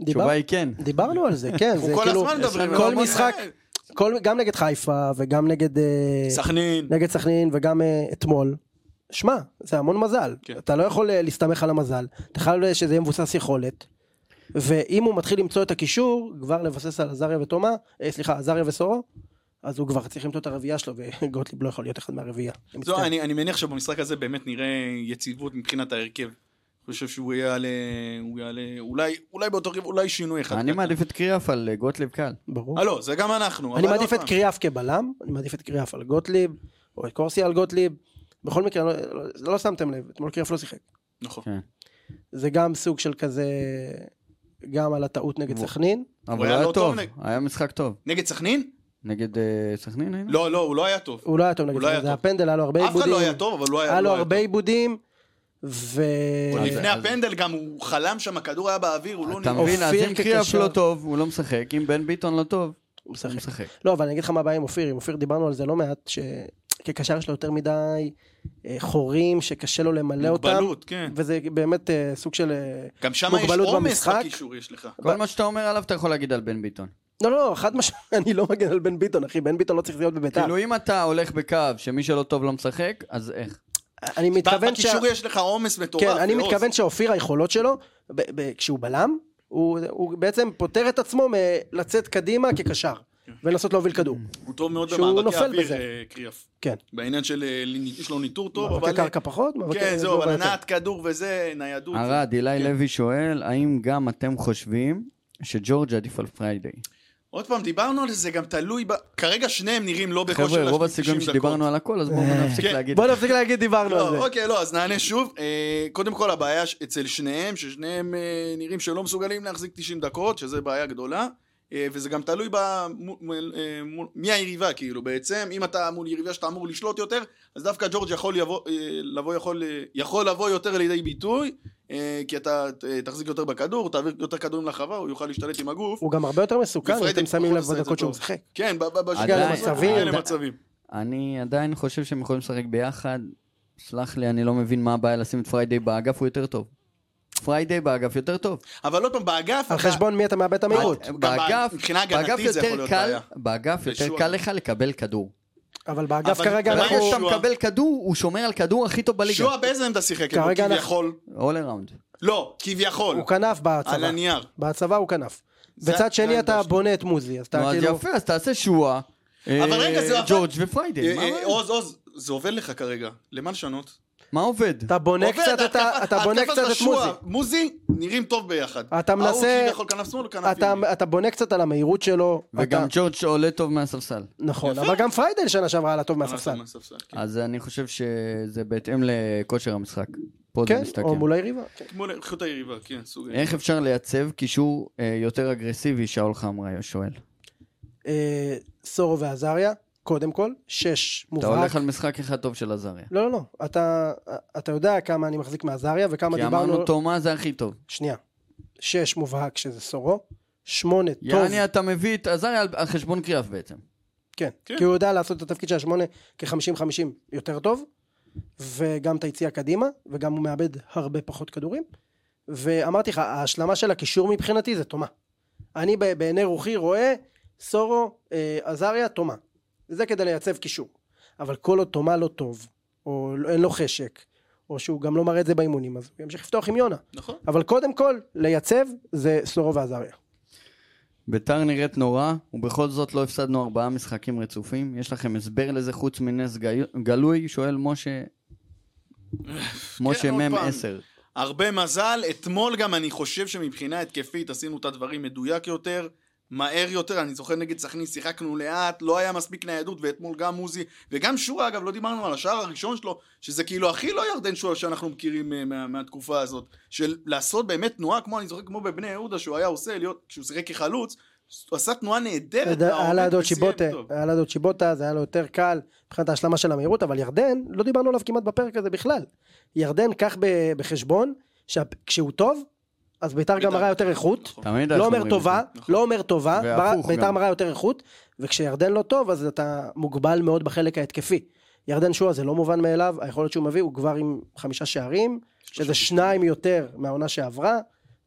[SPEAKER 3] דיבר-
[SPEAKER 2] התשובה היא כן.
[SPEAKER 3] דיברנו על זה, כן. זה
[SPEAKER 4] הוא כל
[SPEAKER 3] כאילו-
[SPEAKER 4] הזמן מדברים.
[SPEAKER 3] כל
[SPEAKER 4] אבל בוא
[SPEAKER 3] משחק-
[SPEAKER 4] נראה.
[SPEAKER 3] כל- גם נגד חיפה וגם נגד... אה,
[SPEAKER 4] סכנין.
[SPEAKER 3] נגד סכנין וגם אה, אתמול. שמע, זה המון מזל.
[SPEAKER 4] כן.
[SPEAKER 3] אתה לא יכול אה, להסתמך על המזל. אתה חייב אה, שזה יהיה מבוסס יכולת. ואם הוא מתחיל למצוא את הקישור, כבר לבסס על עזריה ותומה, אה, סליחה, עזריה וסורו, אז הוא כבר צריך למצוא את הרביעייה שלו, וגוטליב לא יכול להיות אחד מהרביעייה. אני מצטער.
[SPEAKER 4] זו, לא, אני, אני מניח שבמשחק הזה באמת נראה יציבות מבחינת ההרכב. אני חושב שהוא יעלה, הוא יעלה, אולי, אולי באותו רכב, אולי שינוי אחד.
[SPEAKER 2] אני מעדיף את קריאף על אה, גוטליב קל.
[SPEAKER 3] ברור.
[SPEAKER 4] אה לא, זה גם אנחנו.
[SPEAKER 3] אני
[SPEAKER 4] אבל
[SPEAKER 3] מעדיף
[SPEAKER 4] עוד פעם.
[SPEAKER 3] את קריאף כבלם, אני מעדיף את קריאף על גוטליב, או את קורסיה על גוטליב. בכל מקרה, לא- לא- לא שמתם לב, אתמול קריאף לא שיחק.
[SPEAKER 4] נכון.
[SPEAKER 2] כן.
[SPEAKER 3] זה גם סוג של כזה, גם על הטעות נגד
[SPEAKER 2] הוא-
[SPEAKER 3] סכנין.
[SPEAKER 2] אבל
[SPEAKER 4] היה
[SPEAKER 2] היה
[SPEAKER 4] לא
[SPEAKER 2] טוב,
[SPEAKER 4] טוב נג-
[SPEAKER 2] היה משחק טוב.
[SPEAKER 4] נגד סכנין?
[SPEAKER 2] נגד אה, סכנין היינו?
[SPEAKER 4] לא, לא, הוא לא היה טוב.
[SPEAKER 3] הוא לא היה טוב נגד
[SPEAKER 4] הוא לא היה
[SPEAKER 3] סכנין, זה היה
[SPEAKER 4] טוב.
[SPEAKER 3] פנדל, היה לו הרבה
[SPEAKER 4] אף אחד
[SPEAKER 3] עיבודים.
[SPEAKER 4] לא היה טוב, אבל לא היה
[SPEAKER 3] היה לו
[SPEAKER 4] לא
[SPEAKER 3] הרבה
[SPEAKER 4] טוב.
[SPEAKER 3] עיבודים, ו...
[SPEAKER 4] עוד לפני
[SPEAKER 2] אז-
[SPEAKER 4] הפנדל גם הוא חלם שם, הכדור היה באוויר, הוא לא
[SPEAKER 2] אתה
[SPEAKER 4] נראה.
[SPEAKER 2] מבין, אז
[SPEAKER 3] אופיר
[SPEAKER 2] אם קריאף
[SPEAKER 3] כקשר.
[SPEAKER 2] לא טוב, הוא לא משחק, אם בן ביטון לא טוב,
[SPEAKER 3] הוא
[SPEAKER 2] הוא
[SPEAKER 3] משחק.
[SPEAKER 2] משחק.
[SPEAKER 3] לא, אבל אני אגיד לך מה הבעיה עם אופיר, עם אופיר דיברנו על זה לא מעט, שכקשר יש לו יותר מדי אה, חורים שקשה לו למלא אותם,
[SPEAKER 4] מוגבלות, כן.
[SPEAKER 3] וזה באמת אה, סוג של... אה,
[SPEAKER 4] גם שם יש
[SPEAKER 3] מוגבלות
[SPEAKER 4] עומס
[SPEAKER 3] במשחק.
[SPEAKER 4] בקישור יש לך.
[SPEAKER 2] כל מה שאתה אומר עליו אתה יכול להגיד על בן ביטון.
[SPEAKER 3] לא, לא, חד משמעית, אני לא מגן על בן ביטון, אחי, בן ביטון לא צריך להיות בביתר.
[SPEAKER 2] כאילו אם אתה הולך בקו שמי שלא טוב לא משחק, אז איך?
[SPEAKER 3] אני מתכוון שה-
[SPEAKER 4] בקישור יש לך עומס מטורף.
[SPEAKER 3] כן, אני
[SPEAKER 4] ועוז.
[SPEAKER 3] מתכוון שאופיר היכולות שלו, ב- ב- כשהוא בלם, הוא הוא בעצם פוטר את עצמו מלצאת קדימה כקשר, ולנסות להוביל כדור.
[SPEAKER 4] הוא טוב מאוד
[SPEAKER 3] שהוא
[SPEAKER 4] במאבקי
[SPEAKER 3] נופל
[SPEAKER 4] אוויר,
[SPEAKER 3] בזה.
[SPEAKER 4] אה, קריאף.
[SPEAKER 3] כן.
[SPEAKER 4] בעניין של, אה, יש לו ניטור טוב,
[SPEAKER 3] מאבקי
[SPEAKER 4] אבל... אה,
[SPEAKER 3] קרקע פחות? מאבקי-
[SPEAKER 4] כן, זהו,
[SPEAKER 3] לא
[SPEAKER 4] אבל
[SPEAKER 3] בעיה.
[SPEAKER 4] הנעת כדור וזה, ניידות.
[SPEAKER 2] ערד, אילי
[SPEAKER 4] כן.
[SPEAKER 2] לוי שואל, האם גם אתם חושבים שג'ורג' עדיף על פריידי?
[SPEAKER 4] עוד פעם, דיברנו על זה, זה גם תלוי ב... כרגע שניהם נראים לא בכושר
[SPEAKER 2] חבר'ה, רוב
[SPEAKER 4] ל- 90
[SPEAKER 2] הסיכויים
[SPEAKER 4] דקות.
[SPEAKER 2] שדיברנו על הכל, אז בואו נפסיק
[SPEAKER 4] כן,
[SPEAKER 2] להגיד.
[SPEAKER 3] בוא נפסיק להגיד דיברנו על זה.
[SPEAKER 4] לא, אוקיי, לא, אז נענה שוב. אה, קודם כל, הבעיה ש- אצל שניהם, ששניהם אה, נראים שלא מסוגלים להחזיק 90 דקות, שזה בעיה גדולה. אה, וזה גם תלוי ב... מול- מול- אה, מול- מי היריבה, כאילו, בעצם. אם אתה מול יריבה שאתה אמור לשלוט יותר, אז דווקא ג'ורג' יכול לבוא, אה, לבוא, יכול, אה, יכול לבוא יותר לידי ביטוי, אה, כי אתה אה, תחזיק יותר בכדור, תעביר יותר כדורים לחווה, הוא יוכל להשתלט עם הגוף.
[SPEAKER 3] הוא גם הרבה יותר מסוכן, אם
[SPEAKER 4] ופריידי
[SPEAKER 3] אתם שמים
[SPEAKER 4] פחות
[SPEAKER 3] לב
[SPEAKER 4] עושה את זה
[SPEAKER 3] בדקות שהוא
[SPEAKER 4] טוב.
[SPEAKER 3] משחק.
[SPEAKER 4] כן, ב- ב- בשגגה
[SPEAKER 2] עדיין,
[SPEAKER 4] למצבים.
[SPEAKER 2] עדיין.
[SPEAKER 4] למצבים.
[SPEAKER 2] אני עדיין חושב שהם יכולים לשחק ביחד. סלח לי, אני לא מבין מה הבעיה לשים את פריידי באגף, הוא יותר טוב. פריידי באגף יותר טוב.
[SPEAKER 4] אבל עוד פעם, באגף...
[SPEAKER 3] על
[SPEAKER 4] אתה-
[SPEAKER 3] חשבון מי אתה מאבד את המהירות.
[SPEAKER 4] גם
[SPEAKER 2] אה, באגף,
[SPEAKER 4] מבחינה הגנתית
[SPEAKER 2] באגף
[SPEAKER 4] זה יכול
[SPEAKER 2] יותר
[SPEAKER 4] להיות
[SPEAKER 2] קל,
[SPEAKER 4] בעיה.
[SPEAKER 2] באגף יותר
[SPEAKER 4] ושוע.
[SPEAKER 2] קל לך לקבל כדור.
[SPEAKER 3] אבל באגף
[SPEAKER 4] אבל-
[SPEAKER 3] כרגע
[SPEAKER 4] אבל
[SPEAKER 2] ברגע
[SPEAKER 3] אנחנו...
[SPEAKER 2] שאתה
[SPEAKER 4] שועה.
[SPEAKER 2] מקבל כדור, הוא שומר על כדור הכי טוב בליגה.
[SPEAKER 4] שועה באיזה עמדה שיחק? אתמול?
[SPEAKER 3] כרגע אנחנו-
[SPEAKER 4] כביכול.
[SPEAKER 2] אול אראונד.
[SPEAKER 4] לא, כביכול.
[SPEAKER 3] הוא כן, כנף
[SPEAKER 4] על
[SPEAKER 3] בהצבה.
[SPEAKER 4] הנייר.
[SPEAKER 3] בהצבה הוא כנף.
[SPEAKER 4] זה-
[SPEAKER 3] בצד
[SPEAKER 4] זה
[SPEAKER 3] שני אתה
[SPEAKER 4] העמדה שלי.
[SPEAKER 3] בונה את מוזי, אז אתה
[SPEAKER 2] נו, אז
[SPEAKER 3] כאילו...
[SPEAKER 2] יפה, אז תעשה שועה.
[SPEAKER 4] אבל
[SPEAKER 2] אה,
[SPEAKER 4] רגע, זה עבד.
[SPEAKER 2] ג'ורג'
[SPEAKER 4] אה,
[SPEAKER 2] ופריידי, מה
[SPEAKER 4] אה,
[SPEAKER 2] הבעיה?
[SPEAKER 4] עוז, עוז, זה עובד לך כרגע. למה לשנות?
[SPEAKER 2] מה עובד?
[SPEAKER 3] אתה בונה
[SPEAKER 4] עובד,
[SPEAKER 3] קצת את ה-
[SPEAKER 4] התקפה-
[SPEAKER 3] אתה בונה
[SPEAKER 4] התקפה
[SPEAKER 3] קצת
[SPEAKER 4] של
[SPEAKER 3] את מוזי.
[SPEAKER 4] שועה. מוזי, נראים טוב ביחד.
[SPEAKER 3] אתה מנסה-
[SPEAKER 4] ההוא כביכול כנף שמאל, כנף
[SPEAKER 3] אתה-
[SPEAKER 4] ימין.
[SPEAKER 3] אתה בונה קצת על המהירות שלו.
[SPEAKER 2] וגם
[SPEAKER 3] אתה-
[SPEAKER 2] ג'ורג' עולה טוב מהספסל.
[SPEAKER 3] נכון, אבל גם פריידל שנה שעברה עלה טוב מהספסל.
[SPEAKER 4] מהספסל, כן.
[SPEAKER 2] אז אני חושב שזה בהתאם לכושר המשחק. פה זה
[SPEAKER 3] כן,
[SPEAKER 2] מסתכם.
[SPEAKER 3] או מול היריבה. כן.
[SPEAKER 4] מול איכות היריבה, כן, סוג...
[SPEAKER 3] אה?
[SPEAKER 2] איך אפשר לייצב קישור אה, יותר אגרסיבי, שאול חמרה שואל.
[SPEAKER 3] אה, סורו ועזריה, קודם כל, שש
[SPEAKER 2] אתה
[SPEAKER 3] מובהק.
[SPEAKER 2] הולך על משחק אחד טוב של עזריה.
[SPEAKER 3] לא, לא, לא. אתה- אתה יודע כמה אני מחזיק מעזריה וכמה
[SPEAKER 2] כי
[SPEAKER 3] דיברנו...
[SPEAKER 2] אמרנו תומה זה הכי טוב.
[SPEAKER 3] שנייה. שש מובהק שזה סורו. שמונה, טוב.
[SPEAKER 2] יעני אתה מביא את עזריה על- על חשבון קריאף בעצם.
[SPEAKER 3] כן,
[SPEAKER 4] כן.
[SPEAKER 3] כי הוא יודע לעשות את התפקיד של השמונה כ-50-50 יותר טוב, וגם את היציאה קדימה, וגם הוא מאבד הרבה פחות כדורים. ואמרתי לך, ההשלמה של הקישור מבחינתי זה תומה. אני ב- בעיני רוחי רואה סורו, אה, עזריה, תומה. זה כדי לייצב קישור. אבל כל עוד תומה לא טוב, או לא- אין לו חשק, או שהוא גם לא מראה את זה באימונים, אז הוא ימשיך לפתוח עם יונה.
[SPEAKER 4] נכון.
[SPEAKER 3] אבל קודם כל, לייצב זה סורו ועזריה.
[SPEAKER 2] ביתר נראית נורא, ובכל זאת לא הפסדנו ארבעה משחקים רצופים. יש לכם הסבר לזה חוץ מנס גי- גלוי? שואל משה... משה
[SPEAKER 4] כן, עוד
[SPEAKER 2] מ'
[SPEAKER 4] פעם.
[SPEAKER 2] 10.
[SPEAKER 4] הרבה מזל. אתמול גם אני חושב שמבחינה התקפית עשינו את הדברים מדויק יותר, מהר יותר. אני זוכר נגד סכנין שיחקנו לאט, לא היה מספיק ניידות, ואתמול גם עוזי, וגם שורה אגב, לא דיברנו על השער הראשון שלו, שזה כאילו הכי לא ירדן שועה שאנחנו מכירים אה, מה, מהתקופה הזאת. של לעשות באמת תנועה, כמו אני זוכר, כמו בבני יהודה, שהוא היה עושה, להיות, כשהוא שיחק כחלוץ, הוא עשה תנועה
[SPEAKER 3] אתה
[SPEAKER 4] נהדרת.
[SPEAKER 3] יודע, היה
[SPEAKER 4] לעומק
[SPEAKER 3] לידו
[SPEAKER 4] וסיים
[SPEAKER 3] צ'יבוטה,
[SPEAKER 4] טוב.
[SPEAKER 3] היה לידו צ'יבוטה, זה היה לו יותר קל מבחינת ההשלמה של המהירות, אבל ירדן, לא דיברנו עליו כמעט בפרק הזה בכלל. ירדן, קח ב- בחשבון, שכשהוא טוב, אז ביתר גם
[SPEAKER 4] בית"ר.
[SPEAKER 3] מראה יותר איכות.
[SPEAKER 4] נכון.
[SPEAKER 2] תמיד אנחנו
[SPEAKER 3] לא אומר
[SPEAKER 2] אומרים
[SPEAKER 3] טובה,
[SPEAKER 2] את זה.
[SPEAKER 4] נכון.
[SPEAKER 3] לא אומר טובה,
[SPEAKER 2] והפוך
[SPEAKER 3] מראה- ביתר
[SPEAKER 2] גם.
[SPEAKER 3] מראה יותר איכות, וכשירדן לא טוב, אז אתה מוגבל מאוד בחלק ההתקפי. ירדן שועה זה לא מובן מאליו, היכולת שהוא מביא הוא כבר עם חמישה שערים, שזה שניים יותר מהעונה שעברה,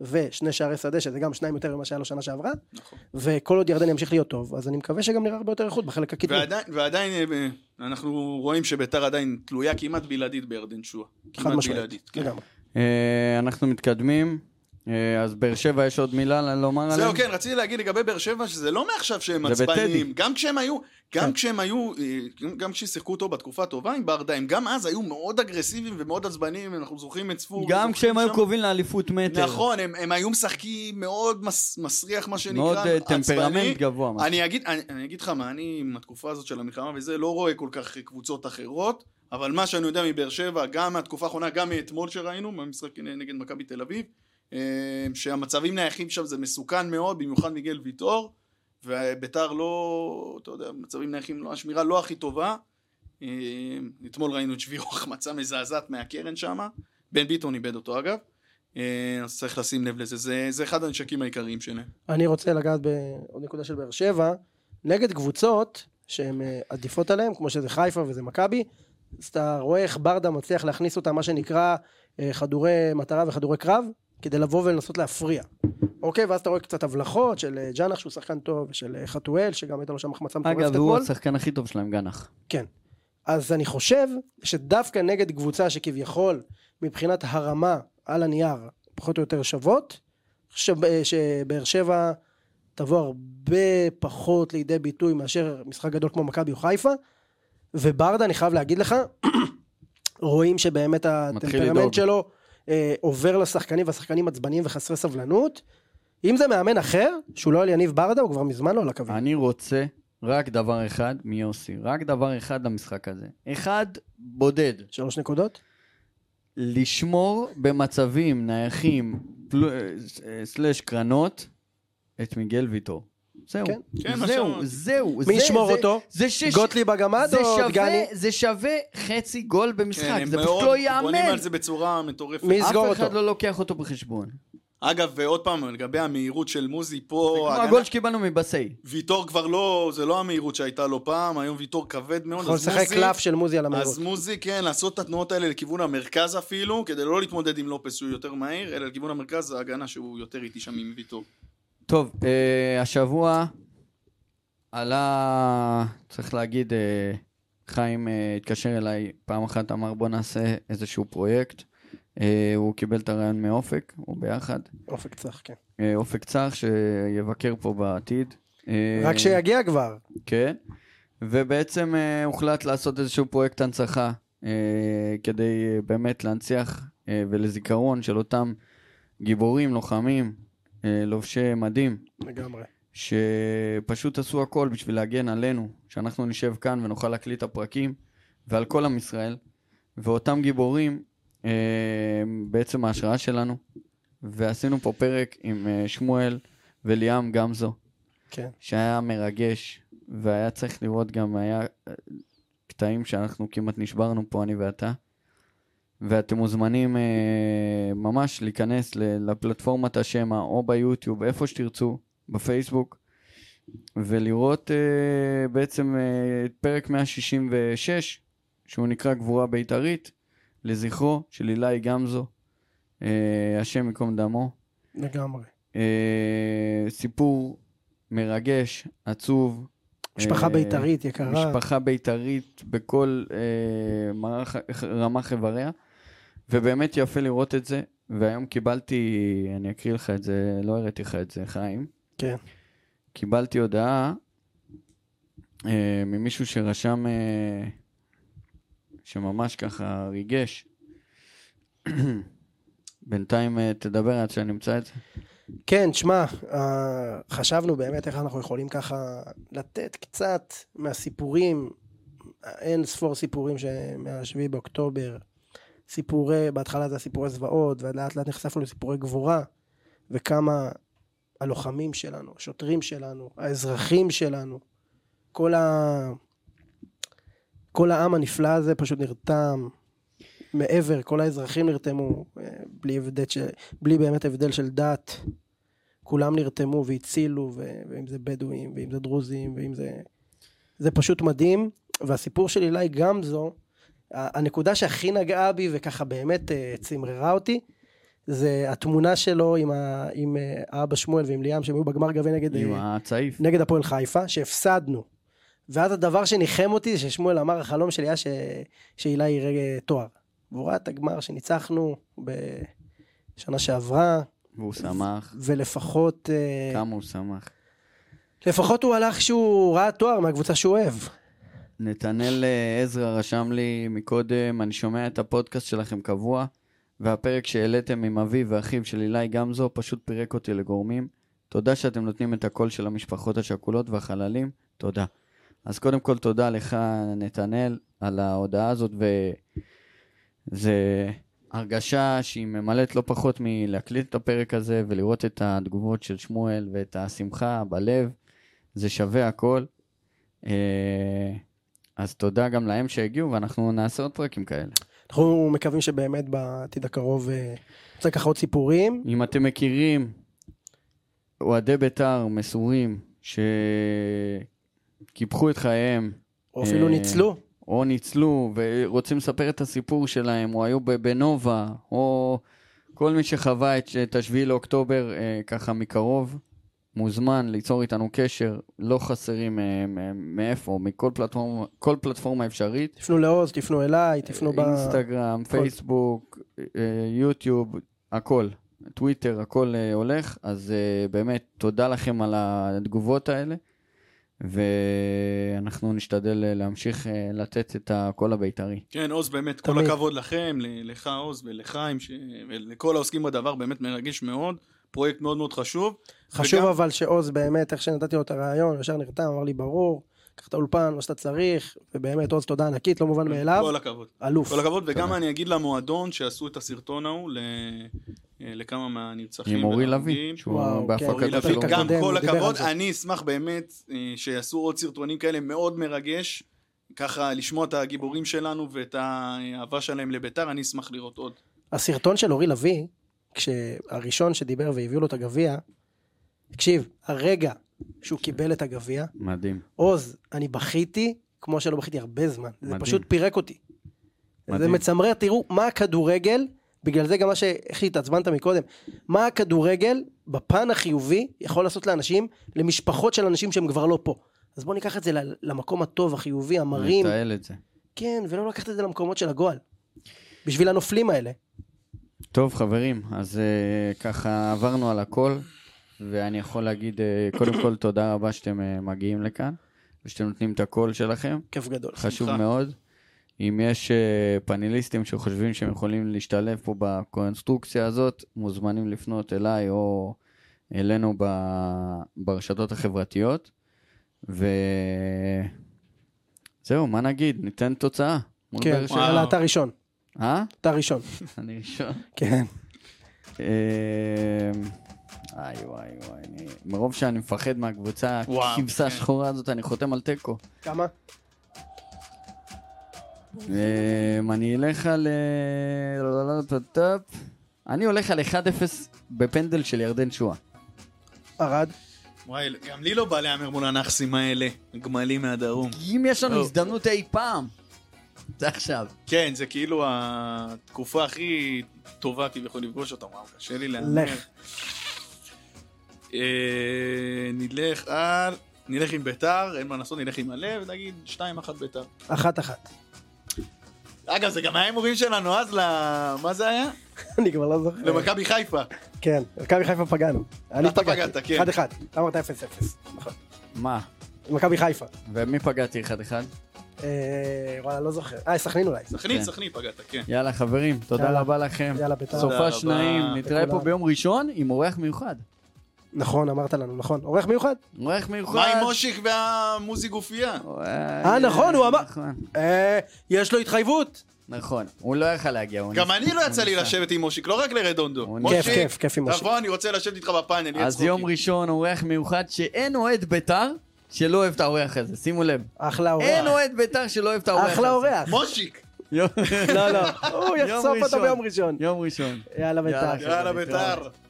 [SPEAKER 3] ושני שערי שדה, שזה גם שניים יותר ממה שהיה לו שנה שעברה,
[SPEAKER 4] נכון.
[SPEAKER 3] וכל עוד ירדן ימשיך להיות טוב, אז אני מקווה שגם נראה הרבה יותר איכות בחלק הקדמי.
[SPEAKER 4] ועדיין, ועדיין אה, אנחנו רואים שביתר עדיין תלויה כמעט בלעדית בירדן שועה.
[SPEAKER 3] חד
[SPEAKER 4] כמעט
[SPEAKER 3] משמעית,
[SPEAKER 4] בלעדית. כן.
[SPEAKER 3] לגמרי.
[SPEAKER 2] אה, אנחנו מתקדמים. אה, אז באר שבע יש עוד מילה ל- לומר עליהם?
[SPEAKER 4] זהו, כן, רציתי להגיד לגבי באר שבע, שזה לא מעכשיו שהם
[SPEAKER 2] זה
[SPEAKER 4] עצבניים.
[SPEAKER 2] בטדי.
[SPEAKER 4] גם כשהם היו,
[SPEAKER 3] כן.
[SPEAKER 4] גם כשהם היו, אה, גם כששיחקו אותו בתקופה הטובה עם ברדה, הם גם אז היו מאוד אגרסיביים ומאוד עצבניים, אנחנו זוכרים את צפור.
[SPEAKER 2] גם
[SPEAKER 4] זוכרים
[SPEAKER 2] כשהם היו
[SPEAKER 4] שם-
[SPEAKER 2] קובעים לאליפות מטר.
[SPEAKER 4] נכון, הם, הם היו משחקים מאוד מס, מסריח, מה שנקרא,
[SPEAKER 2] מאוד אה,
[SPEAKER 4] עצבני.
[SPEAKER 2] טמפרמנט גבוה. מה
[SPEAKER 4] אני אגיד, אני, אני אגיד לך מה, אני עם התקופה הזאת של המלחמה וזה, לא רואה כל כך קבוצות אחרות, אבל מה שאני יודע מבאר שבע, גם מהתקופה האחרונה, גם מאתמול שראינו, במשחק נגד מכבי תל אביב, אה, שהמצבים נייחים שם זה מסוכן מאוד, במיוחד מיגל ויטור, וביתר לא, אתה יודע, מצבים נייחים, לא, השמירה לא הכי טובה. אה, אתמול ראינו את שבירו החמצה מזעזעת מהקרן שם, בן ביטון איבד אותו אגב, אה, אז צריך לשים לב לזה, זה, זה אחד הנשקים העיקריים שלהם.
[SPEAKER 3] אני רוצה לגעת בעוד נקודה של באר שבע, נגד קבוצות שהן אה, עדיפות עליהן, כמו שזה חיפה וזה מכבי, אז אתה רואה איך ברדה מצליח להכניס אותם, מה שנקרא אה, חדורי מטרה וחדורי קרב, כדי לבוא ולנסות להפריע. אוקיי, ואז אתה רואה קצת הבלחות של אה, ג'אנח שהוא שחקן טוב, ושל אה, חתואל, שגם הייתה לו שם החמצה מטורפת אתמול.
[SPEAKER 2] אגב, הוא השחקן הכי טוב שלהם, גנח.
[SPEAKER 3] כן. אז אני חושב שדווקא נגד קבוצה שכביכול מבחינת הרמה על הנייר פחות או יותר שוות, שב- שבאר שבע תבוא הרבה פחות לידי ביטוי מאשר משחק גדול כמו מכבי או חיפה, וברדה אני חייב להגיד לך, רואים שבאמת
[SPEAKER 2] לדאוג.
[SPEAKER 3] הטמפרמנט שלו אה, עובר לשחקנים והשחקנים עצבניים וחסרי סבלנות. אם זה מאמן אחר, שהוא לא על יניב ברדה, הוא כבר מזמן לא על הקווים.
[SPEAKER 2] אני רוצה רק דבר אחד מיוסי, רק דבר אחד למשחק הזה. אחד בודד.
[SPEAKER 3] שלוש נקודות?
[SPEAKER 2] לשמור במצבים נייחים פל- אה, סלאש קרנות את מיגל ויטור. זהו.
[SPEAKER 3] כן.
[SPEAKER 4] כן, מה
[SPEAKER 2] זהו,
[SPEAKER 4] שאמרתי.
[SPEAKER 2] זהו.
[SPEAKER 3] מי
[SPEAKER 2] זה-
[SPEAKER 3] ישמור
[SPEAKER 2] זה-
[SPEAKER 3] אותו?
[SPEAKER 2] זה שש...
[SPEAKER 3] גוטליב הגמד
[SPEAKER 2] זה
[SPEAKER 3] או
[SPEAKER 2] שווה-
[SPEAKER 3] דגני?
[SPEAKER 2] זה שווה חצי גול במשחק,
[SPEAKER 4] כן, הם
[SPEAKER 2] זה פשוט
[SPEAKER 4] מאוד
[SPEAKER 2] לא
[SPEAKER 4] בונים
[SPEAKER 2] ייאמן.
[SPEAKER 4] על זה בצורה מטורפת.
[SPEAKER 3] מי זה- נסגור
[SPEAKER 2] אף אחד
[SPEAKER 3] אותו.
[SPEAKER 2] לא לוקח אותו בחשבון.
[SPEAKER 4] אגב, ועוד פעם, לגבי המהירות של מוזי פה,
[SPEAKER 2] כמו
[SPEAKER 4] הגנה-
[SPEAKER 2] הגול שקיבלנו מבסי.
[SPEAKER 4] ויטור כבר לא, זה לא המהירות שהייתה לו פעם, היום ויטור כבד מאוד.
[SPEAKER 3] יכול
[SPEAKER 4] אז
[SPEAKER 3] לשחק
[SPEAKER 4] מוזי-
[SPEAKER 3] קלף של מוזי על המהירות.
[SPEAKER 4] אז מוזי, כן, לעשות את התנועות האלה לכיוון המרכז אפילו, כדי לא להתמודד עם לופס שהוא יותר מהיר, אלא לכיוון המרכז זה ההגנה שהוא יותר איטי שם עם ויטור.
[SPEAKER 2] טוב, אה, השבוע עלה, צריך להגיד, אה, חיים אה, התקשר אליי פעם אחת, אמר בוא נעשה איזשהו פרויקט. אה, הוא קיבל את הרעיון מאופק, הוא ביחד.
[SPEAKER 3] אופק צח, כן.
[SPEAKER 2] אה, אופק צח שיבקר פה בעתיד. אה,
[SPEAKER 3] רק שיגיע כבר.
[SPEAKER 2] כן. ובעצם אה, הוחלט לעשות איזשהו פרויקט הנצחה, אה, כדי אה, באמת להנציח אה, ולזיכרון של אותם גיבורים, לוחמים, אה, לובשי מדים,
[SPEAKER 3] לגמרי.
[SPEAKER 2] שפשוט עשו הכל בשביל להגן עלינו, שאנחנו נשב כאן ונוכל להקליט את הפרקים, ועל כל עם ישראל, ואותם גיבורים אה, הם בעצם ההשראה שלנו, ועשינו פה פרק עם אה, שמואל וליאם גמזו,
[SPEAKER 3] כן.
[SPEAKER 2] שהיה מרגש, והיה צריך לראות גם, היה אה, קטעים שאנחנו כמעט נשברנו פה, אני ואתה. ואתם מוזמנים אה, ממש להיכנס ל- לפלטפורמת השמע, או ביוטיוב, איפה שתרצו, בפייסבוק, ולראות אה, בעצם אה, את פרק 166, שהוא נקרא גבורה בית"רית, לזכרו של עילאי גמזו, אה, השם ייקום דמו.
[SPEAKER 3] לגמרי.
[SPEAKER 2] אה, סיפור מרגש, עצוב.
[SPEAKER 3] משפחה
[SPEAKER 2] אה,
[SPEAKER 3] בית"רית יקרה.
[SPEAKER 2] משפחה בית"רית בכל אה, מערך, רמה חבריה, ובאמת יפה לראות את זה. והיום קיבלתי, אני אקריא לך את זה, לא הראיתי לך את זה, חיים.
[SPEAKER 3] כן.
[SPEAKER 2] קיבלתי הודעה אה, ממישהו שרשם, אה, שממש ככה ריגש. בינתיים אה, תדבר עד שאני אמצא את זה.
[SPEAKER 3] כן, שמע, אה, חשבנו באמת איך אנחנו יכולים ככה לתת קצת מהסיפורים, אין ספור סיפורים מה-7 באוקטובר, סיפורי, בהתחלה זה הסיפורי זוועות, ולאט לאט נחשפנו לסיפורי גבורה, וכמה הלוחמים שלנו, השוטרים שלנו, האזרחים שלנו, כל, ה... כל העם הנפלא הזה פשוט נרתם מעבר, כל האזרחים נרתמו, אה, בלי, הבדל של... בלי באמת הבדל של דת, כולם נרתמו והצילו, ו... ואם זה בדואים, ואם זה דרוזים, ואם זה... זה פשוט מדהים, והסיפור של אילי גמזו, ה- הנקודה שהכי נגעה בי וככה באמת אה, צמררה אותי, זה התמונה שלו עם, ה... עם אה, האבא שמואל ועם ליאם, שהם היו בגמר גביע נגד...
[SPEAKER 2] עם
[SPEAKER 3] אה,
[SPEAKER 2] הצעיף.
[SPEAKER 3] נגד הפועל חיפה, שהפסדנו. ואז הדבר שניחם אותי, ששמואל אמר, החלום שלי היה ש... שהילה יראה תואר. והוא ראה את הגמר שניצחנו בשנה שעברה,
[SPEAKER 2] והוא שמח.
[SPEAKER 3] ולפחות... אה,
[SPEAKER 2] כמה הוא שמח.
[SPEAKER 3] לפחות הוא הלך שהוא ראה תואר מהקבוצה שהוא אוהב.
[SPEAKER 2] נתנאל אה, עזרא רשם לי מקודם, אני שומע את הפודקאסט שלכם קבוע, והפרק שהעליתם עם אביו ואחיו של אילי גמזו פשוט פירק אותי לגורמים. תודה שאתם נותנים את הקול של המשפחות השכולות והחללים, תודה. אז קודם כל תודה לך, נתנאל, על ההודעה הזאת, וזה הרגשה שהיא ממלאת לא פחות מלהקליט את הפרק הזה ולראות את התגובות של שמואל ואת השמחה בלב, זה שווה הכל. אה, אז תודה גם להם שהגיעו, ואנחנו נעשה עוד פרקים כאלה.
[SPEAKER 3] אנחנו מקווים שבאמת בעתיד הקרוב אה, נוצא ככה עוד סיפורים.
[SPEAKER 2] אם אתם מכירים אוהדי בית"ר מסורים שקיפחו את חייהם,
[SPEAKER 3] או אפילו
[SPEAKER 2] אה,
[SPEAKER 3] ניצלו.
[SPEAKER 2] או ניצלו ורוצים לספר את הסיפור שלהם, או היו ב- בנובה, או כל מי שחווה את, את השביעי לאוקטובר אה, ככה מקרוב, מוזמן ליצור איתנו קשר, לא חסרים אה, מ- מאיפה, מכל פלטפורמה, כל פלטפורמה אפשרית.
[SPEAKER 3] תפנו לעוז, תפנו אליי, תפנו ב...
[SPEAKER 2] אינסטגרם,
[SPEAKER 3] כל-
[SPEAKER 2] פייסבוק, אה, יוטיוב, הכל. טוויטר, הכל אה, הולך. אז אה, באמת, תודה לכם על התגובות האלה, ואנחנו נשתדל אה, להמשיך אה, לתת את הקול הבית"רי.
[SPEAKER 4] כן, עוז באמת, כל
[SPEAKER 3] תמיד.
[SPEAKER 4] הכבוד לכם, ל- לך עוז ולחיים, ש- ולכל העוסקים בדבר, באמת מרגש מאוד, פרויקט מאוד מאוד חשוב.
[SPEAKER 3] חשוב
[SPEAKER 4] וגם-
[SPEAKER 3] אבל שעוז באמת, איך שנתתי לו את הרעיון, הוא ישר נרתם, אמר לי ברור, קח את האולפן, מה שאתה צריך, ובאמת עוז תודה ענקית, לא מובן מאליו,
[SPEAKER 4] כן, כל הכבוד.
[SPEAKER 3] אלוף.
[SPEAKER 4] כל הכבוד, וגם
[SPEAKER 2] תודה.
[SPEAKER 4] אני אגיד למועדון שעשו את הסרטון ההוא ל- אה, לכמה מהנרצחים.
[SPEAKER 2] עם אורי
[SPEAKER 4] וההרוגים.
[SPEAKER 2] לוי, שהוא
[SPEAKER 3] וואו,
[SPEAKER 2] בהפקת
[SPEAKER 4] אורי
[SPEAKER 3] כן,
[SPEAKER 4] לוי,
[SPEAKER 2] שלו.
[SPEAKER 3] הפרק
[SPEAKER 4] גם
[SPEAKER 3] הקודם,
[SPEAKER 4] כל
[SPEAKER 3] הוא דיבר על
[SPEAKER 4] הכבוד,
[SPEAKER 3] זה.
[SPEAKER 4] אני אשמח באמת אה, שיעשו עוד סרטונים כאלה מאוד מרגש, ככה לשמוע את הגיבורים שלנו ואת האהבה שלהם לביתר, אני אשמח לראות עוד.
[SPEAKER 3] הסרטון של אורי לביא, כשהראשון שדיבר והביאו לו את הגביע, תקשיב, הרגע שהוא קיבל את הגביע,
[SPEAKER 2] מדהים.
[SPEAKER 3] עוז, אני בכיתי כמו שלא בכיתי הרבה זמן, זה
[SPEAKER 2] מדהים.
[SPEAKER 3] פשוט פירק אותי. זה
[SPEAKER 2] מדהים.
[SPEAKER 3] מצמרר, תראו מה הכדורגל, בגלל זה גם מה שאיך שהתעצבנת מקודם, מה הכדורגל בפן החיובי יכול לעשות לאנשים, למשפחות של אנשים שהם כבר לא פה. אז בואו ניקח את זה ל- למקום הטוב, החיובי, המרים,
[SPEAKER 2] נתעל את זה.
[SPEAKER 3] כן, ולא לקחת את זה למקומות של הגועל. בשביל הנופלים האלה.
[SPEAKER 2] טוב, חברים, אז uh, ככה עברנו על הכל, ואני יכול להגיד, uh, קודם כל, תודה רבה שאתם uh, מגיעים לכאן, ושאתם נותנים את הקול שלכם.
[SPEAKER 3] כיף גדול.
[SPEAKER 2] חשוב
[SPEAKER 4] שמחה.
[SPEAKER 2] מאוד. אם יש אה, פאנליסטים שחושבים שהם יכולים להשתלב פה בקונסטרוקציה הזאת, מוזמנים לפנות אליי או אלינו ב... ברשתות החברתיות. וזהו, מה נגיד? ניתן תוצאה. מול
[SPEAKER 3] כן,
[SPEAKER 2] באר שבע.
[SPEAKER 4] וואו.
[SPEAKER 3] יאללה, אתה ראשון.
[SPEAKER 2] אה?
[SPEAKER 3] אתה ראשון.
[SPEAKER 2] אני ראשון.
[SPEAKER 3] כן.
[SPEAKER 2] אה, איי וואי וואי, אני- מרוב שאני מפחד מהקבוצה
[SPEAKER 4] וואו,
[SPEAKER 2] הכבשה
[SPEAKER 4] כן.
[SPEAKER 2] השחורה הזאת, אני חותם על תיקו.
[SPEAKER 3] כמה?
[SPEAKER 2] אמ, אני אלך על... אה, לא, לא, לא, טופ, טופ. אני הולך על 1-0 בפנדל של ירדן שואה.
[SPEAKER 3] ערד.
[SPEAKER 4] וואי, גם לי לא בא להמר מול הנכסים האלה, הגמלים מהדרום.
[SPEAKER 2] אם יש לנו
[SPEAKER 4] טוב.
[SPEAKER 2] הזדמנות אי פעם, זה עכשיו.
[SPEAKER 4] כן, זה כאילו התקופה הכי טובה כביכול לפגוש אותם, וואו, קשה לי להמר.
[SPEAKER 3] לך.
[SPEAKER 4] אה, נלך על... נלך עם ביתר, אין מה לעשות, נלך עם הלב, נגיד 2-1 ביתר.
[SPEAKER 3] אחת אחת.
[SPEAKER 4] אגב, זה גם היה הימורים שלנו אז ל... מה זה היה?
[SPEAKER 3] אני כבר לא זוכר.
[SPEAKER 4] למכבי חיפה.
[SPEAKER 3] כן. מכבי חיפה פגענו. אני
[SPEAKER 4] אתה פגעת, כן.
[SPEAKER 3] אחד אחד. אתה אמרת אפס אפס. נכון.
[SPEAKER 2] מה?
[SPEAKER 3] מכבי חיפה.
[SPEAKER 2] ומי פגעתי 1-1?
[SPEAKER 3] אה, אה, וואלה, לא זוכר. אה, סכנין אולי.
[SPEAKER 4] סכנין,
[SPEAKER 2] כן.
[SPEAKER 4] סכנין פגעת, כן.
[SPEAKER 2] יאללה חברים, תודה
[SPEAKER 3] יאללה.
[SPEAKER 2] רבה לכם.
[SPEAKER 3] יאללה, בית"ר.
[SPEAKER 4] תודה
[SPEAKER 2] סופה
[SPEAKER 4] רבה.
[SPEAKER 2] שניים, נתראה פה
[SPEAKER 3] לכולם.
[SPEAKER 2] ביום ראשון עם אורח מיוחד.
[SPEAKER 3] נכון, אמרת לנו, נכון. עורך מיוחד?
[SPEAKER 2] אורח מיוחד.
[SPEAKER 4] מה עם מושיק והמוזי גופייה?
[SPEAKER 2] אה,
[SPEAKER 3] נכון, הוא אמר-
[SPEAKER 2] נכון,
[SPEAKER 3] אה, יש לו התחייבות.
[SPEAKER 2] נכון, הוא לא יכל להגיע. הוא
[SPEAKER 4] גם
[SPEAKER 2] ניסה.
[SPEAKER 4] אני לא יצא לי
[SPEAKER 2] הוא ניסה.
[SPEAKER 4] לשבת עם מושיק, לא רק לרדונדו.
[SPEAKER 2] הוא
[SPEAKER 4] מושיק,
[SPEAKER 3] כיף, כיף, כיף עם מושיק.
[SPEAKER 4] תבוא, אני רוצה לשבת איתך בפאנל, יהיה
[SPEAKER 2] אז
[SPEAKER 4] צחוקים.
[SPEAKER 2] יום ראשון אורח מיוחד שאין אוהד בית"ר שלא אוהב את האורח הזה, שימו לב.
[SPEAKER 3] אחלה
[SPEAKER 2] אין
[SPEAKER 3] אורח.
[SPEAKER 2] אוהד בית"ר שלא אוהב את האורח הזה.
[SPEAKER 3] אחלה אורח.
[SPEAKER 4] מושיק!
[SPEAKER 2] יום-
[SPEAKER 3] לא, לא,
[SPEAKER 2] יום
[SPEAKER 3] הוא יחשוף אותו
[SPEAKER 2] ראשון.
[SPEAKER 3] ביום ראשון.
[SPEAKER 2] יום ראשון.
[SPEAKER 3] יאללה, בית"ר.
[SPEAKER 2] יאללה,
[SPEAKER 4] יאללה בית"ר.